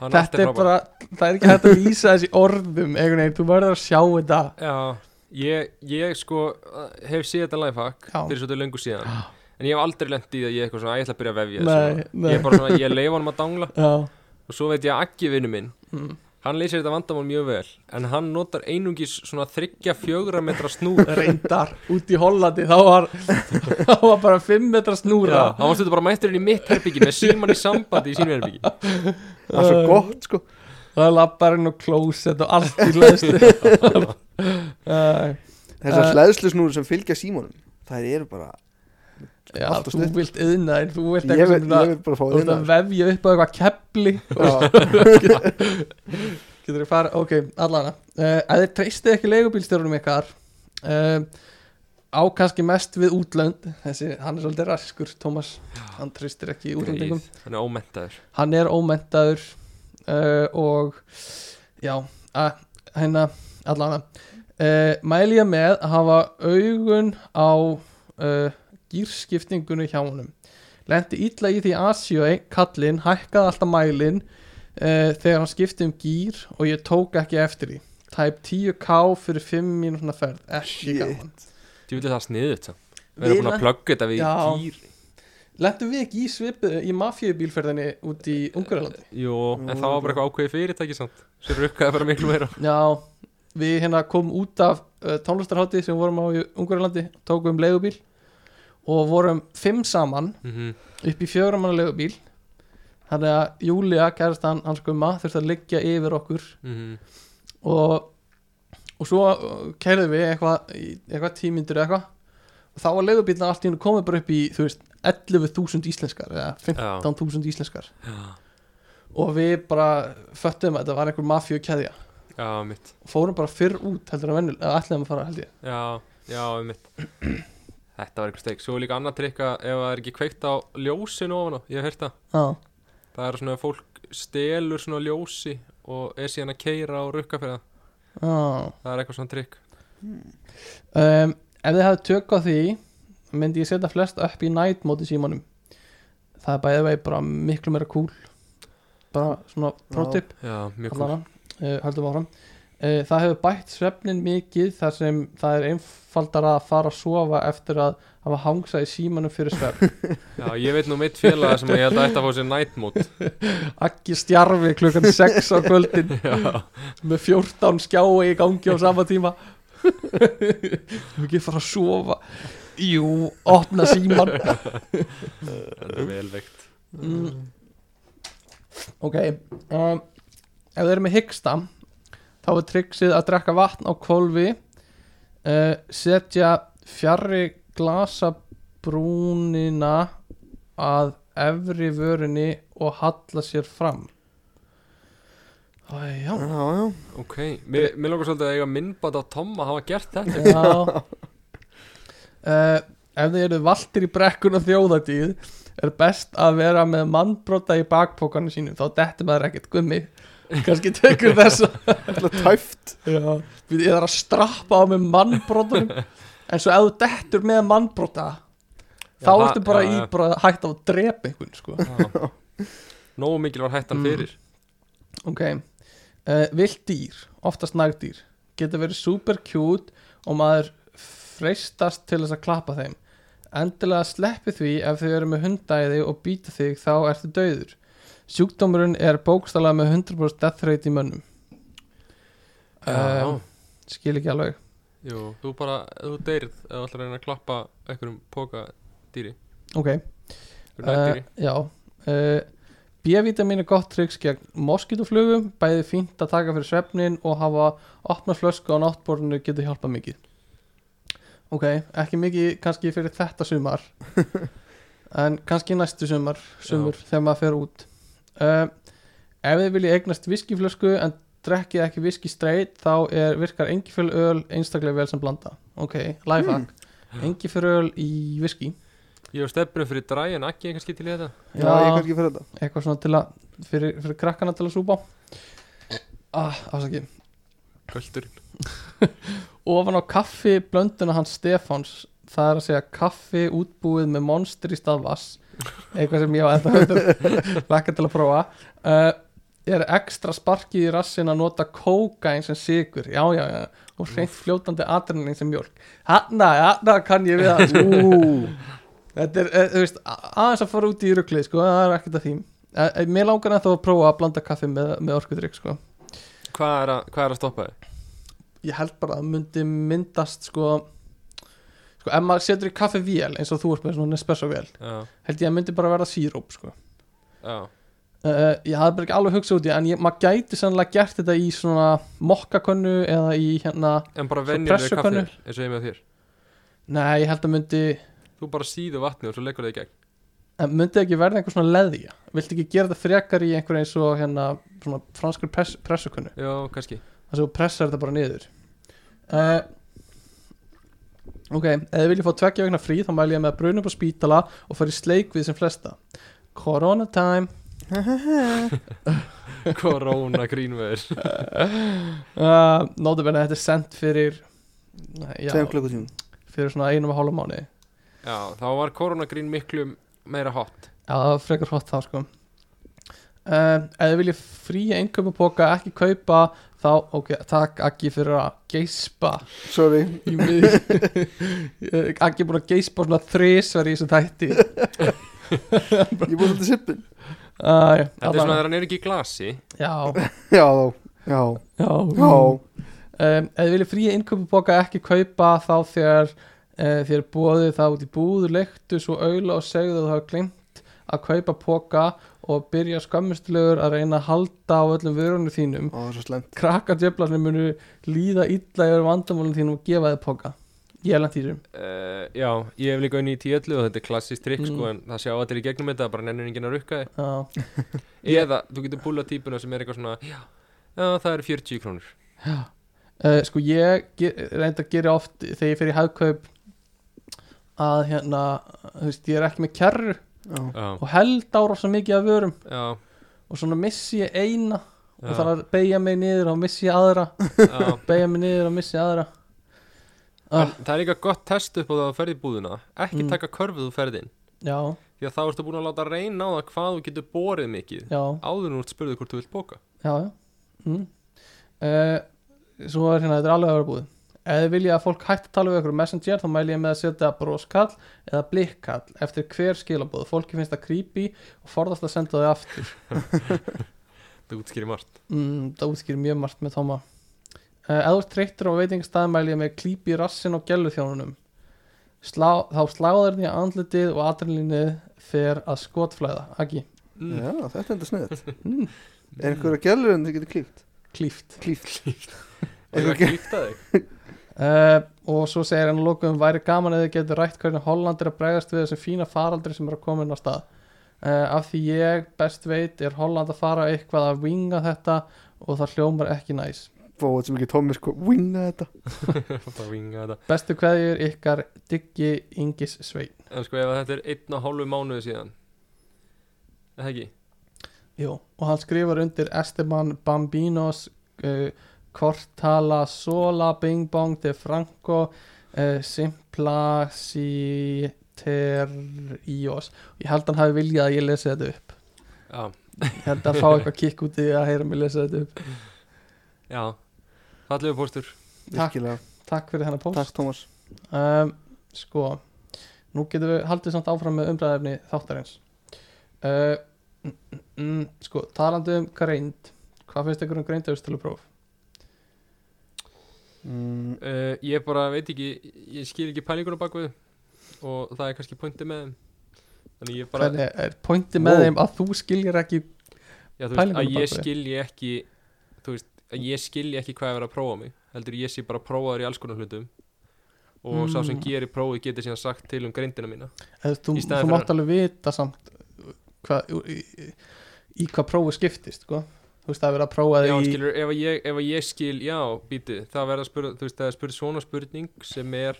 [SPEAKER 2] Hann allt
[SPEAKER 4] Þetta er
[SPEAKER 2] frábær.
[SPEAKER 4] bara, það er ekki hægt að lýsa þessi orðum einhvern veginn, þú verður að sjá þetta
[SPEAKER 2] Já, ég, ég sko uh, hef séð þetta lifehack
[SPEAKER 4] Já.
[SPEAKER 2] fyrir svolítið löngu síðan en ég hef aldrei lent í því að ég eitthvað svona, "Æ, ég ætla að byrja að vefja
[SPEAKER 4] Nei,
[SPEAKER 2] þessu
[SPEAKER 4] nei.
[SPEAKER 2] ég er bara svona, ég leifa honum að dangla
[SPEAKER 4] Já,
[SPEAKER 2] og svo veit ég að Aggi vinnu minn
[SPEAKER 4] Mm.
[SPEAKER 2] hann leysir þetta vandamál mjög vel en hann notar einungis svona þryggja fjögra metra snúr
[SPEAKER 4] reyndar, út í Hollandi þá var, þá var bara 5 metra snúra
[SPEAKER 2] Já, hann var stundur bara mætturinn í mitt herbyggi með síman í sambandi í sínu herbyggi
[SPEAKER 1] Það er svo gott, sko
[SPEAKER 4] Það er labbarinn og klósett og allt í hlæðslu Já,
[SPEAKER 1] Þessar
[SPEAKER 4] Eh.
[SPEAKER 1] hlæðslusnúri sem fylgja símónum Það eru bara, Allt og
[SPEAKER 4] þú
[SPEAKER 1] stutt.
[SPEAKER 4] vilt yðna en þú vilt
[SPEAKER 1] ég vil, ég
[SPEAKER 4] eitthvað sem það
[SPEAKER 1] vil bara fá
[SPEAKER 4] Þú vilt að
[SPEAKER 1] þinn
[SPEAKER 4] vefja upp á eitthvað kepli Getur þið fara, ok, allana uh, Ef þið treystið ekki leigubílstjórunum ykkar uh, á kannski mest við útlönd þessi, hann er svolítið raskur, Tómas hann treystir ekki útlöndingum
[SPEAKER 2] hann er ómentaður
[SPEAKER 4] hann er ómentaður uh, og já, að, hérna allan uh, mæli ég með að hafa augun á uh, gýrskiptingunni hjá honum lendi illa í því Asjöi kallinn hækkaði alltaf mælin uh, þegar hann skipti um gýr og ég tók ekki eftir því tæp 10k fyrir 5 mínútna ferð ekki
[SPEAKER 1] Shit.
[SPEAKER 4] gaman
[SPEAKER 2] ég vil það sniðut við erum
[SPEAKER 4] Við
[SPEAKER 2] búin
[SPEAKER 4] lent-
[SPEAKER 2] að plugga þetta við
[SPEAKER 4] Já.
[SPEAKER 2] gýr
[SPEAKER 4] Lentum við ekki í svipu í mafjöbílferðinni út í Ungarlandi?
[SPEAKER 2] Jó, en það var bara eitthvað ákveði fyrirtæki samt sem rukkaði bara miklu meira
[SPEAKER 4] Já, við hérna komum út af uh, tónlistarhátti sem við vorum á í Ungarlandi tókum leigubíl og vorum fimm saman
[SPEAKER 2] mm
[SPEAKER 4] upp í fjögramanna leigubíl þannig að Júlia, kærastan hans gumma þurfti að liggja yfir okkur
[SPEAKER 2] Mhm,
[SPEAKER 4] og, og svo eh, kærðum við eitthvað í- eitthvað tímyndur eitthvað og þá var leigubílna allt í hennu komið bara upp í þú veist 11.000 íslenskar eða 15.000 íslenskar
[SPEAKER 2] Já,
[SPEAKER 4] og við bara föttum að þetta var einhver mafíu keðja
[SPEAKER 2] já, mitt
[SPEAKER 4] fórum bara fyrr út heldur en venjulega eða ætlaðum að fara held ég
[SPEAKER 2] Já, já, mitt Þetta var eitthvað steik Svo er líka annað trikka ef það er ekki kveikt á ljósin ofan á Ég hef heyrt það
[SPEAKER 4] já,
[SPEAKER 2] Það er svona að fólk stelur svona ljósi og er síðan að keira og rukka fyrir það
[SPEAKER 4] já.
[SPEAKER 2] Það er eitthvað svona trikk
[SPEAKER 4] Um, ef þið hafið tök á því myndi ég setja flest upp í night móti símanum það er bæðið vegi bara miklu meira cool bara svona
[SPEAKER 1] Já.
[SPEAKER 4] prótip
[SPEAKER 2] Já, mjög kúl
[SPEAKER 4] allara, uh, höldum áfram uh, það hefur bætt svefnin mikið þar sem það er einfaldara að fara að sofa eftir að hafa hangsað í símanum fyrir svefn
[SPEAKER 2] Já, ég veit nú mitt félag sem að ég held að ætti að fá sér night mode
[SPEAKER 4] Akki stjarfi klukkan 6 á kvöldin
[SPEAKER 2] Já,
[SPEAKER 4] með 14 skjái í gangi á sama tíma þú ekki fara að sofa jú, opna síman
[SPEAKER 2] það er vel veikt
[SPEAKER 4] mm. ok um, ef þið eru með hyggsta þá er tryggsið að drekka vatn á kvolfi uh, setja fjarrri glasabrúnina að efri vörunni og halla sér fram Æ, já,
[SPEAKER 1] já, já.
[SPEAKER 2] Ok, mér, mér langar svolítið að eiga minnbætt á Tom að hafa gert þetta
[SPEAKER 4] já. Uh, ef þið eru valtir í brekkun og þjóðatíð er best að vera með mannbrota í bakpókanu sínum þá dettur maður ekkert gummi kannski tekur þessa
[SPEAKER 1] Ætla tæft
[SPEAKER 4] Já, við erum að strappa á með mannbrotunum en svo ef þú dettur með mannbrota þá
[SPEAKER 2] það-
[SPEAKER 4] ertu bara
[SPEAKER 2] já,
[SPEAKER 4] í
[SPEAKER 2] já.
[SPEAKER 4] bara að hætta á að drepa einhvern sko.
[SPEAKER 2] Já. Nógu mikil var hættan
[SPEAKER 4] Mm.
[SPEAKER 2] fyrir
[SPEAKER 4] ok, uh, vilt dýr oftast nagdýr, geta verið super cute og maður freistast til þess að klappa þeim endilega sleppi því ef þau eru með hundæði og býta þig þá ertu döður sjúkdómurinn er bókstala með 100% death rate í mönnum
[SPEAKER 2] Já,
[SPEAKER 4] um, skil ekki alveg
[SPEAKER 2] jú, þú bara, þú deyrð ef þú ætlar að reyna að klappa einhverjum póka dýri
[SPEAKER 4] ok,
[SPEAKER 2] uh,
[SPEAKER 4] Eh, já uh, B-vitamin er gott triks gegn moskítuflugum, bæði fínt að taka fyrir svefnin og hafa opna flösku á náttborðinu getur hjálpað mikið ok, ekki mikið kannski fyrir þetta sumar en kannski næstu sumar sumur þegar maður fer út uh, ef þið viljið eignast viskiflösku en drekkið ekki viski straight þá er, virkar engifjöröl einstaklega vel sem blanda ok, lifehack
[SPEAKER 1] Hmm.
[SPEAKER 4] mm. engifjöröl í viski
[SPEAKER 2] Ég var stefnum fyrir dræ en ekki kannski til í þetta
[SPEAKER 1] Já, ég kannski fyrir þetta
[SPEAKER 4] eitthvað svona til að fyrir, fyrir krakkana til að súpa ah, afsaki
[SPEAKER 2] Köldurinn
[SPEAKER 4] ofan á kaffi blönduna hans Stefáns það er að segja kaffi útbúið með monster í stað vass eitthvað sem ég á ennþá lakka til að prófa uh, er ekstra sparkið í rassin að nota kókain sem sigur já já já og hreint fljótandi adrenalin sem mjölk hanna, hanna kann ég við það Ú, þetta er, eh, þú veist a- aðeins að fara út í ruglið sko, það er ekkert að því Eh, eh, mér langar ennþá að prófa að blanda kaffi með, með orkudrykk sko
[SPEAKER 2] Hvað er að, hvað er að stoppa þig?
[SPEAKER 4] ég held bara að það myndi myndast sko sko ef maður setur í kaffi vél eins og þú ert með svona Nespresso vél
[SPEAKER 2] Já,
[SPEAKER 4] held ég að myndi bara verða síróp sko
[SPEAKER 2] já,
[SPEAKER 4] uh, ég hafði bara ekki alveg hugsað út í það, en ég, maður gæti sannlega gert þetta í svona mokkakönnu eða í hérna
[SPEAKER 2] en bara
[SPEAKER 4] Svo
[SPEAKER 2] venjulega kaffi
[SPEAKER 4] pressukönnu.
[SPEAKER 2] eins og ég er með þér
[SPEAKER 4] nei ég held að myndi
[SPEAKER 2] Þú bara síðu vatni og svo leggur það í gegn
[SPEAKER 4] en myndi ekki verða einhver svona leðja viltu ekki gera þetta frekar í einhver eins og hérna svona franskur press, pressukönnu
[SPEAKER 2] Já, kannski
[SPEAKER 4] þannig að þú pressar þetta bara niður uh, ok, ef þið viljið fá tveggja vegna frí þá mæli ég með að bruna upp á spítala og fara í sleik við sem flesta Corona time
[SPEAKER 2] Corona grínveður
[SPEAKER 4] uh, Nóðum en þetta er sendt fyrir nei, já,
[SPEAKER 1] Tveim klukkutímum
[SPEAKER 4] fyrir svona einum og hálfum mánu
[SPEAKER 2] Já, þá var Corona grín miklu meira hot
[SPEAKER 4] Já, það var frekar hot þá sko uh, Ef þið viljið fría einnkaupapóka ekki kaupa þá, ok, takk Aggi fyrir að geispa
[SPEAKER 1] Sorry
[SPEAKER 4] í mig Aggi er búin að geispa svona þrisvar í þessu þætti
[SPEAKER 1] Ég búið svolítið sippin
[SPEAKER 4] Æ,
[SPEAKER 2] Þetta er svona þegar hann er ekki í glasi
[SPEAKER 4] Já,
[SPEAKER 1] Já, já,
[SPEAKER 4] já,
[SPEAKER 1] já
[SPEAKER 4] Um, ef þið viljið fríja innkaupupóka ekki kaupa þá þegar uh, þér bóðið það út í búð, leiktu svo auðla og segðu að þú hafa glimt að kaupa póka og byrja skammustulegur að reyna að halda á öllum vörunum þínum.
[SPEAKER 1] Ó, það er svo slemt
[SPEAKER 4] Krakkadjöflarnir munu líða illa yfir vandamálum þínum og gefa þið póka. ég er langt í þessum
[SPEAKER 2] Uh, já, ég hef líka unni í tíallu og þetta er klassist trikk
[SPEAKER 4] Mm.
[SPEAKER 2] sko en það sjá allir í gegnum þetta bara nennir enginn að rukka þig
[SPEAKER 4] Já,
[SPEAKER 2] eða þú getur búlað típuna sem er eitthvað svona já, já það eru 40 krónur
[SPEAKER 4] uh, sko ég ger, reynda að gera oft þegar ég fer í hagkaup að hérna, þú veist, ég er ekki með kjarru
[SPEAKER 1] já,
[SPEAKER 2] já,
[SPEAKER 4] og held ára svo mikið af vörum
[SPEAKER 2] já,
[SPEAKER 4] og svona missi ég eina
[SPEAKER 2] Já.
[SPEAKER 4] og þarf að beigja mig niður og missi ég aðra
[SPEAKER 2] já.
[SPEAKER 4] beigja mig niður og missi aðra
[SPEAKER 2] En
[SPEAKER 4] ah,
[SPEAKER 2] það er líka gott test upp á það að ferði búðuna ekki
[SPEAKER 4] Mm.
[SPEAKER 2] taka körfuð úr ferðin
[SPEAKER 4] Já,
[SPEAKER 2] því að þá ertu búin að láta reyna á það hvað þú getur borið mikið
[SPEAKER 4] já,
[SPEAKER 2] áður en þú ert spurðið hvort þú vilt bóka
[SPEAKER 4] já, já. Mm. Uh, Svo er hérna, þetta er alveg að vera búið Ef þið vilja að fólk hætti að tala við ykkur um messenger þá mæli ég með að setja broskall eða blikkall eftir hver skilabóð fólki finnst það creepy og forðast að senda þau aftur
[SPEAKER 2] það útskýri margt
[SPEAKER 4] mm, það útskýr mjög margt með Tóma uh, eða þú ert treyttur á veitingstæðmæli með klípi rassin og gælu þjónunum Slá, þá sláður því að andlitið og adrenalinið fer að skotflæða ekki
[SPEAKER 2] mm.
[SPEAKER 1] já, þetta er enda sniðut er einhverja gælur en þið getur klíft
[SPEAKER 4] klíft
[SPEAKER 1] klíft,
[SPEAKER 2] og það er að
[SPEAKER 1] Einhver-
[SPEAKER 2] klífta þig
[SPEAKER 4] uh, og svo segir hann að lokum væri gaman eða getur rætt hvernig Holland er að bregðast við þessum fína faraldri sem er að koma inn á stað uh, af því ég best veit er Holland að fara eitthvað að vinga þetta og það hljómar ekki næs
[SPEAKER 1] bóð sem ekki tómið sko, winga þetta
[SPEAKER 2] bara vinga þetta
[SPEAKER 4] bestu kveðjur ykkar Diggi Ingis Svein
[SPEAKER 2] en sko ef þetta er einn og hálfu mánuði síðan er það ekki
[SPEAKER 4] Jú, og hann skrifar undir Esteban Bambinos uh, Cortala Sola Bing Bong de Franco uh, Simpla Sitterios ég held hann hafi viljað að ég lesi þetta upp
[SPEAKER 2] já,
[SPEAKER 4] ég held að fá eitthvað kikk út í að heyra mig lesa þetta upp
[SPEAKER 2] já, fallegu póstur
[SPEAKER 4] Takk.
[SPEAKER 1] virkilega,
[SPEAKER 4] takk fyrir þennan post
[SPEAKER 1] takk Tómas
[SPEAKER 4] um, sko nú getum við haldið samt áfram með umræðefni þáttarins uh, mm, mm, mm, sko, talandi um greind hvað finnst ykkur um greindaustölu
[SPEAKER 1] mm,
[SPEAKER 2] uh, ég bara veit ekki ég skil ekki pælinguna bakvið og það er kannski pointi með þeim þannig ég bara
[SPEAKER 4] Hvernig er pointi með
[SPEAKER 1] Wow.
[SPEAKER 4] þeim að þú skiljir ekki
[SPEAKER 2] já, þú veist,
[SPEAKER 4] Pælinguna
[SPEAKER 2] að
[SPEAKER 4] á
[SPEAKER 2] ég
[SPEAKER 4] bak við?
[SPEAKER 2] skilji ekki þú veist, að ég skilji ekki hvað er verið að prófa mig heldur ég sé bara prófaður í alls konar hlutum og sá sem
[SPEAKER 4] Mm.
[SPEAKER 2] gerir prófið getur síðan sagt til um greindina mína
[SPEAKER 4] eða þú,
[SPEAKER 2] Í
[SPEAKER 4] þú
[SPEAKER 2] staðinn fyrir
[SPEAKER 4] mátt alveg vita samt uh, hvað, í, í, í hvað prófi skiptist sko? þú veist að vera að prófa
[SPEAKER 2] já,
[SPEAKER 4] þig í
[SPEAKER 2] skilur, ef, að ég, ef að ég skil, já, býti það verða að spura, þú veist, það er spurð svona spurning sem er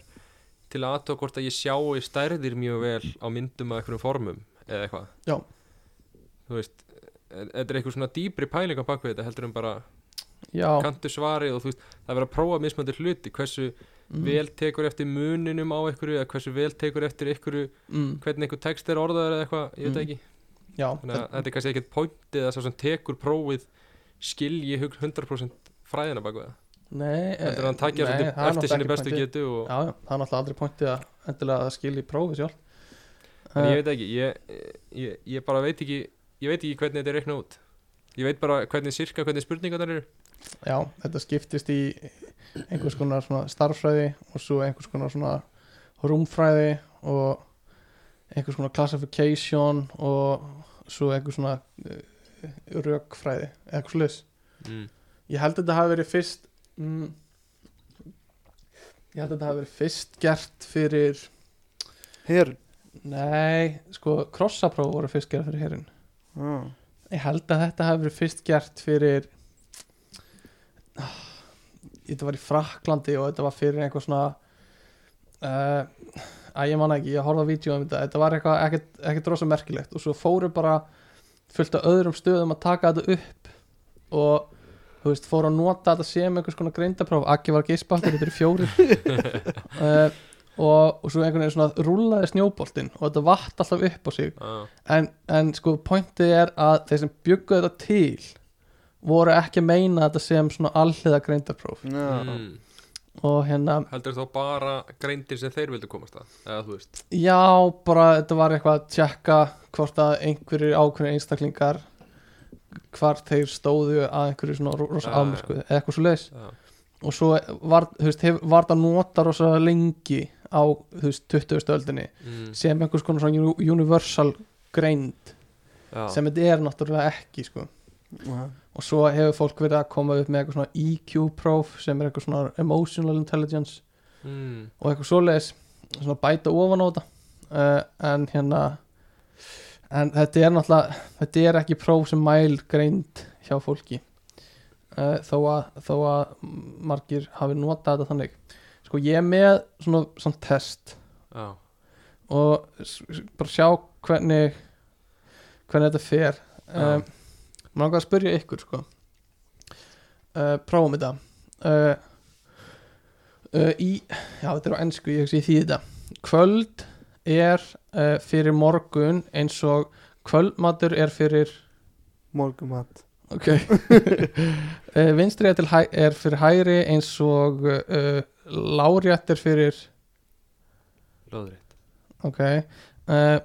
[SPEAKER 2] til að aðtóa hvort að ég sjái stærðir mjög vel á myndum af einhverjum formum eða eitthvað
[SPEAKER 4] Já.
[SPEAKER 2] þú veist, e- þetta er eitthvað svona dýbri pælinga bakvið þetta heldur um bara
[SPEAKER 4] já,
[SPEAKER 2] kantu svari og þú veist, það verða að prófa mismöndir hluti, hversu
[SPEAKER 4] mm,
[SPEAKER 2] vel tekur eftir muninum á einhverju eða hversu vel tekur eftir einhverju
[SPEAKER 4] mm,
[SPEAKER 2] hvernig einhver text er orðaður eða eitthvað, ég veit
[SPEAKER 4] Mm.
[SPEAKER 2] ekki
[SPEAKER 4] já
[SPEAKER 2] þannig að
[SPEAKER 4] þetta-
[SPEAKER 2] þetta er kannski ekkert pointið að sá sem tekur prófið skilji hug- 100% fræðina bak við það
[SPEAKER 4] nei, eh,
[SPEAKER 2] heldur að hann takja
[SPEAKER 4] nei, það er
[SPEAKER 2] eftir
[SPEAKER 4] náttúrulega
[SPEAKER 2] sinni
[SPEAKER 4] ekki
[SPEAKER 2] bestu
[SPEAKER 4] pointið.
[SPEAKER 2] getu og,
[SPEAKER 4] já, já, það er náttúrulega aldrei pointið að endilega að það skilji prófi sjálf
[SPEAKER 2] en
[SPEAKER 4] Eh.
[SPEAKER 2] ég veit ekki, ég, ég, ég bara veit ekki ég veit ekki hvernig þetta er reikna út ég veit bara hvernig sirka, hvernig spurningarnar eru
[SPEAKER 4] já, þetta skiptist í einhvers konar svona starffræði og svo einhvers konar svona rúmfræði og einhvers konar classification og svo einhvers svona uh, rökfræði eða eitthvað sluðis
[SPEAKER 2] mm.
[SPEAKER 4] ég held að þetta hafi verið fyrst mm, ég held að þetta hafi verið fyrst gert fyrir
[SPEAKER 1] hér
[SPEAKER 4] nei, sko krossapróf voru fyrst gert fyrir herin
[SPEAKER 1] ah.
[SPEAKER 4] ég held að þetta hafi verið fyrst gert fyrir Ah, þetta var í Fraklandi og þetta var fyrir einhver svona uh, að ég manna ekki, ég horfði á vídeo um þetta þetta var eitthvað ekkert, ekkert rosa merkilegt og svo fóru bara fullt af öðrum stöðum að taka þetta upp og þú veist, fóru að nota þetta sem einhvers konar greindapróf, Akki var geispaltur þetta eru fjórir uh, og, og svo einhvern veginn svona rúlaði snjóboltinn og þetta vatt alltaf upp á sig
[SPEAKER 2] ah,
[SPEAKER 4] en, en sko pointið er að þeir sem byggu þetta til voru ekki að meina þetta sem svona alliða greindarpróf
[SPEAKER 1] mm.
[SPEAKER 2] mm.
[SPEAKER 4] og hérna,
[SPEAKER 2] heldur þá bara greindir sem þeir vildu komast að eða þú veist
[SPEAKER 4] já bara þetta var eitthvað að tjekka hvort að einhverjir ákveðin einstaklingar hvar þeir stóðu að einhverju svona ro- rosa
[SPEAKER 2] Já, já.
[SPEAKER 4] afmörku eða eitthvað svo leis
[SPEAKER 2] já,
[SPEAKER 4] og svo var, þú veist, hef, var það nota rosa lengi á þú veist 20. öldinni
[SPEAKER 2] mm.
[SPEAKER 4] sem einhvers konar svona uni- universal greind
[SPEAKER 2] já.
[SPEAKER 4] sem þetta er náttúrulega ekki sko
[SPEAKER 1] Mm.
[SPEAKER 4] og svo E hefur fólk verið að koma upp með eitthvað svona EQ-próf sem er eitthvað svona emotional intelligence
[SPEAKER 2] mm.
[SPEAKER 4] og eitthvað svoleiðis svona bæta ofan á þetta uh, en hérna en þetta er náttúrulega þetta er ekki próf sem mæl greind hjá fólki uh, þó, að, þó að margir hafi notað þetta þannig sko ég er með svona, svona test
[SPEAKER 2] Já,
[SPEAKER 4] og s- s- bara sjá hvernig hvernig þetta fer
[SPEAKER 2] Já.
[SPEAKER 4] um, maður langar að spyrja ykkur sko uh, prófum þetta uh, uh, í já þetta er á ennsku ég hugsa ég því þetta kvöld er uh, fyrir morgun eins og kvöldmatur er fyrir
[SPEAKER 1] morgumat
[SPEAKER 4] ok uh, vinstrið til hæ- er fyrir hægri eins og uh, lárétt er fyrir
[SPEAKER 2] lóðrétt
[SPEAKER 4] Ok uh,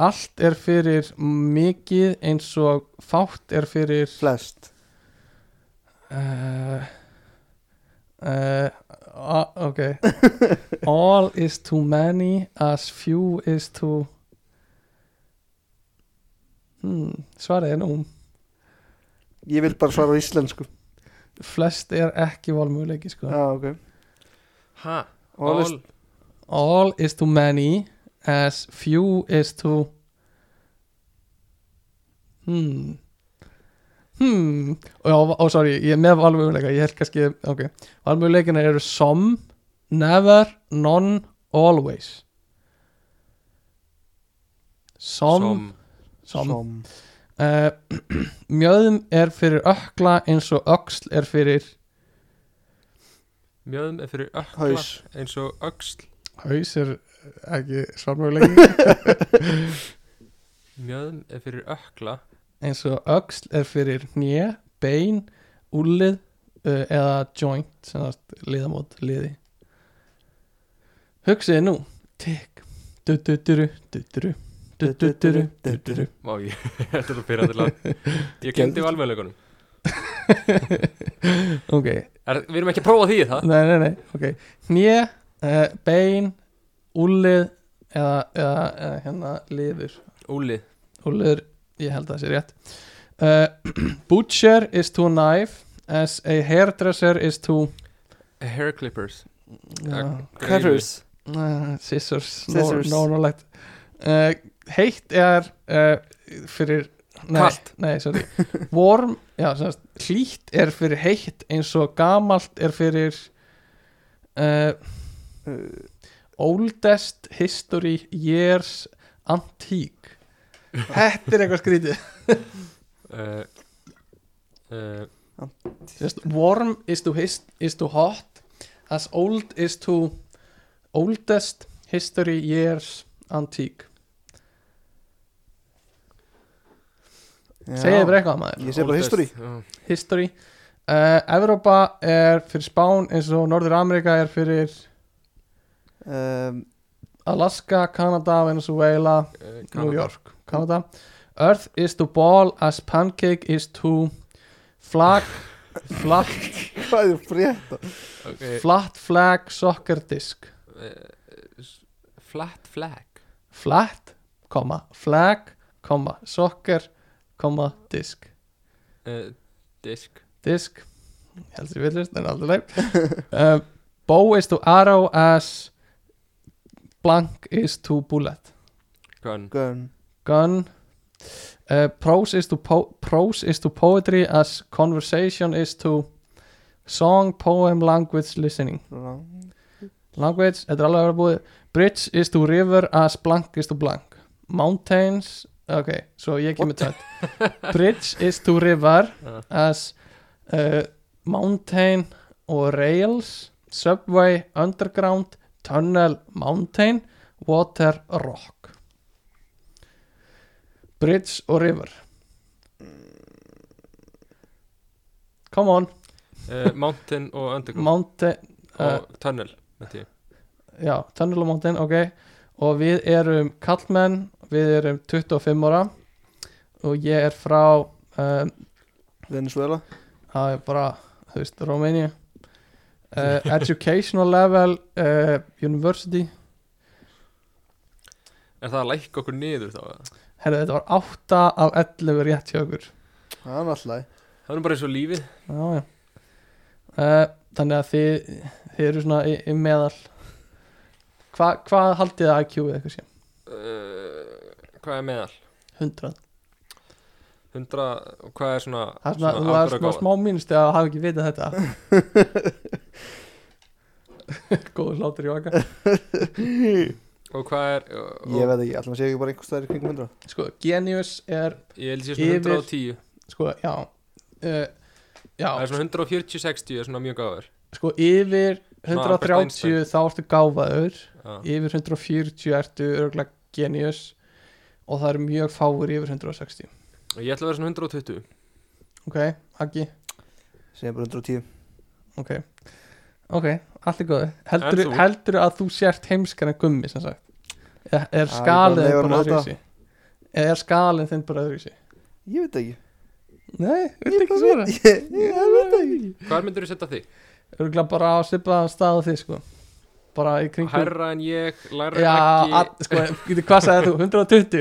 [SPEAKER 4] Allt er fyrir mikið eins og fátt er fyrir
[SPEAKER 1] flest
[SPEAKER 4] uh, uh, a- Ok All is too many as few is too hmm, Svarið er nú
[SPEAKER 1] ég vil bara svara á íslensku
[SPEAKER 4] Flest er ekki valmöguleiki sko
[SPEAKER 1] já, ok
[SPEAKER 2] Ha,
[SPEAKER 1] all is,
[SPEAKER 2] all
[SPEAKER 4] All is too many as few is too Hmm Hmm og, og sorry, ég er með valmöguleika ég held kannski, ok valmöguleikina eru some, never none, always some,
[SPEAKER 2] som
[SPEAKER 4] some,
[SPEAKER 1] som
[SPEAKER 4] Uh, mjöðum er fyrir ökla eins og öxl er fyrir
[SPEAKER 2] Mjöðum er fyrir ökla
[SPEAKER 1] haus
[SPEAKER 2] eins og öxl
[SPEAKER 4] haus er ekki svarmöguleiki
[SPEAKER 2] Mjöðum er fyrir ökla
[SPEAKER 4] eins og öxl er fyrir njö, bein, úlið uh, eða joint sem það liðamót, liði hugsiði nú tikk, du-du-duru du-duru, du-du-duru du-duru
[SPEAKER 2] Má ég, þetta er það fyrir að til að Ég glemdi valmöðleikunum
[SPEAKER 4] ok,
[SPEAKER 2] er, Við erum ekki að prófa því það
[SPEAKER 4] nei, nei, nei ok, njö, uh, bein úlið eða, eða, eða hérna liður
[SPEAKER 2] Úlið
[SPEAKER 4] úliður, ég held að það sé rétt uh, butcher is to knife as a hairdresser is to
[SPEAKER 2] Hair clippers
[SPEAKER 4] Já.
[SPEAKER 1] Cutters
[SPEAKER 4] Uh, scissors,
[SPEAKER 1] Scissors.
[SPEAKER 4] No, no, no, uh, heitt er uh, fyrir nei,
[SPEAKER 2] Kalt.
[SPEAKER 4] nei, sorry. warm, já, sem sagt, hlýtt er fyrir heitt eins og gamalt er fyrir uh,
[SPEAKER 1] uh,
[SPEAKER 4] oldest history years antique þetta er eitthvað skrítið
[SPEAKER 2] uh, uh,
[SPEAKER 4] Sem sagt, warm is to, his, is to hot as old is to oldest history years antique segið þér eitthvað maður
[SPEAKER 1] Ég sé bara history.
[SPEAKER 2] já.
[SPEAKER 4] history uh, Evrópa er fyrir Spán eins og Norður Amerika er fyrir
[SPEAKER 1] um,
[SPEAKER 4] Alaska, Kanada, Venezuela
[SPEAKER 2] Eh,
[SPEAKER 4] New
[SPEAKER 2] Kanada.
[SPEAKER 4] York, Kanada Earth is to ball as pancake is to flag flat,
[SPEAKER 1] hvað er frétt
[SPEAKER 2] okay.
[SPEAKER 4] flat flag soccer disc
[SPEAKER 2] uh, Flat flag
[SPEAKER 4] flat, komma, flag komma, soccer komma, disc
[SPEAKER 2] uh, Disk
[SPEAKER 4] disk ég held sér villist en aldrei uh, bow is to arrow as blank is to bullet
[SPEAKER 2] Gun
[SPEAKER 1] gun
[SPEAKER 4] gun uh, prose is to po prose is to poetry as conversation is to song, poem, language, listening
[SPEAKER 1] Lang-
[SPEAKER 4] language, þetta er alveg að vera búið bridge is to river as blank is to blank mountains ok, svo ég kemur tætt bridge is to river
[SPEAKER 2] Já.
[SPEAKER 4] as uh, mountain og rails subway, underground tunnel, mountain water, rock bridge og river come on
[SPEAKER 2] uh, Mountain og underground
[SPEAKER 4] mountain uh,
[SPEAKER 2] Og tunnel myndi ég.
[SPEAKER 4] Já, Tunnel og Mountain, ok Og við erum kallmenn Við erum 25 ára Og ég er frá um,
[SPEAKER 1] Venezuela
[SPEAKER 4] Það er bara, þú veist, Romania uh, Educational level uh, University
[SPEAKER 2] Er það að lækka okkur niður þá? eða?
[SPEAKER 4] Herðu, þetta var 8 af 11 rétt hjá okkur
[SPEAKER 1] það er alltaf
[SPEAKER 2] Það er nú bara eins og lífið
[SPEAKER 4] Eh, Já, já uh, Þannig að þið, þið eru svona í, í meðal Hva, hvað haldið þið að IQ eða eitthvað sé?
[SPEAKER 2] uh, Hvað er meðal?
[SPEAKER 4] 100
[SPEAKER 2] 100, og hvað er svona
[SPEAKER 4] Það er svona, þú er svona smá minnst eða hafa ekki vitað þetta Góður hlátur í vaka
[SPEAKER 2] Og hvað er og,
[SPEAKER 1] Ég veit ekki, alltaf sé ekki bara einhvers staðar í kringum 100
[SPEAKER 4] Sko, genius er
[SPEAKER 2] Ég held ég svona
[SPEAKER 4] Yfir-
[SPEAKER 2] 110
[SPEAKER 4] Sko, já uh, Já,
[SPEAKER 2] Það er svona 140-60 er svona mjög gáður
[SPEAKER 4] sko, yfir
[SPEAKER 2] Svona Albert
[SPEAKER 4] 130 þá ertu gáfaður
[SPEAKER 2] Já,
[SPEAKER 4] Yfir 140 ertu örgulega genius Og það eru mjög fáir yfir 160
[SPEAKER 2] og ég ætla að vera svona 120
[SPEAKER 4] Ok, Aggi,
[SPEAKER 1] Segja bara 110
[SPEAKER 4] ok Ok, allt er
[SPEAKER 2] En
[SPEAKER 4] góði Heldur,
[SPEAKER 2] þú?
[SPEAKER 4] heldur að þú sért heimskar en gummi sem sagt Er,
[SPEAKER 1] ég
[SPEAKER 4] er
[SPEAKER 1] bara
[SPEAKER 4] skalið
[SPEAKER 1] leyfa
[SPEAKER 4] þinn
[SPEAKER 1] honum
[SPEAKER 4] bara
[SPEAKER 1] að láta.
[SPEAKER 4] öðruvísi Eða Er skalið þinn bara öðruvísi
[SPEAKER 1] Ég veit ekki
[SPEAKER 4] Nei, viltu ekki
[SPEAKER 1] Ég veit
[SPEAKER 4] svara
[SPEAKER 1] ekki Ég veit ekki
[SPEAKER 2] Hvað myndir þú setja þig?
[SPEAKER 4] Örgulega bara á svipaðan stað og þið sko Bara í kringum
[SPEAKER 2] Hærra en ég, læra
[SPEAKER 4] Já,
[SPEAKER 2] en
[SPEAKER 4] all,
[SPEAKER 2] ekki
[SPEAKER 4] sko, getur hvað sagði þú, 120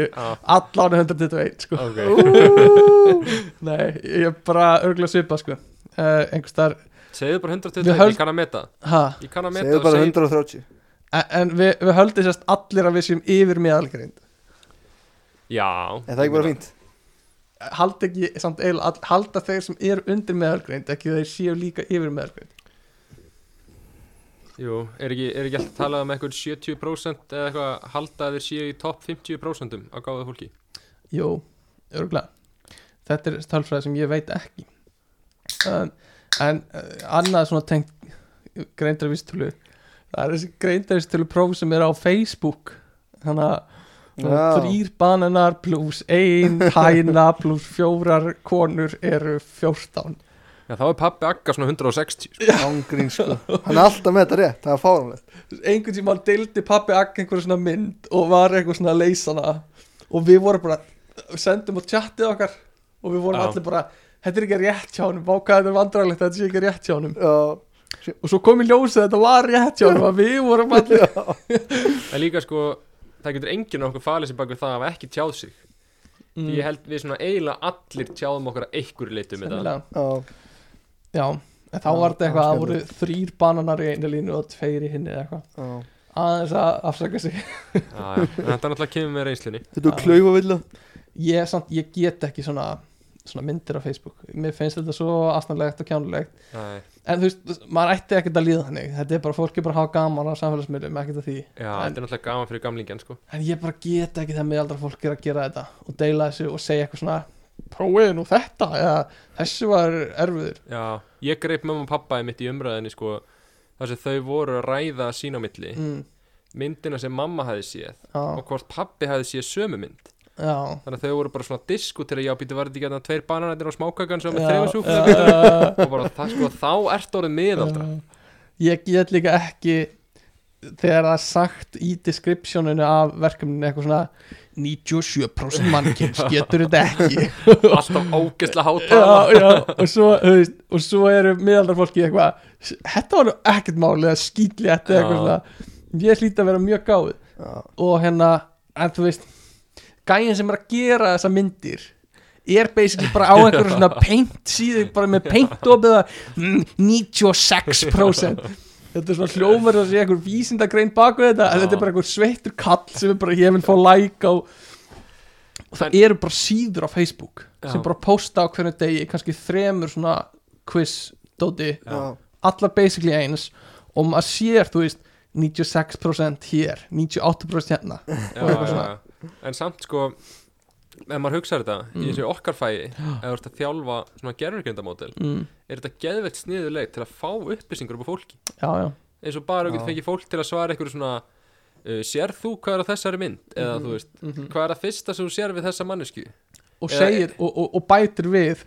[SPEAKER 2] Já,
[SPEAKER 4] Allan er 121 sko
[SPEAKER 2] ok
[SPEAKER 4] Nei, ég er bara örgulega svipað sko uh, Einhvers þar
[SPEAKER 2] Segðu bara 120,
[SPEAKER 4] Við höld-
[SPEAKER 2] ég kann að meta
[SPEAKER 4] Ha,
[SPEAKER 2] Ég kann að meta
[SPEAKER 1] Segðu
[SPEAKER 2] og
[SPEAKER 1] bara
[SPEAKER 2] segi-
[SPEAKER 1] 130
[SPEAKER 4] en, en við, við höldum sérst allir að við séum yfir meðalgreind
[SPEAKER 2] Já
[SPEAKER 1] Er það ekki bara fínt?
[SPEAKER 4] Hald ekki, samt eil, all, halda þeir sem eru undir meðalgreind ekki þeir séu líka yfir meðalgreind
[SPEAKER 2] Jú, er ekki, er ekki alltaf að tala um eitthvað 70% eða eitthvað að halda að þeir séu í topp 50% á gáðu fólki
[SPEAKER 4] Jó, örgulega Þetta er tölfræði sem ég veit ekki um, En uh, annað svona tengt greindarvístölu Það er þessi greindarvístölu próf sem er á Facebook Þannig að
[SPEAKER 1] Já
[SPEAKER 4] Þrýr bananar pluss ein hæna pluss fjórar konur eru fjórtán
[SPEAKER 2] Já, þá er pappi Agga svona 160 sko.
[SPEAKER 1] Ángrín sko Hann er alltaf með þetta rétt Það er fáranlegt
[SPEAKER 4] Einhvern tíma hann deildi pappi Agg einhverja svona mynd og var eitthvað svona að leysa hana og við vorum bara, sendum á tjattið okkar og við vorum
[SPEAKER 2] Já.
[SPEAKER 4] allir bara Þetta er ekki rétt hjá honum, vákaði þetta er vandrarlegt þetta sé ekki rétt hjá honum
[SPEAKER 1] Já
[SPEAKER 4] Og svo kom í ljósið að þetta var rétt hjá honum að við vorum allir
[SPEAKER 2] En líka sko, það getur enginn af okkur falið sem bak við það að hafa ekki tjáð sig Því ég held við svona eiginlega allir tjáðum okkur að einhverju um leitum við það
[SPEAKER 4] Sennilega.
[SPEAKER 1] Já
[SPEAKER 4] Já, en
[SPEAKER 1] Já,
[SPEAKER 4] þá var þetta
[SPEAKER 1] það var
[SPEAKER 4] eitthvað að voru þrýr bananar í einu línu og tveir í hinni eða eitthvað
[SPEAKER 1] Já
[SPEAKER 4] Aðeins að afsaka sig
[SPEAKER 2] Já, já, en þetta er náttúrulega kemur með reynslunni
[SPEAKER 1] Þetta
[SPEAKER 4] Já.
[SPEAKER 1] er klaufavilla
[SPEAKER 4] ég, samt, ég get ekki svona, svona myndir á Facebook mér finnst þetta svo astanlegt og kjánulegt
[SPEAKER 2] Æ,
[SPEAKER 4] en þú veist, maður ætti ekkert að líða þannig þetta er bara fólki bara að hafa gaman á samfélagsmiðlum ekkert að því,
[SPEAKER 2] Já,
[SPEAKER 4] En-
[SPEAKER 2] þetta er náttúrulega gaman fyrir gamlingjan sko
[SPEAKER 4] en ég bara get ekki þegar miðaldra fólk er að gera þetta og deila þessu og segja eitthvað svona prófiði nú þetta eða þessu var erfiður
[SPEAKER 2] Já, ég greip mamma og pappaði mitt í umræðinni sko þar sem þau voru að ræða sín á milli
[SPEAKER 4] mm,
[SPEAKER 2] myndina sem mamma hafi séð
[SPEAKER 4] já,
[SPEAKER 2] og hvort pappi hafi séð sömu mynd
[SPEAKER 4] já
[SPEAKER 2] þannig að þau voru bara svona disku til að já, býtu var þetta ekki hérna tveir bananættir á smákakan sem er
[SPEAKER 4] já,
[SPEAKER 2] þrefa súfla
[SPEAKER 4] já, já,
[SPEAKER 2] og bara það sko, þá ert orðið miðaldra
[SPEAKER 4] já. Eh, ég get líka ekki þegar það er sagt í descriptioninu af verkefninu eitthvað svona 97% mannkynns getur þetta ekki
[SPEAKER 2] alltaf ógeðslega hátalað
[SPEAKER 4] já, já, og svo, þú veist, og svo eru miðaldar fólki eitthvað þetta var nú ekkert máli að skýtli þetta
[SPEAKER 2] Já.
[SPEAKER 4] eitthvað svona ég hlýt að vera mjög gáð
[SPEAKER 1] Já
[SPEAKER 4] og hérna, en þú veist gæin sem er að gera þessa myndir er basically bara á einhverju svona paint síðu, bara með paint opið að mm, 96% þetta er svona hljómar þess að sé einhver vísindagrein baku þetta, en
[SPEAKER 2] Já.
[SPEAKER 4] þetta er bara einhver sveittur kall sem er bara, ég vil fá like á og það
[SPEAKER 2] En-
[SPEAKER 4] eru bara síður á Facebook
[SPEAKER 2] Já.
[SPEAKER 4] sem bara posta á hvernig degi kannski þremur svona quiz dóti,
[SPEAKER 1] Já
[SPEAKER 4] allar basically eins og maður sér, þú veist 96% hér, 98% hérna
[SPEAKER 2] Já,
[SPEAKER 4] og eitthvað
[SPEAKER 2] já,
[SPEAKER 4] svona.
[SPEAKER 2] já. en samt sko ef maður hugsaður þetta,
[SPEAKER 4] Mm.
[SPEAKER 2] í þessu okkar fæi ef þú ert að þjálfa svona gerfurgrindamódel
[SPEAKER 4] mm,
[SPEAKER 2] er þetta geðveikt sniðuleg til að fá upplýsingur upp á fólki
[SPEAKER 4] já, já,
[SPEAKER 2] eins og bara
[SPEAKER 1] Já.
[SPEAKER 2] auðvitað fengið fólk til að svara einhverju svona uh, sér þú hvað er á þessari mynd eða
[SPEAKER 4] Mhm.
[SPEAKER 2] þú veist, hvað er að fyrsta sem þú sér við þessa mannesku
[SPEAKER 4] og
[SPEAKER 2] Mhm. Eða-
[SPEAKER 4] segir og, og, og bætir við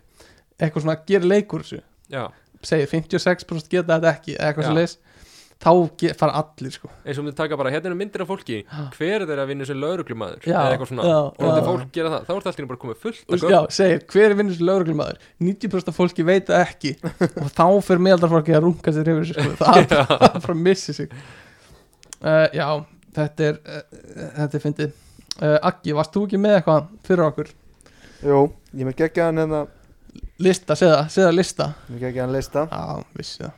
[SPEAKER 4] eitthvað svona, gerir leikur þessu
[SPEAKER 2] já,
[SPEAKER 4] segir 56% geta þetta ekki eða eitthvað
[SPEAKER 2] Já.
[SPEAKER 4] svo leis þá ge- fara allir sko
[SPEAKER 2] eins og myndi taka bara hérna eru myndir af fólki
[SPEAKER 4] Ha.
[SPEAKER 2] hver er þeirra að vinna sem lauruglumadur
[SPEAKER 4] Já,
[SPEAKER 2] eða eitthvað svona,
[SPEAKER 4] já,
[SPEAKER 2] og þetta
[SPEAKER 4] já.
[SPEAKER 2] fólk gera það þá er það alltaf bara komið fullt af
[SPEAKER 4] og,
[SPEAKER 2] gögnum.
[SPEAKER 4] já, segir, hver er vinnur sem lögreglumæður 90% af fólki veit það ekki og þá fyrir meðaldarfólki að runga sér yfir þessu sko. það er bara- það er bara að missi sig uh, já, þetta er uh, þetta er fyndið uh, Aggi, varst þú ekki með eitthvað fyrir okkur
[SPEAKER 1] Jú Ég með geggja hann hérna
[SPEAKER 4] lista, segða, segða lista
[SPEAKER 1] Ég með geggja hann lista
[SPEAKER 4] já, vissi það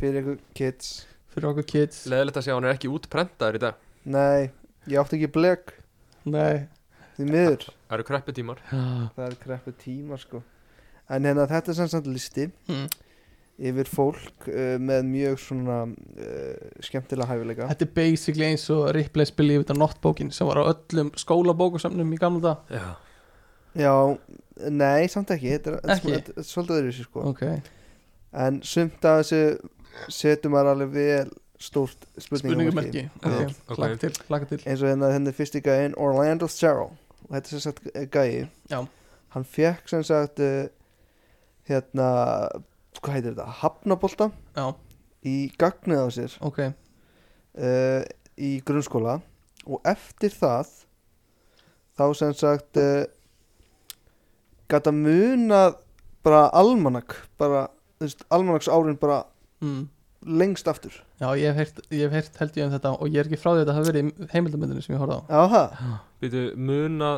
[SPEAKER 1] Fyrir ykkur kids
[SPEAKER 4] fyrir okkur kids
[SPEAKER 2] Leðilegt að sjá hann er ekki útprentaður í dag
[SPEAKER 1] Nei, ég átti ekki blek
[SPEAKER 4] Nei
[SPEAKER 1] Því miður
[SPEAKER 2] Það eru kreppu tímar
[SPEAKER 1] Það er kreppu tíma sko En hérna þetta er sem sagt listi
[SPEAKER 4] Mm.
[SPEAKER 1] Yfir fólk uh, með mjög svona uh, Skemmtilega hæfileika
[SPEAKER 4] Þetta er basically eins og Ripley's Believe It or Not bókin sem var á öllum skólabókusöfnum í gamla dag
[SPEAKER 2] Já,
[SPEAKER 1] Já, nei, samt ekki Þetta er, þetta er smá-
[SPEAKER 4] Ekki?
[SPEAKER 1] þetta er svolítið öðru sér sko
[SPEAKER 4] Ok
[SPEAKER 1] En sumt af þessu setur maður alveg vel stórt spurningamarki
[SPEAKER 4] Spurningumerki
[SPEAKER 1] um Já.
[SPEAKER 4] Ok,
[SPEAKER 2] Ok.
[SPEAKER 4] Laka til, laka til
[SPEAKER 1] eins og hérna henni fyrsti gæin Orlando Serrell og þetta er sem sagt eh, gæi
[SPEAKER 4] Já.
[SPEAKER 1] hann fekk sem sagt uh, hérna hvað heitir þetta, hafnabolta
[SPEAKER 4] Já,
[SPEAKER 1] í gagnið á sér
[SPEAKER 4] ok
[SPEAKER 1] uh, í grunnskóla og eftir það þá sem sagt uh, gæta munað bara almanak bara, þú veist, almanaks árin bara
[SPEAKER 4] mm.
[SPEAKER 1] lengst aftur
[SPEAKER 4] Já, ég hef heyrt, ég hef heyrt held ég um þetta og ég er ekki frá því að þetta hafi verið í heimildamöndinu sem ég horfði á
[SPEAKER 1] Aha,
[SPEAKER 2] býtu muna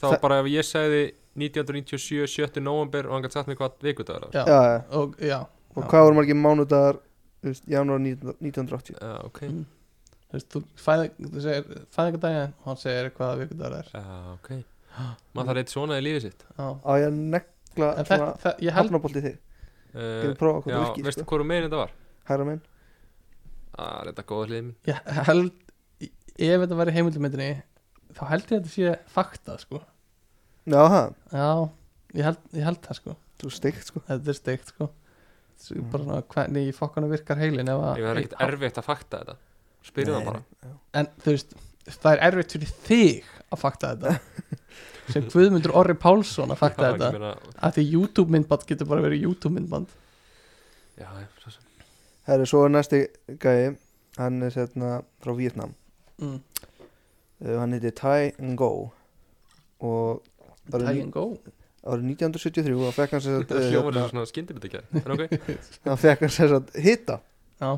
[SPEAKER 2] þá
[SPEAKER 1] Það-
[SPEAKER 2] bara ef ég segði 1997, 7. november og hann gæti sagt mig hvað vikudagur það var.
[SPEAKER 4] Já,
[SPEAKER 1] já, já.
[SPEAKER 4] Og, já,
[SPEAKER 1] og
[SPEAKER 4] Já.
[SPEAKER 1] hvað voru margir mánudagar janúar 1980
[SPEAKER 2] Já, ok
[SPEAKER 4] Mm. þú veist, þú fæði, þú segir fæðingadaginn og hann segir hvað vikudagur er
[SPEAKER 2] Já, ok Maður þarf eitt svona í lífið sitt
[SPEAKER 4] Já
[SPEAKER 1] á ég að negla
[SPEAKER 4] En þetta,
[SPEAKER 1] svona
[SPEAKER 4] þetta, ég held
[SPEAKER 1] hafnabolti þig
[SPEAKER 2] uh,
[SPEAKER 1] Getur prófað hvað
[SPEAKER 2] Já,
[SPEAKER 1] það virkir
[SPEAKER 2] veistu
[SPEAKER 1] sko.
[SPEAKER 2] hvorum megin þetta var?
[SPEAKER 1] Hæra minn
[SPEAKER 2] Það er þetta góða hliðin
[SPEAKER 4] Ég held, ef þetta væri í heimildamöndinu þá held ég að þetta sé faktað, sko
[SPEAKER 1] Já, ha,
[SPEAKER 4] Já, ég held, ég held það, sko
[SPEAKER 1] þú steikt sko
[SPEAKER 4] Þetta er steikt sko Svo bara svona hvernig í fokkanu virkar heilin ef að
[SPEAKER 2] Mm. Ég verður ekkert erfitt að fakta þetta Spyrðu
[SPEAKER 1] Ah,
[SPEAKER 2] það
[SPEAKER 1] Nei.
[SPEAKER 2] bara
[SPEAKER 4] en þú veist það er erfitt fyrir þig að fakta þetta sem Guðmundur Orri Pálsson að fakta
[SPEAKER 2] Já, ég
[SPEAKER 4] þetta
[SPEAKER 2] meina,
[SPEAKER 4] að því YouTube myndband getur bara verið YouTube myndband
[SPEAKER 2] Já, svo sem
[SPEAKER 1] Herri, svo er næsti gæi Hann er hérna frá Vietnam
[SPEAKER 4] mm.
[SPEAKER 1] uh, Hann heitir Tai Ngo Og
[SPEAKER 4] Tie
[SPEAKER 1] árið
[SPEAKER 4] and go
[SPEAKER 1] árið 1973 þá fekk hann sér
[SPEAKER 2] Það hljómar
[SPEAKER 1] að
[SPEAKER 2] þessu svona skyndibit ekki En ok
[SPEAKER 1] Hann fekk hann sér að hitta
[SPEAKER 4] Já,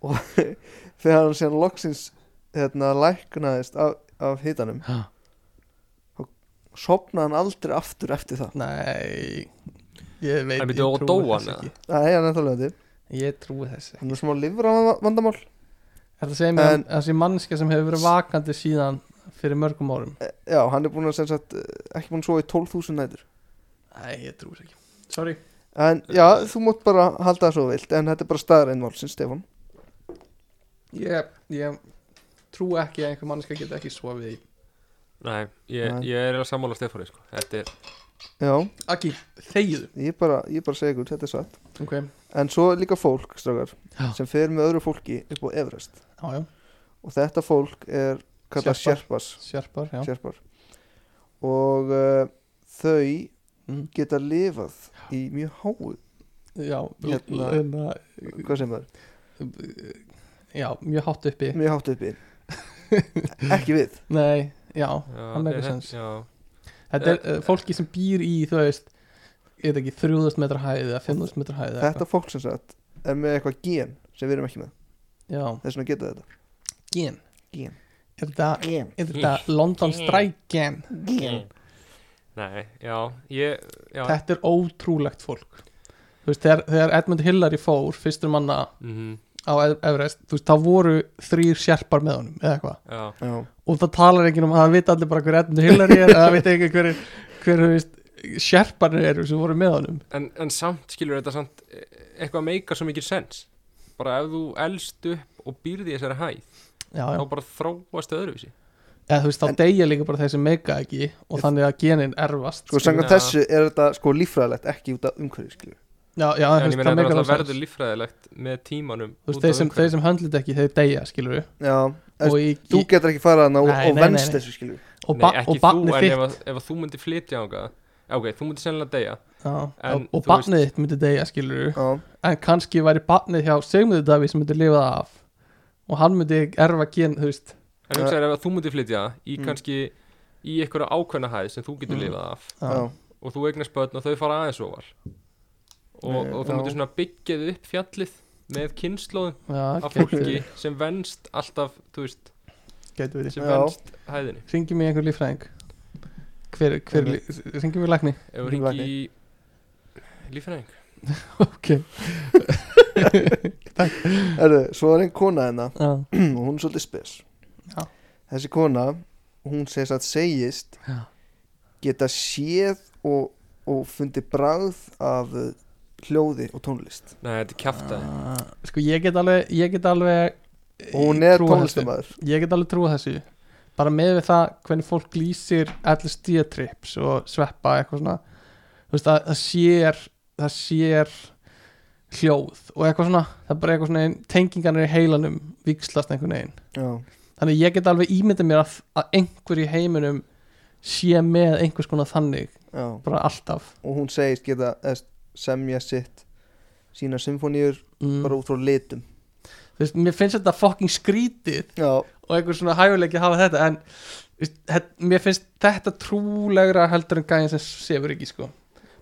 [SPEAKER 1] Þegar hann sér loksins Hérna læknaðist af, af hittanum
[SPEAKER 4] Ha.
[SPEAKER 1] Sopnaði hann aldrei aftur eftir það
[SPEAKER 4] nei Ég veit,
[SPEAKER 2] En
[SPEAKER 4] ég
[SPEAKER 2] byrju, og dó
[SPEAKER 4] trúi
[SPEAKER 2] hann,
[SPEAKER 4] þess
[SPEAKER 2] eða?
[SPEAKER 4] ekki
[SPEAKER 1] Það er hann eftir löndi
[SPEAKER 4] Ég trúi þess ekki
[SPEAKER 1] Hann er smá lifur á vandamál
[SPEAKER 4] Er það að segja mér
[SPEAKER 1] En-
[SPEAKER 4] en... að þessi mannskja sem hefur verið vakandi síðan fyrir mörgum árum
[SPEAKER 1] Eh, Já, hann er búin að sem sagt eh, Ekki búin að sofa í 12.000 nætur
[SPEAKER 4] Nei, ég trúi þess ekki Sorry
[SPEAKER 1] En já, þú mátt bara halda það svo vilt En þetta er bara staðar einmálsins, Stefán
[SPEAKER 4] Ég, ég trú ekki að einhver mannska geta ekki sofið í
[SPEAKER 2] Nei, ég,
[SPEAKER 1] Nei.
[SPEAKER 2] ég er að sammála Stefáni sko. Þetta er
[SPEAKER 1] Já,
[SPEAKER 4] Akki, þegiðu
[SPEAKER 1] ég bara, ég bara segi ykkur, þetta er satt
[SPEAKER 4] Ok,
[SPEAKER 1] En svo er líka fólk, strákar
[SPEAKER 4] Já.
[SPEAKER 1] Sem fer með öðru fólki upp á Everest
[SPEAKER 4] já, já,
[SPEAKER 1] Og þetta fólk er kallað
[SPEAKER 4] Sherpas.
[SPEAKER 1] Sherpas
[SPEAKER 4] sérpar, já
[SPEAKER 1] Sherpar Og uh, þau
[SPEAKER 4] Mm.
[SPEAKER 1] geta lifað í mjög háu
[SPEAKER 4] Já,
[SPEAKER 1] Hérna-
[SPEAKER 4] hérna
[SPEAKER 1] Hvað sem það er,
[SPEAKER 4] Já, mjög hátt uppi
[SPEAKER 1] mjög hátt uppi Ekki við
[SPEAKER 4] Nei, já,
[SPEAKER 2] já,
[SPEAKER 4] Það meikar
[SPEAKER 2] ég-
[SPEAKER 4] sens.
[SPEAKER 2] Já,
[SPEAKER 4] þetta er uh, fólki sem býr í, þú veist Ég veit ekki, 3000 metra hæð eða 5000 metra hæð eða
[SPEAKER 1] Þetta fólk sem sagt er með eitthvað gen sem við erum ekki með
[SPEAKER 4] eitthvað. Já,
[SPEAKER 1] Þess vegna geta þetta
[SPEAKER 4] gen
[SPEAKER 1] Gen.
[SPEAKER 4] Er þetta,
[SPEAKER 1] Gen,
[SPEAKER 4] er þetta London Strike gen?
[SPEAKER 1] gen
[SPEAKER 2] nei, já Ég, já
[SPEAKER 4] Þetta er ótrúlegt fólk Þú veist, þegar, þegar Edmund Hillary fór fyrstur manna
[SPEAKER 2] mhm,
[SPEAKER 4] á Ev- Everest þú veist, þá voru þrýr sérpar með honum eða eitthvað
[SPEAKER 2] Já,
[SPEAKER 1] Já,
[SPEAKER 4] og það talar ekki um að það vita allir bara hver Edmund Hillary er eða það vita ekki hver, hver þú veist, sérparnir eru sem voru með honum
[SPEAKER 2] en, en samt skilur þetta samt e- Eitthvað meikar svo mikil sens Bara ef þú elst upp og býrði þessari hæð
[SPEAKER 4] já, já.
[SPEAKER 2] Þá bara þróast öðruvísi
[SPEAKER 4] Eða, þú veist, þá
[SPEAKER 1] En-
[SPEAKER 4] deyja líka bara þeir sem meika ekki og
[SPEAKER 1] Ég-
[SPEAKER 4] þannig að genin erfast
[SPEAKER 1] Sko,
[SPEAKER 4] skilur.
[SPEAKER 1] samkvæmt
[SPEAKER 2] Já.
[SPEAKER 1] þessu er þetta sko líffræðilegt ekki út af umhverju, skilju.
[SPEAKER 4] já, já, þú
[SPEAKER 2] En ég
[SPEAKER 4] veist,
[SPEAKER 2] meina þetta
[SPEAKER 4] það
[SPEAKER 2] er
[SPEAKER 4] meikar
[SPEAKER 2] alltaf
[SPEAKER 4] alveg
[SPEAKER 2] verður
[SPEAKER 4] sens.
[SPEAKER 2] líffræðilegt með tímanum
[SPEAKER 4] Þú veist,
[SPEAKER 2] út af
[SPEAKER 4] þeir sem, þeir
[SPEAKER 2] umhverfinu.
[SPEAKER 4] sem höndlit ekki, þeir deyja, skilur við
[SPEAKER 1] Já,
[SPEAKER 4] og, í,
[SPEAKER 1] þú
[SPEAKER 4] í,
[SPEAKER 1] getur ekki farað hana og,
[SPEAKER 4] Nei,
[SPEAKER 1] og
[SPEAKER 4] nei,
[SPEAKER 1] venst
[SPEAKER 4] nei, nei.
[SPEAKER 1] þessu, skilju.
[SPEAKER 4] og, ba
[SPEAKER 2] Nei,
[SPEAKER 4] og
[SPEAKER 2] ekki þú,
[SPEAKER 4] barnið
[SPEAKER 2] en ef,
[SPEAKER 4] þitt
[SPEAKER 2] að, ef að þú myndir flytja ánga Ok, þú myndir sennilega deyja
[SPEAKER 4] já,
[SPEAKER 2] en
[SPEAKER 4] og, og
[SPEAKER 2] þú
[SPEAKER 4] barnið þitt myndi deyja, skilur við
[SPEAKER 1] Já,
[SPEAKER 4] en kannski væri barnið hjá Sigmundur Davíð sem myndi lifa það af og hann myndi erfa gen, þú veist
[SPEAKER 2] En þú segir ef að þú myndir flytja í
[SPEAKER 1] Mm.
[SPEAKER 2] kannski í einhverja ákveðna hæð sem þú getur
[SPEAKER 4] Mm.
[SPEAKER 2] lifað af
[SPEAKER 1] já,
[SPEAKER 4] já,
[SPEAKER 2] og þú eignast börn og þau fara aðeins ofar og,
[SPEAKER 1] Nei,
[SPEAKER 2] og þú
[SPEAKER 1] já.
[SPEAKER 2] myndir svona byggja þið upp fjallið með kynnslóðum
[SPEAKER 4] já,
[SPEAKER 2] af
[SPEAKER 4] gæti
[SPEAKER 2] fólki
[SPEAKER 4] verið,
[SPEAKER 2] sem venst alltaf, þú veist,
[SPEAKER 4] gæti verið
[SPEAKER 2] sem
[SPEAKER 1] Já.
[SPEAKER 2] venst hæðinni
[SPEAKER 4] ringi mig einhver lífræðing hver, hver, ringi mig lækni
[SPEAKER 2] ef þú ringi í lífræðing
[SPEAKER 4] ok
[SPEAKER 1] Erðu, svo er einn kona hérna
[SPEAKER 4] Já.
[SPEAKER 1] og hún er svolítið spes
[SPEAKER 4] Já.
[SPEAKER 1] þessi kona, hún segist að segist
[SPEAKER 4] Já.
[SPEAKER 1] geta séð og, og fundi bragð af uh, hljóði og tónlist
[SPEAKER 2] Nei, þetta er kjaftaði
[SPEAKER 4] Ah, Sko ég get alveg Ég get alveg eh,
[SPEAKER 1] og hún er
[SPEAKER 4] trúa þessu.
[SPEAKER 1] tónlistamæður
[SPEAKER 4] Ég get alveg trúa þessu Bara með við það hvernig fólk lýsir allir stíatrips og sveppa eitthvað svona Þú veist að það sér það sér hljóð og eitthvað svona það er bara eitthvað svona tengingarnir í heilanum vikslast einhvern veginn þannig ég get alveg ímyndið mér að, að einhver í heiminum sé með einhvers konar þannig bara alltaf
[SPEAKER 1] og hún segist geta eða, semja sitt sína symfóníur
[SPEAKER 4] mm.
[SPEAKER 1] bara út frá litum
[SPEAKER 4] Þú veist, mér finnst þetta fucking skrítið
[SPEAKER 1] já,
[SPEAKER 4] og einhver svona hæguleiki að hafa þetta en þú veist, het- mér finnst þetta trúlegra heldur en gæðin sem sefur ekki sko.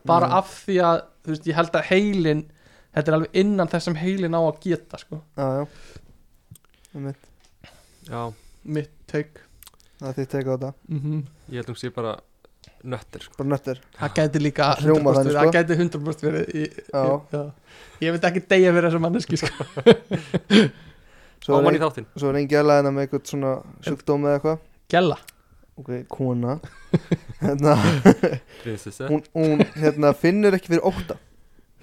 [SPEAKER 4] bara
[SPEAKER 1] Mm.
[SPEAKER 4] af því að þú veist, ég held að heilin þetta er alveg innan þess sem heilin á að geta sko.
[SPEAKER 1] já, já Einmitt.
[SPEAKER 2] Já,
[SPEAKER 4] mitt teik
[SPEAKER 1] það er þitt teka á þetta,
[SPEAKER 4] mm
[SPEAKER 2] ég held hún sé bara nöttir sko.
[SPEAKER 1] bara nöttir
[SPEAKER 4] það gæti líka
[SPEAKER 1] Hljómar
[SPEAKER 4] 100%
[SPEAKER 1] þannig,
[SPEAKER 4] verið-
[SPEAKER 1] sko.
[SPEAKER 4] það gæti 100% verið í,
[SPEAKER 1] Já.
[SPEAKER 4] í, já. ég veit ekki degja fyrir þessu manneski sko.
[SPEAKER 1] svo
[SPEAKER 2] Áman
[SPEAKER 1] er,
[SPEAKER 2] í þáttinn
[SPEAKER 1] ein- svo er einn gæla hérna með eitthvað svona sjúkdóm eða eitthvað
[SPEAKER 4] gæla
[SPEAKER 1] ok, kona hérna,
[SPEAKER 2] Prinsessa
[SPEAKER 1] hún, hún hérna, finnur ekki fyrir ótta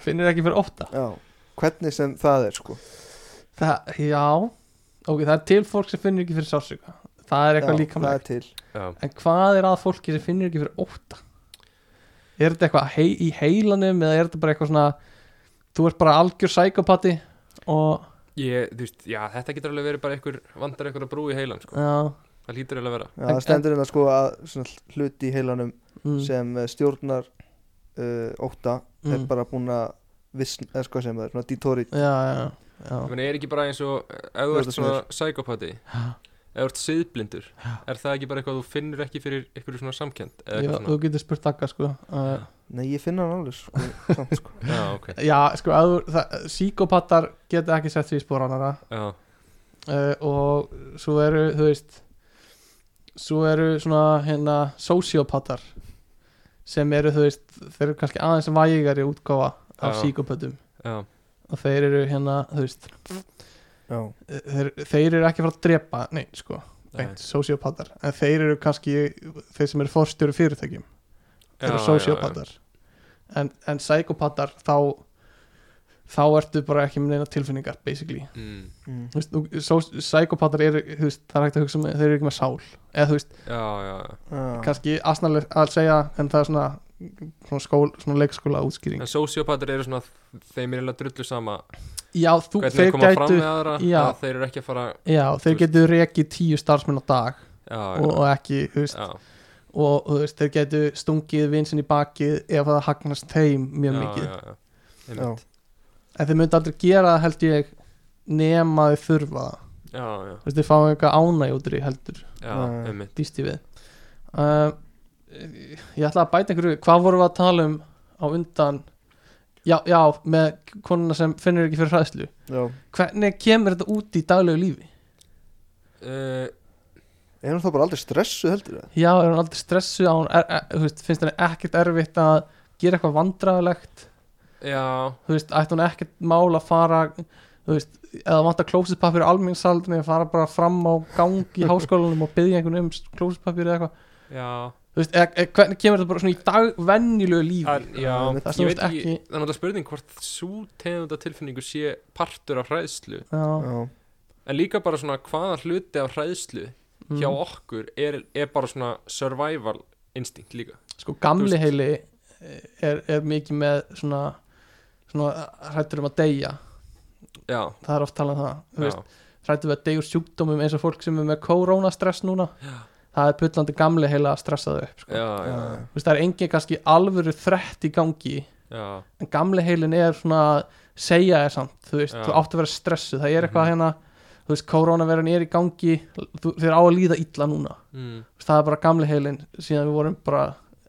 [SPEAKER 4] finnir ekki fyrir óta
[SPEAKER 1] já. hvernig sem það er sko
[SPEAKER 4] það, já, ok, það er til fólk sem finnir ekki fyrir sársöka það er eitthvað
[SPEAKER 1] Já,
[SPEAKER 4] líkamlega
[SPEAKER 1] það er til
[SPEAKER 2] Já,
[SPEAKER 4] En hvað er að fólki sem finnir ekki fyrir óta? Er þetta eitthvað hei, í heilanum eða er þetta bara eitthvað svona þú ert bara algjör sækopati og
[SPEAKER 2] ég, þú veist, já, þetta getur alveg verið bara einhver vandar einhver að brú í heilan sko.
[SPEAKER 4] já,
[SPEAKER 2] Það lítur alveg að vera
[SPEAKER 1] já,
[SPEAKER 4] En-
[SPEAKER 1] það stendur hérna sko að svona, hluti í heilanum
[SPEAKER 4] mm,
[SPEAKER 1] sem eh, stjórnar uh, ótta er
[SPEAKER 4] mm,
[SPEAKER 1] bara búin að vissn, eða sko sem það er, svona dítóri
[SPEAKER 4] já, já, já.
[SPEAKER 2] Ég meina, er ekki bara eins og eh, ef
[SPEAKER 1] Þú
[SPEAKER 2] þú ert
[SPEAKER 1] ert
[SPEAKER 2] svona psykopati ef þú ert siðblindur
[SPEAKER 4] Já.
[SPEAKER 2] er það ekki bara eitthvað að þú finnur ekki fyrir einhverju svona samkend eða
[SPEAKER 4] Já,
[SPEAKER 2] eitthvað
[SPEAKER 4] þú getur spurt þakka sko uh,
[SPEAKER 1] nei, ég finna hann alveg sko, samt, sko.
[SPEAKER 2] svona Já, ok
[SPEAKER 4] já, sko, að þú- það- síkópatar geta ekki sett því spóranara
[SPEAKER 2] Já,
[SPEAKER 4] uh, og svo eru, þú veist svo eru svona hérna sociopatar sem eru, þú veist, þeir eru kannski aðeins vægari útgáfa af
[SPEAKER 2] Já.
[SPEAKER 4] síkópatum
[SPEAKER 2] já,
[SPEAKER 4] og þeir eru hérna, þú veist
[SPEAKER 1] já,
[SPEAKER 4] þeir, þeir eru ekki að fara að drepa neinn, sko,
[SPEAKER 2] já,
[SPEAKER 4] beint, sociopatar en þeir eru kannski, þeir sem eru forstjóri fyrirtækjum, þeir eru
[SPEAKER 2] já,
[SPEAKER 4] sociopatar en, en psykopatar þá þá ertu bara ekki með neina tilfinningar, basically
[SPEAKER 2] já. Mm,
[SPEAKER 1] mm.
[SPEAKER 4] Þú veist, þú- só- psykopatar eru, þú veist, það er hægt að hugsa með, þeir eru ekki með sál, eða þú veist,
[SPEAKER 2] já, já, já
[SPEAKER 1] já.
[SPEAKER 4] kannski asnaleg að segja, en það er svona svona, skól, svona leikskóla útskýring
[SPEAKER 2] En sociopatar eru svona þeim er eiginlega drullu sama
[SPEAKER 4] já, þú,
[SPEAKER 2] hvernig þeir
[SPEAKER 4] þeir
[SPEAKER 2] koma fram
[SPEAKER 4] gætu
[SPEAKER 2] með aðra
[SPEAKER 4] já.
[SPEAKER 2] að þeir eru ekki að fara
[SPEAKER 4] já,
[SPEAKER 2] þú
[SPEAKER 4] þeir
[SPEAKER 2] veist.
[SPEAKER 4] getur rekið tíu starfsmenn á dag
[SPEAKER 2] Já,
[SPEAKER 4] og, og ekki, þú veist
[SPEAKER 2] já,
[SPEAKER 4] og þú veist, þeir getu stungið vinsinn í bakið ef það hagnast þeim
[SPEAKER 2] já,
[SPEAKER 4] mjög mikið
[SPEAKER 2] já, já, já. einmitt.
[SPEAKER 4] en þeir myndi aldrei gera það held ég nema þeir þurfa það
[SPEAKER 2] já, já,
[SPEAKER 4] þú veist, þeir fá eitthvað ánægjútri heldur
[SPEAKER 2] já,
[SPEAKER 1] Já, já.
[SPEAKER 2] einmitt
[SPEAKER 4] býst ég við uh, ég ætla að bæta einhverju hvað vorum við að tala um á undan já, já, með konuna sem finnur ekki fyrir hræðslu
[SPEAKER 1] já.
[SPEAKER 4] hvernig kemur þetta út í daglegu lífi?
[SPEAKER 2] Uh,
[SPEAKER 1] er hún þá bara aldrei stressu heldur það
[SPEAKER 4] já, er hún aldrei stressu á hún er, er, þú veist, finnst henni ekkert erfitt að gera eitthvað vandræðalegt
[SPEAKER 2] Já,
[SPEAKER 4] þú veist, ætti hún ekkert mál að fara þú veist, eða vantar klósitpapir á almenningsaldinni, fara bara fram á gang í háskólanum og byggja einhvern um klósitpapir eða eitthvað,
[SPEAKER 2] já
[SPEAKER 4] þú veist, eða, eða hvernig kemur þetta bara svona í dagvenjulegu lífi
[SPEAKER 2] Það, já,
[SPEAKER 1] Það
[SPEAKER 2] það,
[SPEAKER 4] snúist
[SPEAKER 2] veit, ekki... það
[SPEAKER 4] ekki-
[SPEAKER 2] er náttúrulega spurning hvort svo tegunda tilfinningu sé partur af hræðslu
[SPEAKER 4] já,
[SPEAKER 1] já,
[SPEAKER 2] en líka bara svona hvaða hluti af hræðslu
[SPEAKER 4] mm.
[SPEAKER 2] hjá okkur er, er bara svona survival instinct líka
[SPEAKER 4] sko
[SPEAKER 2] þú
[SPEAKER 4] gamli
[SPEAKER 2] veist-
[SPEAKER 4] heili er, er mikið með svona, svona hrættur um að deyja
[SPEAKER 2] Já,
[SPEAKER 4] það er oft talað um það, þú
[SPEAKER 2] já,
[SPEAKER 4] veist, hrættur við að deyja úr sjúkdómum eins og fólk sem er með koronastress núna það er pullandi gamli heila að stressa þau upp, sko.
[SPEAKER 2] já, já,
[SPEAKER 1] já,
[SPEAKER 2] já,
[SPEAKER 4] þú veist, það er engin kannski alvöru þrett í gangi
[SPEAKER 2] já,
[SPEAKER 4] en gamli heilin er svona að segja þér samt, þú veist,
[SPEAKER 2] Já. Mhm.
[SPEAKER 4] þú átt að vera stressu það er eitthvað hérna, þú veist, koronaveran er í gangi, þú, þér á að líða illa núna,
[SPEAKER 2] Mm.
[SPEAKER 4] Þú veist, það er bara gamli heilin síðan við vorum bara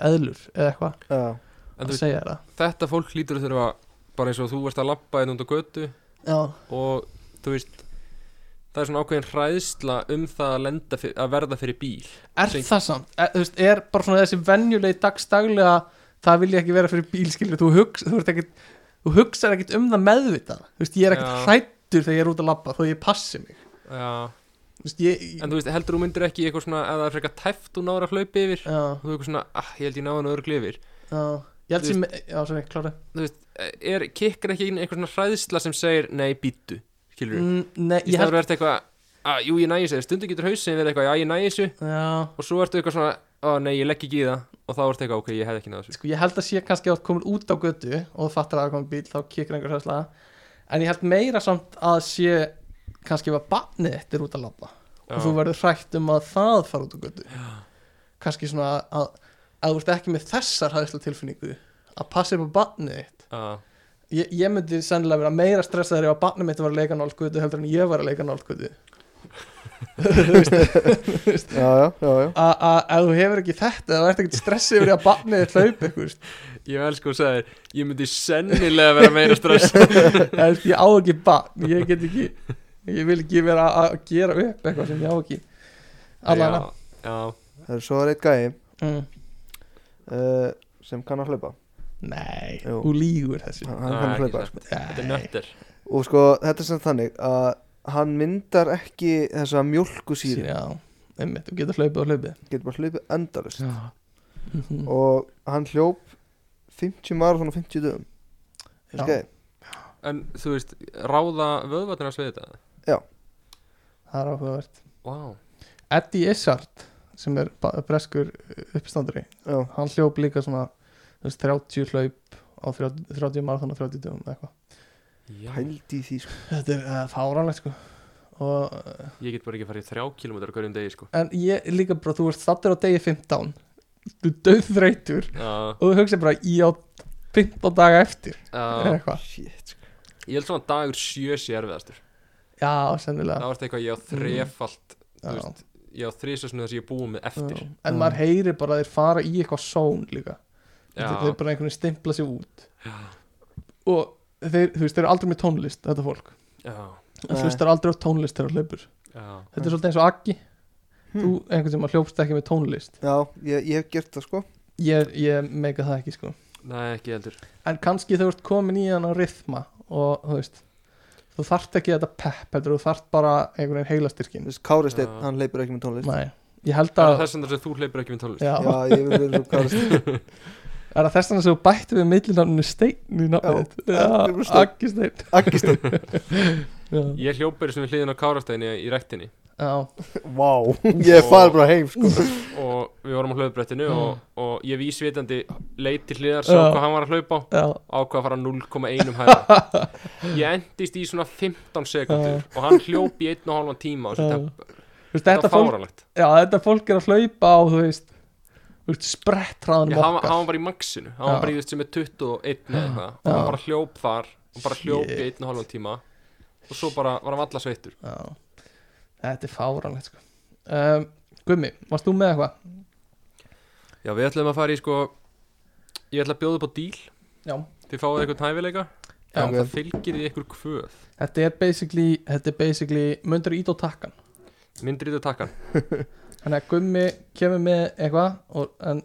[SPEAKER 4] eðlur eða eitthvað,
[SPEAKER 1] já,
[SPEAKER 2] En
[SPEAKER 4] að
[SPEAKER 2] þú veist,
[SPEAKER 4] segja þér það
[SPEAKER 2] þetta fólk lítur að þurfa bara eins og þú varst að labba einn út á götu
[SPEAKER 4] já,
[SPEAKER 2] og þú veist það er svona ákveðin hræðsla um það að, lenda fyr, að verða fyrir bíl
[SPEAKER 4] er
[SPEAKER 2] Sink.
[SPEAKER 4] það samt, er, þú veist, er bara svona þessi venjulegi dagstaglega, það vil ég ekki vera fyrir bílskilur, þú hugsa, þú ert ekkit þú hugsar ekkit um það meðvitað, þú veist, ég er ekkit
[SPEAKER 2] Já.
[SPEAKER 4] hrætt hrættur þegar ég er út að labba þó ég passi mig
[SPEAKER 2] Já,
[SPEAKER 4] Þú veist, ég, ég,
[SPEAKER 2] en þú veist, heldur þú myndir ekki í eitthvað svona, ef það er frekar tæft og náður að hlaupa yfir
[SPEAKER 4] já,
[SPEAKER 2] og þú eitthvað svona, ah, ég held ég náður að örgli yfir
[SPEAKER 4] já, ég held
[SPEAKER 2] Þú
[SPEAKER 4] sem já, sorry, klára
[SPEAKER 2] þú veist, er, kikkar ekki inn einhver svona hræðsla sem segir, nei, býttu skilur þú,
[SPEAKER 4] mm, nei,
[SPEAKER 2] í
[SPEAKER 4] ég
[SPEAKER 2] staður
[SPEAKER 4] held
[SPEAKER 2] verður eitthvað að, jú, ég næ þessu, stundum getur hausin verið eitthvað, já, ég næ þessu
[SPEAKER 4] já,
[SPEAKER 2] og svo ertu eitthvað svona, að nei, ég legg ekki í það og þá ertu eitthvað, ok, ég hef ekki náð þessu
[SPEAKER 4] sko, ég held að sé kannski að komin út á götu og þú fattar að það er komin bíl þá kikir einhver hræðslega en ég held meira samt að sé kannski ef að barnið þetta er út að labba og þú
[SPEAKER 2] já,
[SPEAKER 4] verður hrætt um að það fara út á götu já. kannski svona að að þú ert ekki með þessar hræðslega tilfinningu að passa upp á barnið þitt
[SPEAKER 2] að,
[SPEAKER 4] ég, ég myndi sennilega vera meira stressaður ef að barnið mitt var að leika nálskutu heldur en ég var að leika nálskutu
[SPEAKER 1] já, já, já, já.
[SPEAKER 4] að þú hefur ekki þetta það ert ekkert stressið yfir því að barnið þitt hlaup ykkur
[SPEAKER 2] ég elsku að segja þér, ég myndi sennilega vera meira stress
[SPEAKER 4] ég á ekki barn, ég get ekki ég vil ekki vera að- að gera upp eitthvað sem ég á ekki allan
[SPEAKER 2] já, já,
[SPEAKER 1] Það er svo er eitt gæi
[SPEAKER 4] mm.
[SPEAKER 1] uh, sem kann að hlaupa
[SPEAKER 4] nei,
[SPEAKER 1] Jú.
[SPEAKER 4] þú lígur þessu
[SPEAKER 1] hann hann
[SPEAKER 2] Já,
[SPEAKER 1] kann að
[SPEAKER 2] ekki
[SPEAKER 1] hlaupa
[SPEAKER 2] það, sko. þetta er nöttir
[SPEAKER 1] og sko þetta er sem þannig að hann myndar ekki þessa mjólkusýri
[SPEAKER 4] já, einmitt, þú getur hlaupið og hlaupið
[SPEAKER 1] getur bara hlaupið endalust
[SPEAKER 4] Mhm.
[SPEAKER 1] og hann hljóp 50 marathon á 50 dögum
[SPEAKER 4] Já.
[SPEAKER 1] okay.
[SPEAKER 2] en þú veist, ráða vöðvarnir að sveita þetta,
[SPEAKER 4] það er áhugavert
[SPEAKER 2] wow
[SPEAKER 4] Eddie Izzard sem er ba- breskur uppstandari
[SPEAKER 1] já,
[SPEAKER 4] hann hljóp líka svona þú veist, 30 hlaup á 30, 30 marathon á 30 dögum eða eitthvað
[SPEAKER 2] Já,
[SPEAKER 1] hældi í því sko.
[SPEAKER 4] þetta er uh, fáránlegt sko og, uh,
[SPEAKER 2] ég get bara ekki farið þrjá kilómetrar á hverjum degi sko.
[SPEAKER 4] en ég líka bara þú ert stattur á degi 15 þú döð þreytur
[SPEAKER 2] uh,
[SPEAKER 4] og þú hugsa bara ég á 15 daga eftir
[SPEAKER 2] uh,
[SPEAKER 4] eða eitthvað
[SPEAKER 1] Shit, sko.
[SPEAKER 2] Ég held svona að dagur sjö sé erfiðastur
[SPEAKER 4] já, Mm.
[SPEAKER 2] Það
[SPEAKER 4] sennilega
[SPEAKER 2] var eitthvað ég á þrefalt
[SPEAKER 4] já,
[SPEAKER 2] þú veist, Ég á þrísasunum þess að ég er búið með eftir Mm.
[SPEAKER 4] já. en maður heyri bara að þeir fara í eitthvað són líka
[SPEAKER 2] Já,
[SPEAKER 4] þeir, þeir bara einhvern veginn stimpla sér út og þeir, þú veist, þeir eru aldrei með tónlist þetta fólk,
[SPEAKER 2] já,
[SPEAKER 4] það
[SPEAKER 1] Nei.
[SPEAKER 4] hlustar aldrei á tónlist þegar það hlaupur
[SPEAKER 2] já
[SPEAKER 4] Þetta er svolítið eins og Aggi
[SPEAKER 1] Hmm.
[SPEAKER 4] Þú einhvern sem að hljópst ekki með tónlist
[SPEAKER 1] já, ég, ég hef gert það sko
[SPEAKER 4] Ég, ég meika það ekki sko
[SPEAKER 2] Nei, ekki heldur
[SPEAKER 4] En kannski þú ert komin í hann á rithma Og þú veist Þú þarft ekki þetta pepp heldur Þú þarft bara einhvern veginn heilastyrkin
[SPEAKER 1] Þess, Kári Steinn,
[SPEAKER 2] Já.
[SPEAKER 1] hann hleypur ekki með tónlist
[SPEAKER 4] Nei, ég held
[SPEAKER 2] Það
[SPEAKER 4] að
[SPEAKER 2] er þess vegna sem þú hleypur ekki með tónlist
[SPEAKER 4] Já,
[SPEAKER 1] já, ég vil vera svo Kári Steinn
[SPEAKER 4] er það þess vegna sem þú bætti við millinafninu Steinn í
[SPEAKER 1] Já,
[SPEAKER 4] nafnið þitt?
[SPEAKER 1] Aggi
[SPEAKER 4] Já,
[SPEAKER 1] Steinn.
[SPEAKER 4] Aggi Steinn
[SPEAKER 1] Aggi Steinn,
[SPEAKER 4] Já,
[SPEAKER 2] Ég hljópar sem við hliðin á Kárastæðinni í rektinni
[SPEAKER 4] já,
[SPEAKER 1] vá ég er farið bara heim sko
[SPEAKER 2] Og við vorum á hlaupbrettinu og, og ég vísvitandi leit til hliðar Sá
[SPEAKER 4] Mm. Já.
[SPEAKER 2] hvað hann var að hlaupa á
[SPEAKER 4] já,
[SPEAKER 2] Ákvað að fara 0,1 hæða Ég endist í svona 15 sekundur Og hann hljóp í 1,5 tíma á þessu
[SPEAKER 4] já.
[SPEAKER 2] tempo.
[SPEAKER 4] Þú veist,
[SPEAKER 2] Þetta
[SPEAKER 4] Þetta
[SPEAKER 2] var
[SPEAKER 4] fólk,
[SPEAKER 2] fáralegt
[SPEAKER 4] já, þetta fólk er að hlaupa á þú veist, þú veist
[SPEAKER 2] Já,
[SPEAKER 4] sprettræðanum
[SPEAKER 2] hann,
[SPEAKER 4] okkar
[SPEAKER 2] hann var bara í maxinu hann var
[SPEAKER 4] Já.
[SPEAKER 2] bara í þessu með 21 eða eitthvað og
[SPEAKER 4] Já.
[SPEAKER 2] hann bara hljóp þar og bara hljóp í
[SPEAKER 4] Shit.
[SPEAKER 2] einn og halvan tíma og svo bara var hann alla sveittur
[SPEAKER 4] Já, þetta er fáránlegt sko. um, Gummi, varst þú með eitthvað?
[SPEAKER 2] Já, við ætlum að fara í sko ég ætla að bjóða upp á díl
[SPEAKER 4] Já
[SPEAKER 2] þið fáið eitthvað hæfileika
[SPEAKER 4] Já.
[SPEAKER 2] en það fylgir því eitthvað kvöð
[SPEAKER 4] Þetta er basically, þetta er basically Möndur ít á takkan
[SPEAKER 2] myndir í þetta takkan
[SPEAKER 4] Þannig að Gummi kemur með eitthvað og, En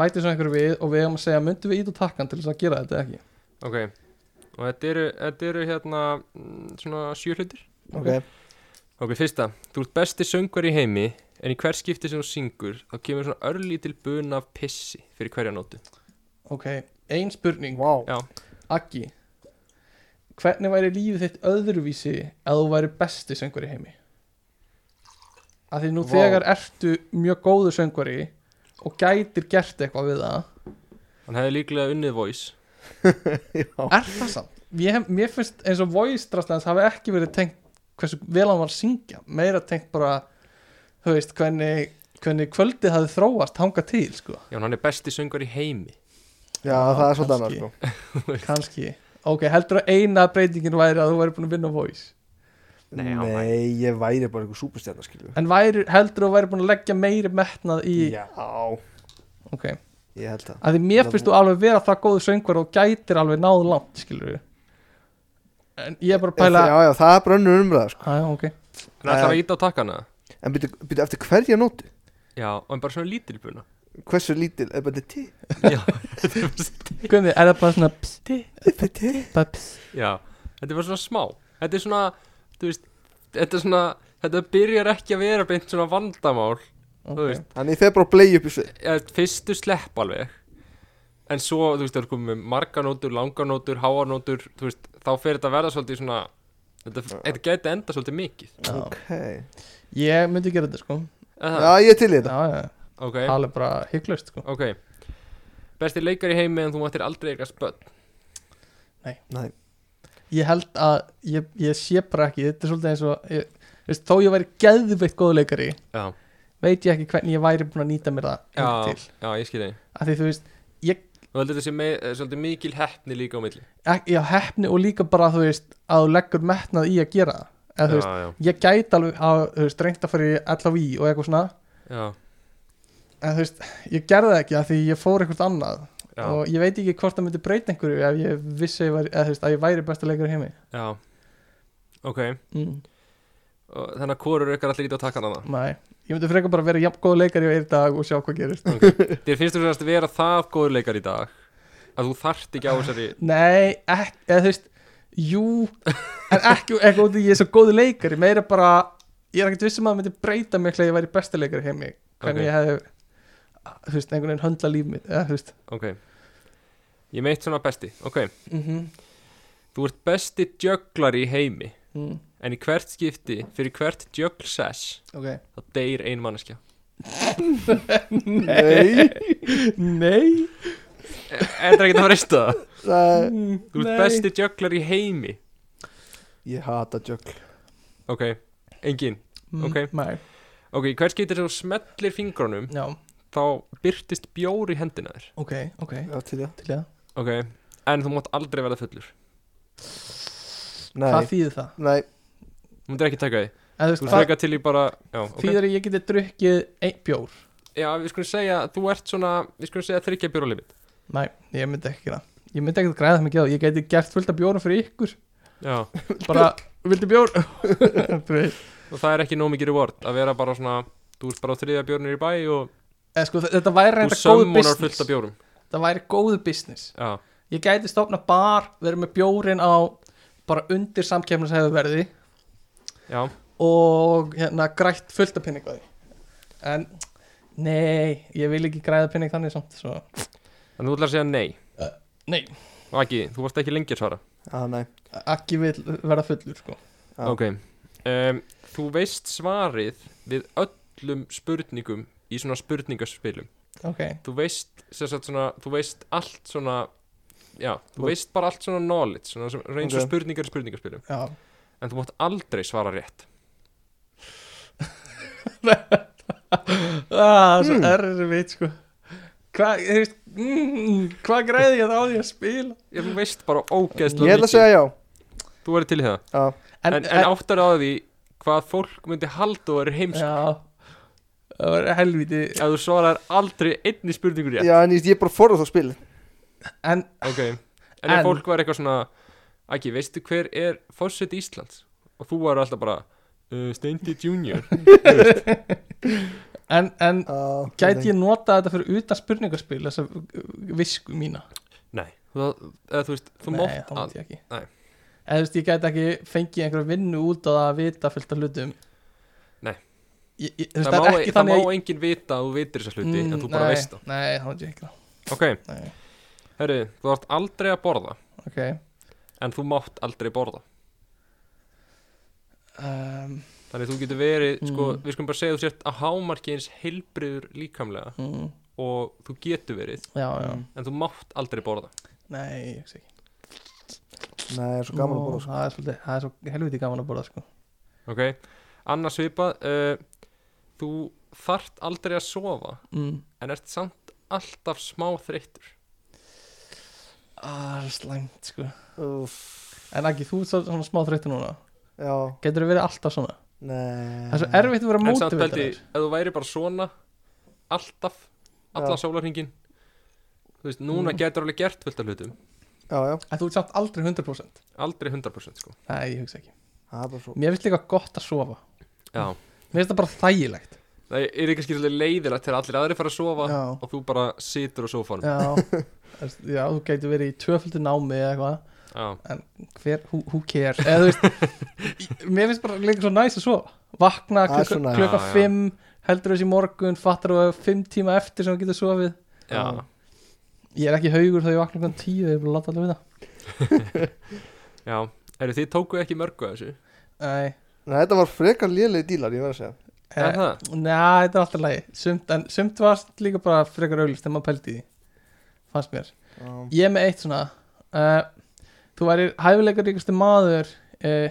[SPEAKER 4] bætir svona einhverju við Og við erum að segja, möndum við ít á takkan Til þess að gera þetta eða ekki
[SPEAKER 2] ok og þetta eru, þetta eru hérna mm, svona sjö hlutir
[SPEAKER 1] ok,
[SPEAKER 2] ok, fyrsta þú ert besti söngvar í heimi en í hver skipti sem þú syngur þá kemur svona örlítil buna af pissi fyrir hverja nótu
[SPEAKER 4] Ok, ein spurning,
[SPEAKER 1] vá
[SPEAKER 2] Já.
[SPEAKER 4] Aggi Hvernig væri lífið þitt öðruvísi Að þú væri besti söngvari í heimi? Af því nú
[SPEAKER 1] Vá.
[SPEAKER 4] þegar ertu mjög góður söngvari Og gætir gert eitthvað við það
[SPEAKER 2] hann hefði líklega unnið voice
[SPEAKER 1] já,
[SPEAKER 4] Er það samt? Ég, hef- mér finnst eins og voice drasl hans hafi ekki verið tengt hversu vel hann var að syngja meira tengt bara þú veist hvernig, hvernig kvöldið hafi þróast hanga til sko
[SPEAKER 2] já, en hann er besti söngvar í heimi
[SPEAKER 1] já það er svolítið annað
[SPEAKER 4] kannski.
[SPEAKER 1] sko
[SPEAKER 4] kannski ok, heldur að eina breytingin væri að þú væri búin að vinna voice
[SPEAKER 2] Nei, hann
[SPEAKER 1] nei, ég væri bara eitthvað súperstjarnar skilju
[SPEAKER 4] en væri, heldur að þú væri búin að leggja meiri metnað í
[SPEAKER 1] já,
[SPEAKER 4] ok,
[SPEAKER 1] ég held það
[SPEAKER 4] að því mér finnst þú alveg vera það góðu söngvar og gætir alveg náð langt skilur við en ég er bara að pæla
[SPEAKER 1] já, já, það er bara önnur umræða sko.
[SPEAKER 4] já, ok,
[SPEAKER 2] En ætlar að íta á takkana?
[SPEAKER 1] en byrju, byrju eftir hverja nótu
[SPEAKER 2] Já, en bara svona lítilbuna
[SPEAKER 1] hversu lítil, er bara til
[SPEAKER 2] Já,
[SPEAKER 4] Guðni, er það bara svona pss,
[SPEAKER 1] er bara til
[SPEAKER 4] bara pss
[SPEAKER 2] já Þetta var svona smá þetta er svona þú veist, þetta er svona þetta byrjar ekki að vera beint svona vandamál þú
[SPEAKER 4] okay.
[SPEAKER 2] veist,
[SPEAKER 1] Þannig ég fer bara að blei upp í svið
[SPEAKER 2] eða fyrstu slepp alveg en svo, þú veist, það er komið með marganótur, langanótur, háanótur þú veist, þá fer þetta að verða svolítið svona þetta, þetta gæti enda svolítið mikið
[SPEAKER 4] Já.
[SPEAKER 1] Ok
[SPEAKER 4] Ég myndi gera þetta sko
[SPEAKER 2] Eða
[SPEAKER 1] Já,
[SPEAKER 2] það?
[SPEAKER 1] ég er til í þetta
[SPEAKER 4] Já, já,
[SPEAKER 2] ok,
[SPEAKER 4] alveg bara hygglust sko
[SPEAKER 2] ok besti leikar í heimi en þú mættir aldrei eitthvað spöld
[SPEAKER 1] Nei,
[SPEAKER 4] Ég held að, ég, ég sé bara ekki Þetta er svolítið eins og ég, veist, Þó ég væri geðveitt góð leikari
[SPEAKER 2] já,
[SPEAKER 4] Veit ég ekki hvernig ég væri búin að nýta mér það
[SPEAKER 2] já,
[SPEAKER 4] hingað til.
[SPEAKER 2] já, ég skil þig
[SPEAKER 4] Af því þú veist
[SPEAKER 2] og heldur þetta sé með, svolítið mikil heppni líka á milli
[SPEAKER 4] ek- Já, hefni og líka bara þú veist Að þú leggur metnað í að gera það Eða þú veist,
[SPEAKER 2] já,
[SPEAKER 4] ég gæti alveg að, Þú veist, reynt að fara í LHV og eitthvað svona
[SPEAKER 2] já,
[SPEAKER 4] En þú veist, ég gerði það ekki af því ég fór eitthvað annað
[SPEAKER 2] já, já,
[SPEAKER 4] og ég veit ekki hvort það myndi breyta einhverju ef ég vissi að ég væri, eða, þú veist, að ég væri besta leikari í heimi
[SPEAKER 2] já. ok
[SPEAKER 4] mm.
[SPEAKER 2] og þannig að hvorur ykkar allir getið að taka hana
[SPEAKER 4] Nei, ég myndi frekar bara vera jafn góð leikari og er í dag og sjá hvað gerist
[SPEAKER 2] þér finnst þú sérst að vera það góður leikar í dag að þú þarft ekki á þessari
[SPEAKER 4] Nei, ekki, eða þú veist Jú, en ekki ekki út í ég er svo góð leikari, meira bara ég er ekkert vissum að það myndi breyta mig að ég væri besta leikari í heimi,
[SPEAKER 2] Ok.
[SPEAKER 4] hvernig ég hefði þú veist, einhvern veginn höndla líf mitt eða þú veist
[SPEAKER 2] ok ég meitt svona besti, ok
[SPEAKER 4] mm
[SPEAKER 2] Mhm, þú ert besti djöglar í heimi
[SPEAKER 4] mm,
[SPEAKER 2] en í hvert skipti, fyrir hvert djögl sess
[SPEAKER 4] Ok
[SPEAKER 2] þá deyr ein manneskja
[SPEAKER 1] nei
[SPEAKER 4] Nei,
[SPEAKER 2] er það ekki það freysta það?
[SPEAKER 1] það,
[SPEAKER 2] þú ert
[SPEAKER 4] Nei.
[SPEAKER 2] besti djöglar í heimi
[SPEAKER 1] Ég hata jökl
[SPEAKER 2] ok, engin ok.
[SPEAKER 4] Nei,
[SPEAKER 2] ok, í hvert skipti sem þú smellir fingrunum
[SPEAKER 4] já,
[SPEAKER 2] þá byrtist bjór í hendina þér
[SPEAKER 4] ok, ok
[SPEAKER 1] Já, til í það
[SPEAKER 4] Til ég að,
[SPEAKER 2] ok, en þú mátt aldrei verða fullur
[SPEAKER 1] Nei,
[SPEAKER 4] hvað þýðir það?
[SPEAKER 1] nei,
[SPEAKER 2] þú myndir ekki taka því
[SPEAKER 4] Eða, þú
[SPEAKER 2] Þú
[SPEAKER 4] veist,
[SPEAKER 2] ert
[SPEAKER 4] hvað
[SPEAKER 2] frekar til í bara já, okay.
[SPEAKER 4] þýðir að ég geti drukkið einn bjór?
[SPEAKER 2] já, við skulum segja, þú ert svona Við skulum segja þryggja bjóralimit
[SPEAKER 4] Nei, ég myndi ekki gera það Ég myndi ekki að græða það mikið á því. Ég geti gert fullt af bjórum fyrir ykkur
[SPEAKER 2] Já,
[SPEAKER 4] Bara, viltu bjór? Þú veist.
[SPEAKER 2] og það er ekki nóg mikið reward Að vera bara svona, þú ert bara á þriðja bjórnir í bæ Og
[SPEAKER 4] Eða, sko, þetta væri
[SPEAKER 2] þú
[SPEAKER 4] reynda góð
[SPEAKER 2] sömmunar fullt
[SPEAKER 4] business
[SPEAKER 2] af bjórum
[SPEAKER 4] Það væri góð business
[SPEAKER 2] Já,
[SPEAKER 4] Ég gæti stofna bar, verið með bjórin á bara undir samkefnishæðu verði
[SPEAKER 2] já,
[SPEAKER 4] og hérna grætt fullt af pinning á því En, nei, ég vil ekki græða pinning þannig samt svo.
[SPEAKER 2] en þú ætlar að segja nei
[SPEAKER 4] Nei,
[SPEAKER 2] Og ekki, þú varst ekki lengi að svara
[SPEAKER 1] að nei
[SPEAKER 4] ekki vil vera fullur sko.
[SPEAKER 1] Já.
[SPEAKER 2] Ok, um, þú veist svarið Við öllum spurningum Í svona spurningaspilum
[SPEAKER 4] Ok,
[SPEAKER 2] Þú veist, sem sagt svona, þú veist allt svona Já, þú veist bara allt svona knowledge Svona sem- eins og
[SPEAKER 1] Ok.
[SPEAKER 2] spurningar í spurningaspilum
[SPEAKER 4] já
[SPEAKER 2] En þú mátt aldrei svara rétt
[SPEAKER 4] Ah, Það er svo
[SPEAKER 2] Hmm.
[SPEAKER 4] erfitt sko Hvað, þú veist mm, Hvað græði ég þá á því að spila
[SPEAKER 2] Ég þú veist bara
[SPEAKER 1] Ég
[SPEAKER 2] ógeðslega
[SPEAKER 1] ætla að segja já
[SPEAKER 2] Þú verður til í það
[SPEAKER 1] Já,
[SPEAKER 2] En, en, áttar á því hvað fólk myndi halda og verður heims
[SPEAKER 4] Já Það var helviti
[SPEAKER 2] Ef þú svarar aldrei einni spurningur rétt
[SPEAKER 1] já en ég, ég bara forða þá spil
[SPEAKER 4] En
[SPEAKER 2] Ok En ef
[SPEAKER 4] En-
[SPEAKER 2] fólk var eitthvað svona Aki, veistu hver er fórsett Íslands? Og þú var alltaf bara uh, Steindi Junior
[SPEAKER 4] En, en Gæti
[SPEAKER 1] Gæti
[SPEAKER 4] ég nota þetta fyrir utan spurningarspil Þessa visku mína
[SPEAKER 2] Nei Þú, eða, þú veist, þú
[SPEAKER 4] Nei,
[SPEAKER 2] mátt
[SPEAKER 4] það
[SPEAKER 2] all...
[SPEAKER 4] mátti ég ekki
[SPEAKER 2] Nei.
[SPEAKER 4] En þú veist, ég gæti ekki fengið einhverja vinnu út á það að vita fullt af hlutum
[SPEAKER 2] Nei.
[SPEAKER 4] ég, ég, þú
[SPEAKER 2] Það,
[SPEAKER 4] veist, það,
[SPEAKER 2] má, e-
[SPEAKER 4] er ekki
[SPEAKER 2] það
[SPEAKER 4] þannig Mm,
[SPEAKER 2] má enginn vita að þú vitir þessa hluti En þú bara
[SPEAKER 4] nei,
[SPEAKER 2] veist það
[SPEAKER 4] Nei, það mátti ég ekki
[SPEAKER 2] Ok,
[SPEAKER 4] Nei,
[SPEAKER 2] herru, þú ert aldrei að borða
[SPEAKER 4] ok
[SPEAKER 2] En þú mátt aldrei borða
[SPEAKER 4] um,
[SPEAKER 2] Þannig þú getur verið, sko,
[SPEAKER 4] Mm.
[SPEAKER 2] við skulum bara segja að þú sért að hámarki eins heilbriður líkamlega
[SPEAKER 4] mm,
[SPEAKER 2] og þú getur verið
[SPEAKER 4] Já, já,
[SPEAKER 2] en þú mátt aldrei borða
[SPEAKER 4] nei, ég sé ekki
[SPEAKER 1] Nei, það er svo gaman að
[SPEAKER 4] Ó,
[SPEAKER 1] borða sko.
[SPEAKER 4] það er, svolítið, það er svo helviti gaman að borða sko.
[SPEAKER 2] ok, annars svipað uh, þú þart aldrei að sofa
[SPEAKER 4] mm.
[SPEAKER 2] en ert samt alltaf smá þreyttur
[SPEAKER 4] ah, slæmt sko.
[SPEAKER 1] Úff,
[SPEAKER 4] en ekki, þú ert svo- svona smá þreytti núna
[SPEAKER 1] Já,
[SPEAKER 4] getur þú verið alltaf svona
[SPEAKER 1] nei
[SPEAKER 4] það er svo erfitt að vera
[SPEAKER 2] en samt
[SPEAKER 4] mótivitaður
[SPEAKER 2] veldi, ef þú væri bara svona alltaf, allan sólarhingin þú veist, núna
[SPEAKER 4] Mm.
[SPEAKER 2] getur alveg gert fullt af hlutum
[SPEAKER 1] Já, já,
[SPEAKER 4] en þú ert samt aldrei 100%
[SPEAKER 2] aldrei 100% sko
[SPEAKER 4] nei, ég hugsa ekki
[SPEAKER 1] það er bara svo
[SPEAKER 4] mér finnst líka gott að sofa
[SPEAKER 2] Já.
[SPEAKER 4] mér finnst það bara þægilegt
[SPEAKER 2] það er ekki skilja leiðilegt þegar allir aðri fara að sofa
[SPEAKER 4] já,
[SPEAKER 2] og þú bara situr á sófanum
[SPEAKER 4] já, Þú veist, já þú getur verið í tvöföldu námi eða eitthvað
[SPEAKER 2] já,
[SPEAKER 4] hver, who, who care eða þú veist, í- mér finnst bara líka svo næs að sofa
[SPEAKER 1] Það
[SPEAKER 4] vakna
[SPEAKER 1] er
[SPEAKER 4] klukka,
[SPEAKER 1] svo næs.
[SPEAKER 4] klukka
[SPEAKER 2] Já, já.
[SPEAKER 4] 5 heldur þessi morgun, fattar þú að 5 tíma eftir sem þú getur sofið
[SPEAKER 2] já,
[SPEAKER 1] Já.
[SPEAKER 4] ég er ekki haugur þá ég vakna klukkan 10 ég er bara að láta alveg við
[SPEAKER 2] já Eru þið tókuð ekki mörgu af þessu?
[SPEAKER 4] það nei,
[SPEAKER 1] Nei, þetta var frekar lélegi dílar, ég verð að segja
[SPEAKER 2] Er
[SPEAKER 4] eh,
[SPEAKER 2] það?
[SPEAKER 4] neða, þetta er alltaf lægi sumt, en sumt var líka bara frekar auglist þegar maður pældi í því, fannst mér
[SPEAKER 1] um,
[SPEAKER 4] ég er með eitt svona uh, þú værir hæfileikar ríkastu maður uh,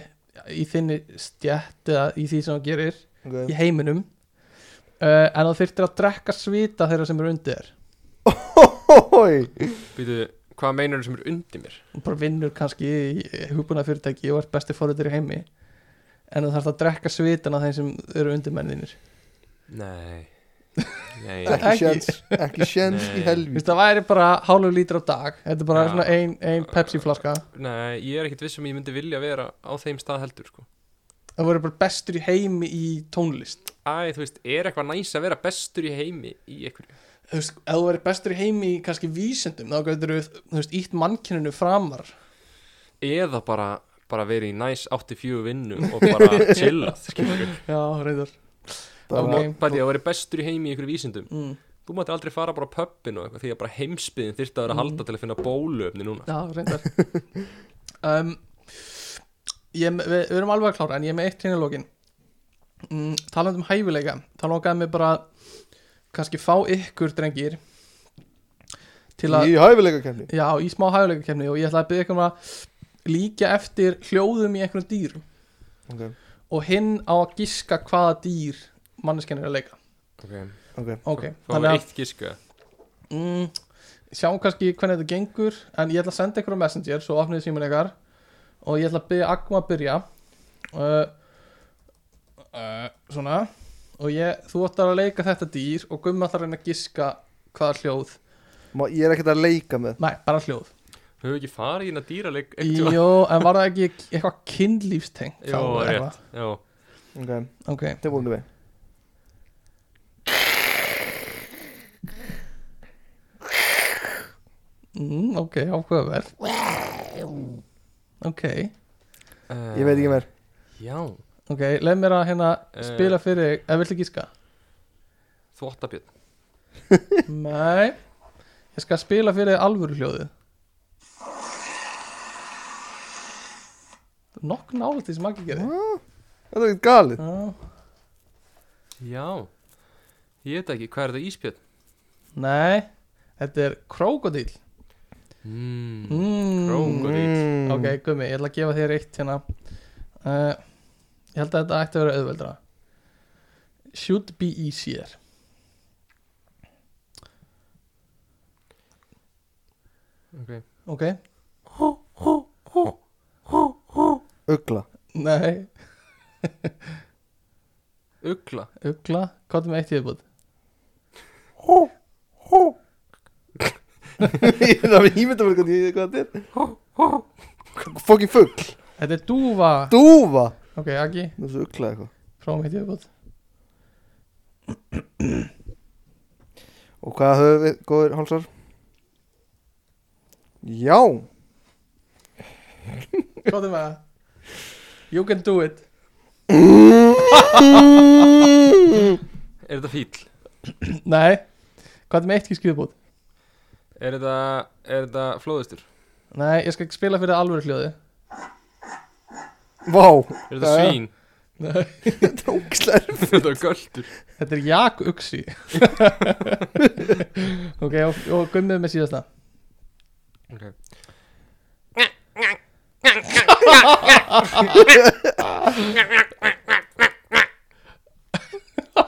[SPEAKER 4] í þinni stjætt eða í því sem þú gerir
[SPEAKER 1] okay.
[SPEAKER 4] í heiminum uh, en þú þyrftir að drekka svita þeirra sem eru undir þér
[SPEAKER 1] Hóhói
[SPEAKER 2] Býtu, hvað meinar sem er undir mér?
[SPEAKER 4] og bara vinnur kannski í hugbúna fyrirtæki og ert besti fóruður í heimi en þú þarfst að drekka svitan af þeim sem eru undir menninir
[SPEAKER 2] Nei Nei
[SPEAKER 1] Ekki
[SPEAKER 4] Ekki.
[SPEAKER 1] sjens, ekki sjens
[SPEAKER 2] Nei.
[SPEAKER 1] í helvíð
[SPEAKER 4] það væri bara hálfur lítur á dag þetta er bara
[SPEAKER 2] Já.
[SPEAKER 4] svona ein, ein Pepsi flaska
[SPEAKER 2] Nei, ég er ekkit viss um ég myndi vilja vera á þeim stað heldur sko.
[SPEAKER 4] það voru bara bestur í heimi í tónlist
[SPEAKER 2] Æ, þú veist, er eitthvað næs að vera bestur í heimi í einhverju?
[SPEAKER 4] þú veist, ef þú væri bestur í heimi í kannski vísendum þá getur þú, þú veist, ítt mannkyninu framar
[SPEAKER 2] Eða bara, bara verið í næs 84 vinnu og bara chillað skilurðu.
[SPEAKER 4] já, reyður
[SPEAKER 2] Þú
[SPEAKER 1] Bara-
[SPEAKER 4] Ok.
[SPEAKER 2] mátt- Bæti, að vera bestur í heimi í einhverju vísindum
[SPEAKER 4] mm.
[SPEAKER 2] Þú mátti aldrei fara bara á pöppin og eitthvað því að bara heimsbyðin þyrfti að vera að
[SPEAKER 4] Mm.
[SPEAKER 2] halda til að finna bóluöfni núna
[SPEAKER 4] Já, reyndar um, ég, við, við erum alveg að klára en ég er með eitt hérna í lokin mm, talandi um hæfileika þá lokaði mig bara að kannski fá ykkur drengir til að,
[SPEAKER 1] Í hæfileika kemni
[SPEAKER 4] já, í smá hæfileika kemni og ég ætla að byggja ykkur um að líka eftir hljóðum í einhverjum dýrum
[SPEAKER 1] okay.
[SPEAKER 4] og hinn á að giska hvaða dýr manneskjarnir er að leika
[SPEAKER 2] okay.
[SPEAKER 1] okay.
[SPEAKER 4] ok,
[SPEAKER 2] Þannig
[SPEAKER 4] þannig að
[SPEAKER 2] eitt giska
[SPEAKER 4] mm, sjáum kannski hvernig þetta gengur en ég ætla að senda ykkur á Messenger svo opnið síman ykkar og ég ætla að byrja Agma að byrja uh, uh, svona og ég, þú ætti að leika þetta dýr og Gummi ætlar að reyna að giska hvaða hljóð,
[SPEAKER 1] Má- Ég er ekkert að leika með
[SPEAKER 4] nei, bara hljóð
[SPEAKER 2] Höfum við ekki farið í hérna dýraleg Já,
[SPEAKER 4] Jó, en var það ekki eitthvað kynlífstengt
[SPEAKER 2] Jó,
[SPEAKER 4] þá, eða?
[SPEAKER 2] rétt. já,
[SPEAKER 1] okay.
[SPEAKER 4] Ok,
[SPEAKER 1] Tilbúinu við
[SPEAKER 4] mm, ok, áhugaverð Ok,
[SPEAKER 2] Eh,
[SPEAKER 1] Ég veit ekki meir
[SPEAKER 2] Já,
[SPEAKER 4] ok, leið mér að hérna
[SPEAKER 2] Eh.
[SPEAKER 4] spila fyrir, ef viltu giska
[SPEAKER 2] þvottabjörn
[SPEAKER 4] Nei Ég skal spila fyrir þig alvöru hljóðið Nokk nálægt því sem Maggi gerði
[SPEAKER 1] Þetta er ekkert galið
[SPEAKER 4] Já.
[SPEAKER 2] Já, ég veit ekki, hvað er þetta íspjörn?
[SPEAKER 4] Nei, þetta er krókodíl
[SPEAKER 2] Mm.
[SPEAKER 4] mm.
[SPEAKER 2] Krókodíll.
[SPEAKER 1] Mm.
[SPEAKER 4] Ok, gummi, ég ætla að gefa þér eitt hérna uh, Ég held að þetta ætti að vera auðveldra Should be easier
[SPEAKER 2] Ok.
[SPEAKER 4] Ok,
[SPEAKER 1] Ugla
[SPEAKER 4] nei,
[SPEAKER 2] Ugla
[SPEAKER 4] ugla, hvað er með eitt í viðbútt?
[SPEAKER 1] Ég er að ímynda mér hvernig ég- hvað þetta er Fokkin fugl
[SPEAKER 4] Þetta er dúfa
[SPEAKER 1] Dúfa
[SPEAKER 4] Ok, Aggi,
[SPEAKER 1] Það er svo ugla eitthvað
[SPEAKER 4] prófum eitt í viðbútt
[SPEAKER 1] Og hvað höfum við, góðir hálsar? Já
[SPEAKER 4] Hvað er með það? You can do it
[SPEAKER 2] Er þetta fíl?
[SPEAKER 4] Nei, hvað er með eitt gísk viðbútt?
[SPEAKER 2] Er þetta, er þetta flóðustur?
[SPEAKER 4] Nei, ég skal spila fyrir alvöru hljóði
[SPEAKER 1] Vá
[SPEAKER 2] Er þetta svín?
[SPEAKER 4] Nei.
[SPEAKER 1] Þetta er ógislega
[SPEAKER 2] Er þetta göldur?
[SPEAKER 4] Þetta er Jak Uxi Ok, og, og gummið með síðasta
[SPEAKER 2] Okay.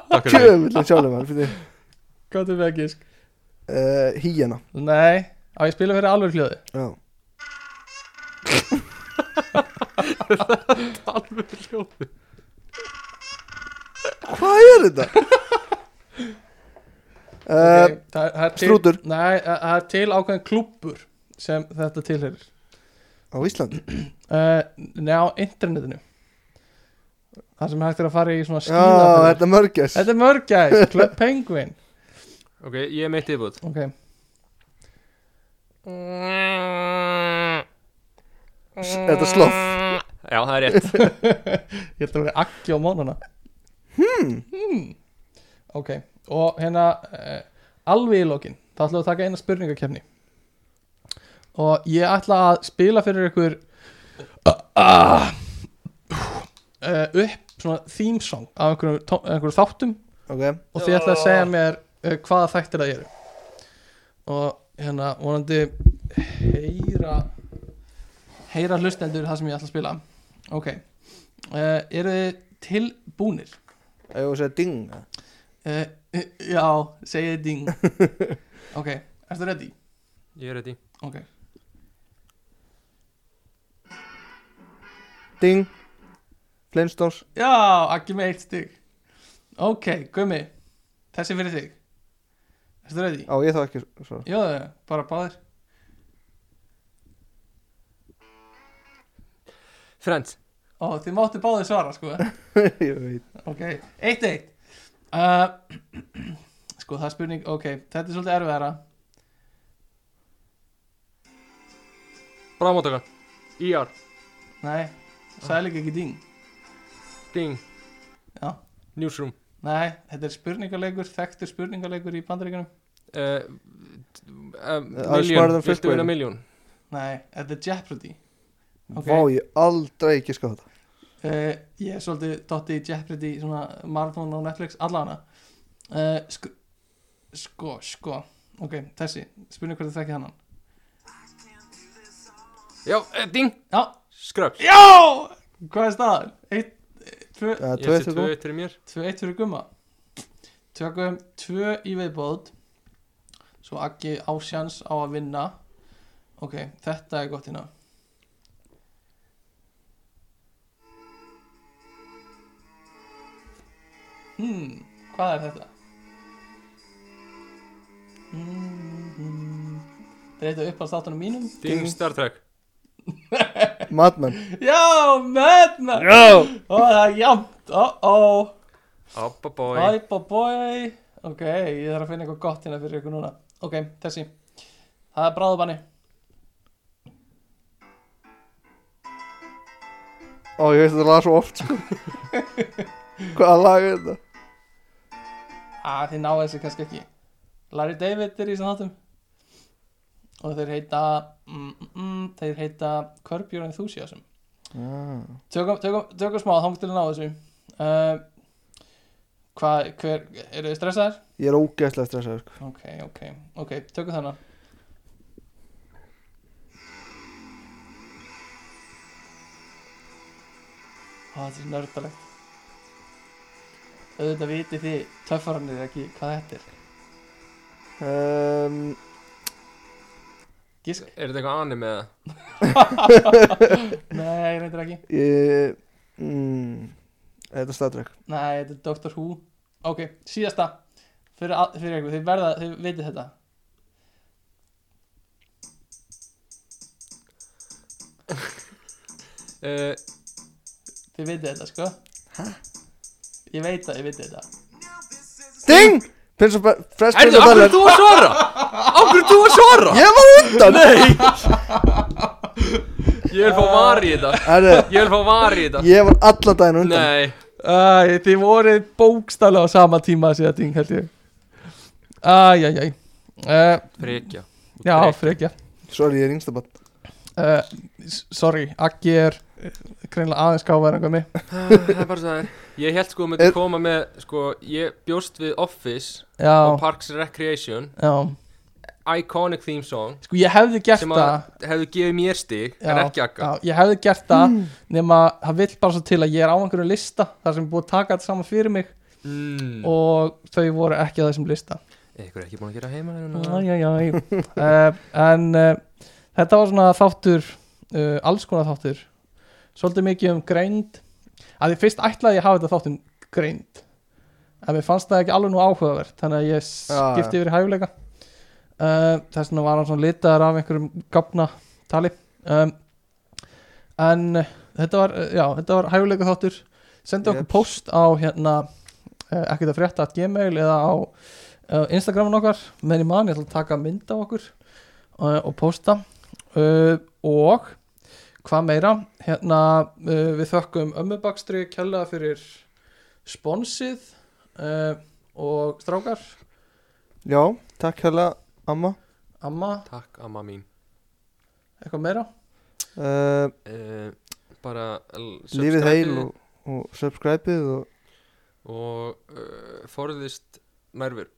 [SPEAKER 2] Takk fyrir
[SPEAKER 1] Kjöfullin sjálfum hann fyrir
[SPEAKER 4] Hvað er með að gísk?
[SPEAKER 1] uh, Híjana
[SPEAKER 4] Nei, á ég að spila fyrir alvöru hljóði
[SPEAKER 1] Já
[SPEAKER 2] alveg ljóðu
[SPEAKER 1] Hvað er þetta? uh,
[SPEAKER 4] Ok, það- það er til-
[SPEAKER 1] strútur.
[SPEAKER 4] Nei, það það er til ákveðin klúppur sem þetta tilherir
[SPEAKER 1] Á Íslandi
[SPEAKER 4] uh, Nei, á internetinu Það sem hægt er að fara í svona
[SPEAKER 1] Já,
[SPEAKER 4] skíðaferðir.
[SPEAKER 1] þetta er mörgjæs
[SPEAKER 4] Þetta er mörgæð, Club Penguin
[SPEAKER 2] Ok, ég er meitt yfirbútt
[SPEAKER 4] Ok,
[SPEAKER 1] Þetta er sloff
[SPEAKER 2] Já, það er rétt
[SPEAKER 4] Ég held að vera akki á mánana hmm. Ok, og hérna eh, alveg í lokin þá ætlum við að taka eina spurningakefni og ég ætla að spila fyrir ykkur uh, eh, upp svona theme song af einhverjum, tó- einhverjum þáttum
[SPEAKER 1] Ok,
[SPEAKER 4] og þið ætla að segja mér uh, hvaða þættir það eru og hérna vonandi heyra heyra hlustendur það sem ég ætla að spila ok, uh, eru þið tilbúnir?
[SPEAKER 1] ef ég segja ding eh,
[SPEAKER 4] Uh, já, segið ding ok, ertu ready?
[SPEAKER 2] Ég er rétt í
[SPEAKER 4] ok,
[SPEAKER 1] Ding Flintstones
[SPEAKER 4] já, ekki með eitt stygg ok, gummi þessi fyrir þig ertu ready?
[SPEAKER 1] Á, ég þá ekki svo
[SPEAKER 4] já, já, bara báðir
[SPEAKER 2] Friends
[SPEAKER 4] ó, þið máttu báðir svara sko
[SPEAKER 1] Ég veit
[SPEAKER 4] Ok, eitt eitt uh, Sko það er spurning, ok, þetta er svolítið erfiðara
[SPEAKER 2] Bráða mótöka ER
[SPEAKER 4] Nei, sæl ekki ekki ding
[SPEAKER 2] Ding
[SPEAKER 4] Já.
[SPEAKER 2] Newsroom
[SPEAKER 4] Nei, þetta er spurningaleikur, þekktur spurningaleikur í bandaríkunum
[SPEAKER 2] uh, um,
[SPEAKER 1] Það er smarra en
[SPEAKER 2] Million Viltu vinna
[SPEAKER 1] fiskbæri.
[SPEAKER 2] million
[SPEAKER 4] Nei, þetta er Jeopardy Ok.
[SPEAKER 1] Vá, ég aldrei ekki skáða þetta
[SPEAKER 4] uh, Ég er svolítið dotti í Jeopardy, svona marathon á Netflix, allana uh, sk Sko, sko, ok, þessi, spurning hvernig þekki hann
[SPEAKER 2] Já, uh, ding
[SPEAKER 4] Já,
[SPEAKER 2] Skröps
[SPEAKER 4] já, hvað er staðan? Eitt, eh, tvö,
[SPEAKER 1] Það er
[SPEAKER 2] Ég
[SPEAKER 1] tveið
[SPEAKER 2] sé
[SPEAKER 1] þegar
[SPEAKER 2] tvö
[SPEAKER 1] þú
[SPEAKER 2] eitt fyrir mér
[SPEAKER 4] 2-1 fyrir gumma tökum 2 í viðbót svo Aggi ásjans á að vinna ok, þetta er gott hérna hmm, hvað er þetta? Hmm, breyta upp á státunum mínum
[SPEAKER 2] Ding Star Trek
[SPEAKER 1] Madman
[SPEAKER 4] já, menna
[SPEAKER 1] Já
[SPEAKER 4] ó, það er jafnt, ó, ó
[SPEAKER 2] Abba boy
[SPEAKER 4] Bye bye bye Ok, ég þarf að finna eitthvað gott hérna fyrir ykkur núna Ok, þessi Það er bráðubanni
[SPEAKER 1] Ó, ég veist þetta lag svo oft sko Hvaða lag er þetta?
[SPEAKER 4] ah, Þið náðu þessi kannski ekki Larry David er í sem þáttum Og þeir heita mm, mm, mm, Þeir heita Curb Your Enthusiasm
[SPEAKER 1] Ah.
[SPEAKER 4] Tökum, tökum, tökum smá, þá múttu að ná þessu uh, Hvað, hver, eru þið stressaðir?
[SPEAKER 1] Ég er ógeðslega stressaður sko
[SPEAKER 4] Ok, ok, ok, tökum þennan Ó, þetta er svo nördalegt Auðvitað vitið þið töffarannir ekki hvað þetta er
[SPEAKER 1] um,
[SPEAKER 4] Gísk?
[SPEAKER 2] Er þetta eitthvað anime eða?
[SPEAKER 4] Nei, reyndir ekki
[SPEAKER 1] ég, mm, Þetta er Star Trek
[SPEAKER 4] Nei, þetta er Doctor Who Ok, síðasta Fyrir, að- fyrir ykkur, þið verða, þið vitið þetta
[SPEAKER 2] Uh,
[SPEAKER 4] Þið vitið þetta, sko Ég veit það, ég vitið þetta
[SPEAKER 1] Ding! Prins og Be- Fresh Prince
[SPEAKER 2] Erðu,
[SPEAKER 1] of
[SPEAKER 2] af
[SPEAKER 1] Bel-Air
[SPEAKER 2] hverju ert þú að svara? Af hverju ert þú að svara?
[SPEAKER 1] Ég var undan
[SPEAKER 2] Nei Ég vil fá var í þetta
[SPEAKER 1] Herru,
[SPEAKER 2] Ég vil fá var í þetta
[SPEAKER 1] ég var allan daginn undan
[SPEAKER 2] Nei
[SPEAKER 4] Æ, þið voruð bókstala á sama tíma síðan ting, held ég Æ, æ, æ uh,
[SPEAKER 2] Frekja
[SPEAKER 4] Já, frekja
[SPEAKER 1] Sorry, ég er yngsta bann
[SPEAKER 4] uh, Sorry, Aggi er eh, greinilega aðeins gáfaðar en gummi
[SPEAKER 2] Það er bara svo það er Ég held sko að myndi
[SPEAKER 1] Er-
[SPEAKER 2] koma með Sko, ég bjóst við Office og
[SPEAKER 4] Já,
[SPEAKER 2] Parks and Recreation
[SPEAKER 4] já
[SPEAKER 2] Iconic theme song
[SPEAKER 4] Sko, ég hefði gert
[SPEAKER 2] sem
[SPEAKER 4] það
[SPEAKER 2] að hefðu gefið mér stig en
[SPEAKER 4] Já,
[SPEAKER 2] ekki akka
[SPEAKER 4] Já, ég hefði gert
[SPEAKER 1] Mm.
[SPEAKER 4] það nema það vill bara svo til að ég er á einhverju lista þar sem er búið að taka þetta saman fyrir mig
[SPEAKER 2] mm.
[SPEAKER 4] og þau voru ekki á þessum lista
[SPEAKER 2] Ykkur er ekki búin að gera heima hérna
[SPEAKER 4] Æ, æ, æ. uh, en uh, þetta var svona þáttur uh, alls konar þáttur svolítið mikið um greind að ég fyrst ætlaði ég að hafa þetta þátt um greind en mér fannst það ekki alveg nú áhugavert þannig að ég
[SPEAKER 1] Já, já.
[SPEAKER 4] skipti yfir í hæfuleika uh, þess vegna var hann svona litaður af einhverjum gafna tali um, en uh, þetta var, uh, já, þetta var hæfuleika þáttur senda okkur
[SPEAKER 1] Yep.
[SPEAKER 4] post á hérna uh, ekkert að frétta at gmail eða á uh, Instagramin okkar meðan í eh, mann, ég ætla að taka mynd af okkur uh, Eh, og posta uh, og hvað meira hérna, uh, við þökkum ömmubakstri kjalla fyrir sponsið uh, og strákar,
[SPEAKER 1] Já, takk hérlega amma
[SPEAKER 4] amma
[SPEAKER 2] Takk amma mín
[SPEAKER 4] eitthvað meira,
[SPEAKER 1] uh,
[SPEAKER 2] uh, Bara l-
[SPEAKER 1] Lífið
[SPEAKER 2] subscribe-ið
[SPEAKER 1] heil og, og subscribe-ið og
[SPEAKER 2] Og uh, eh, forðist nærveru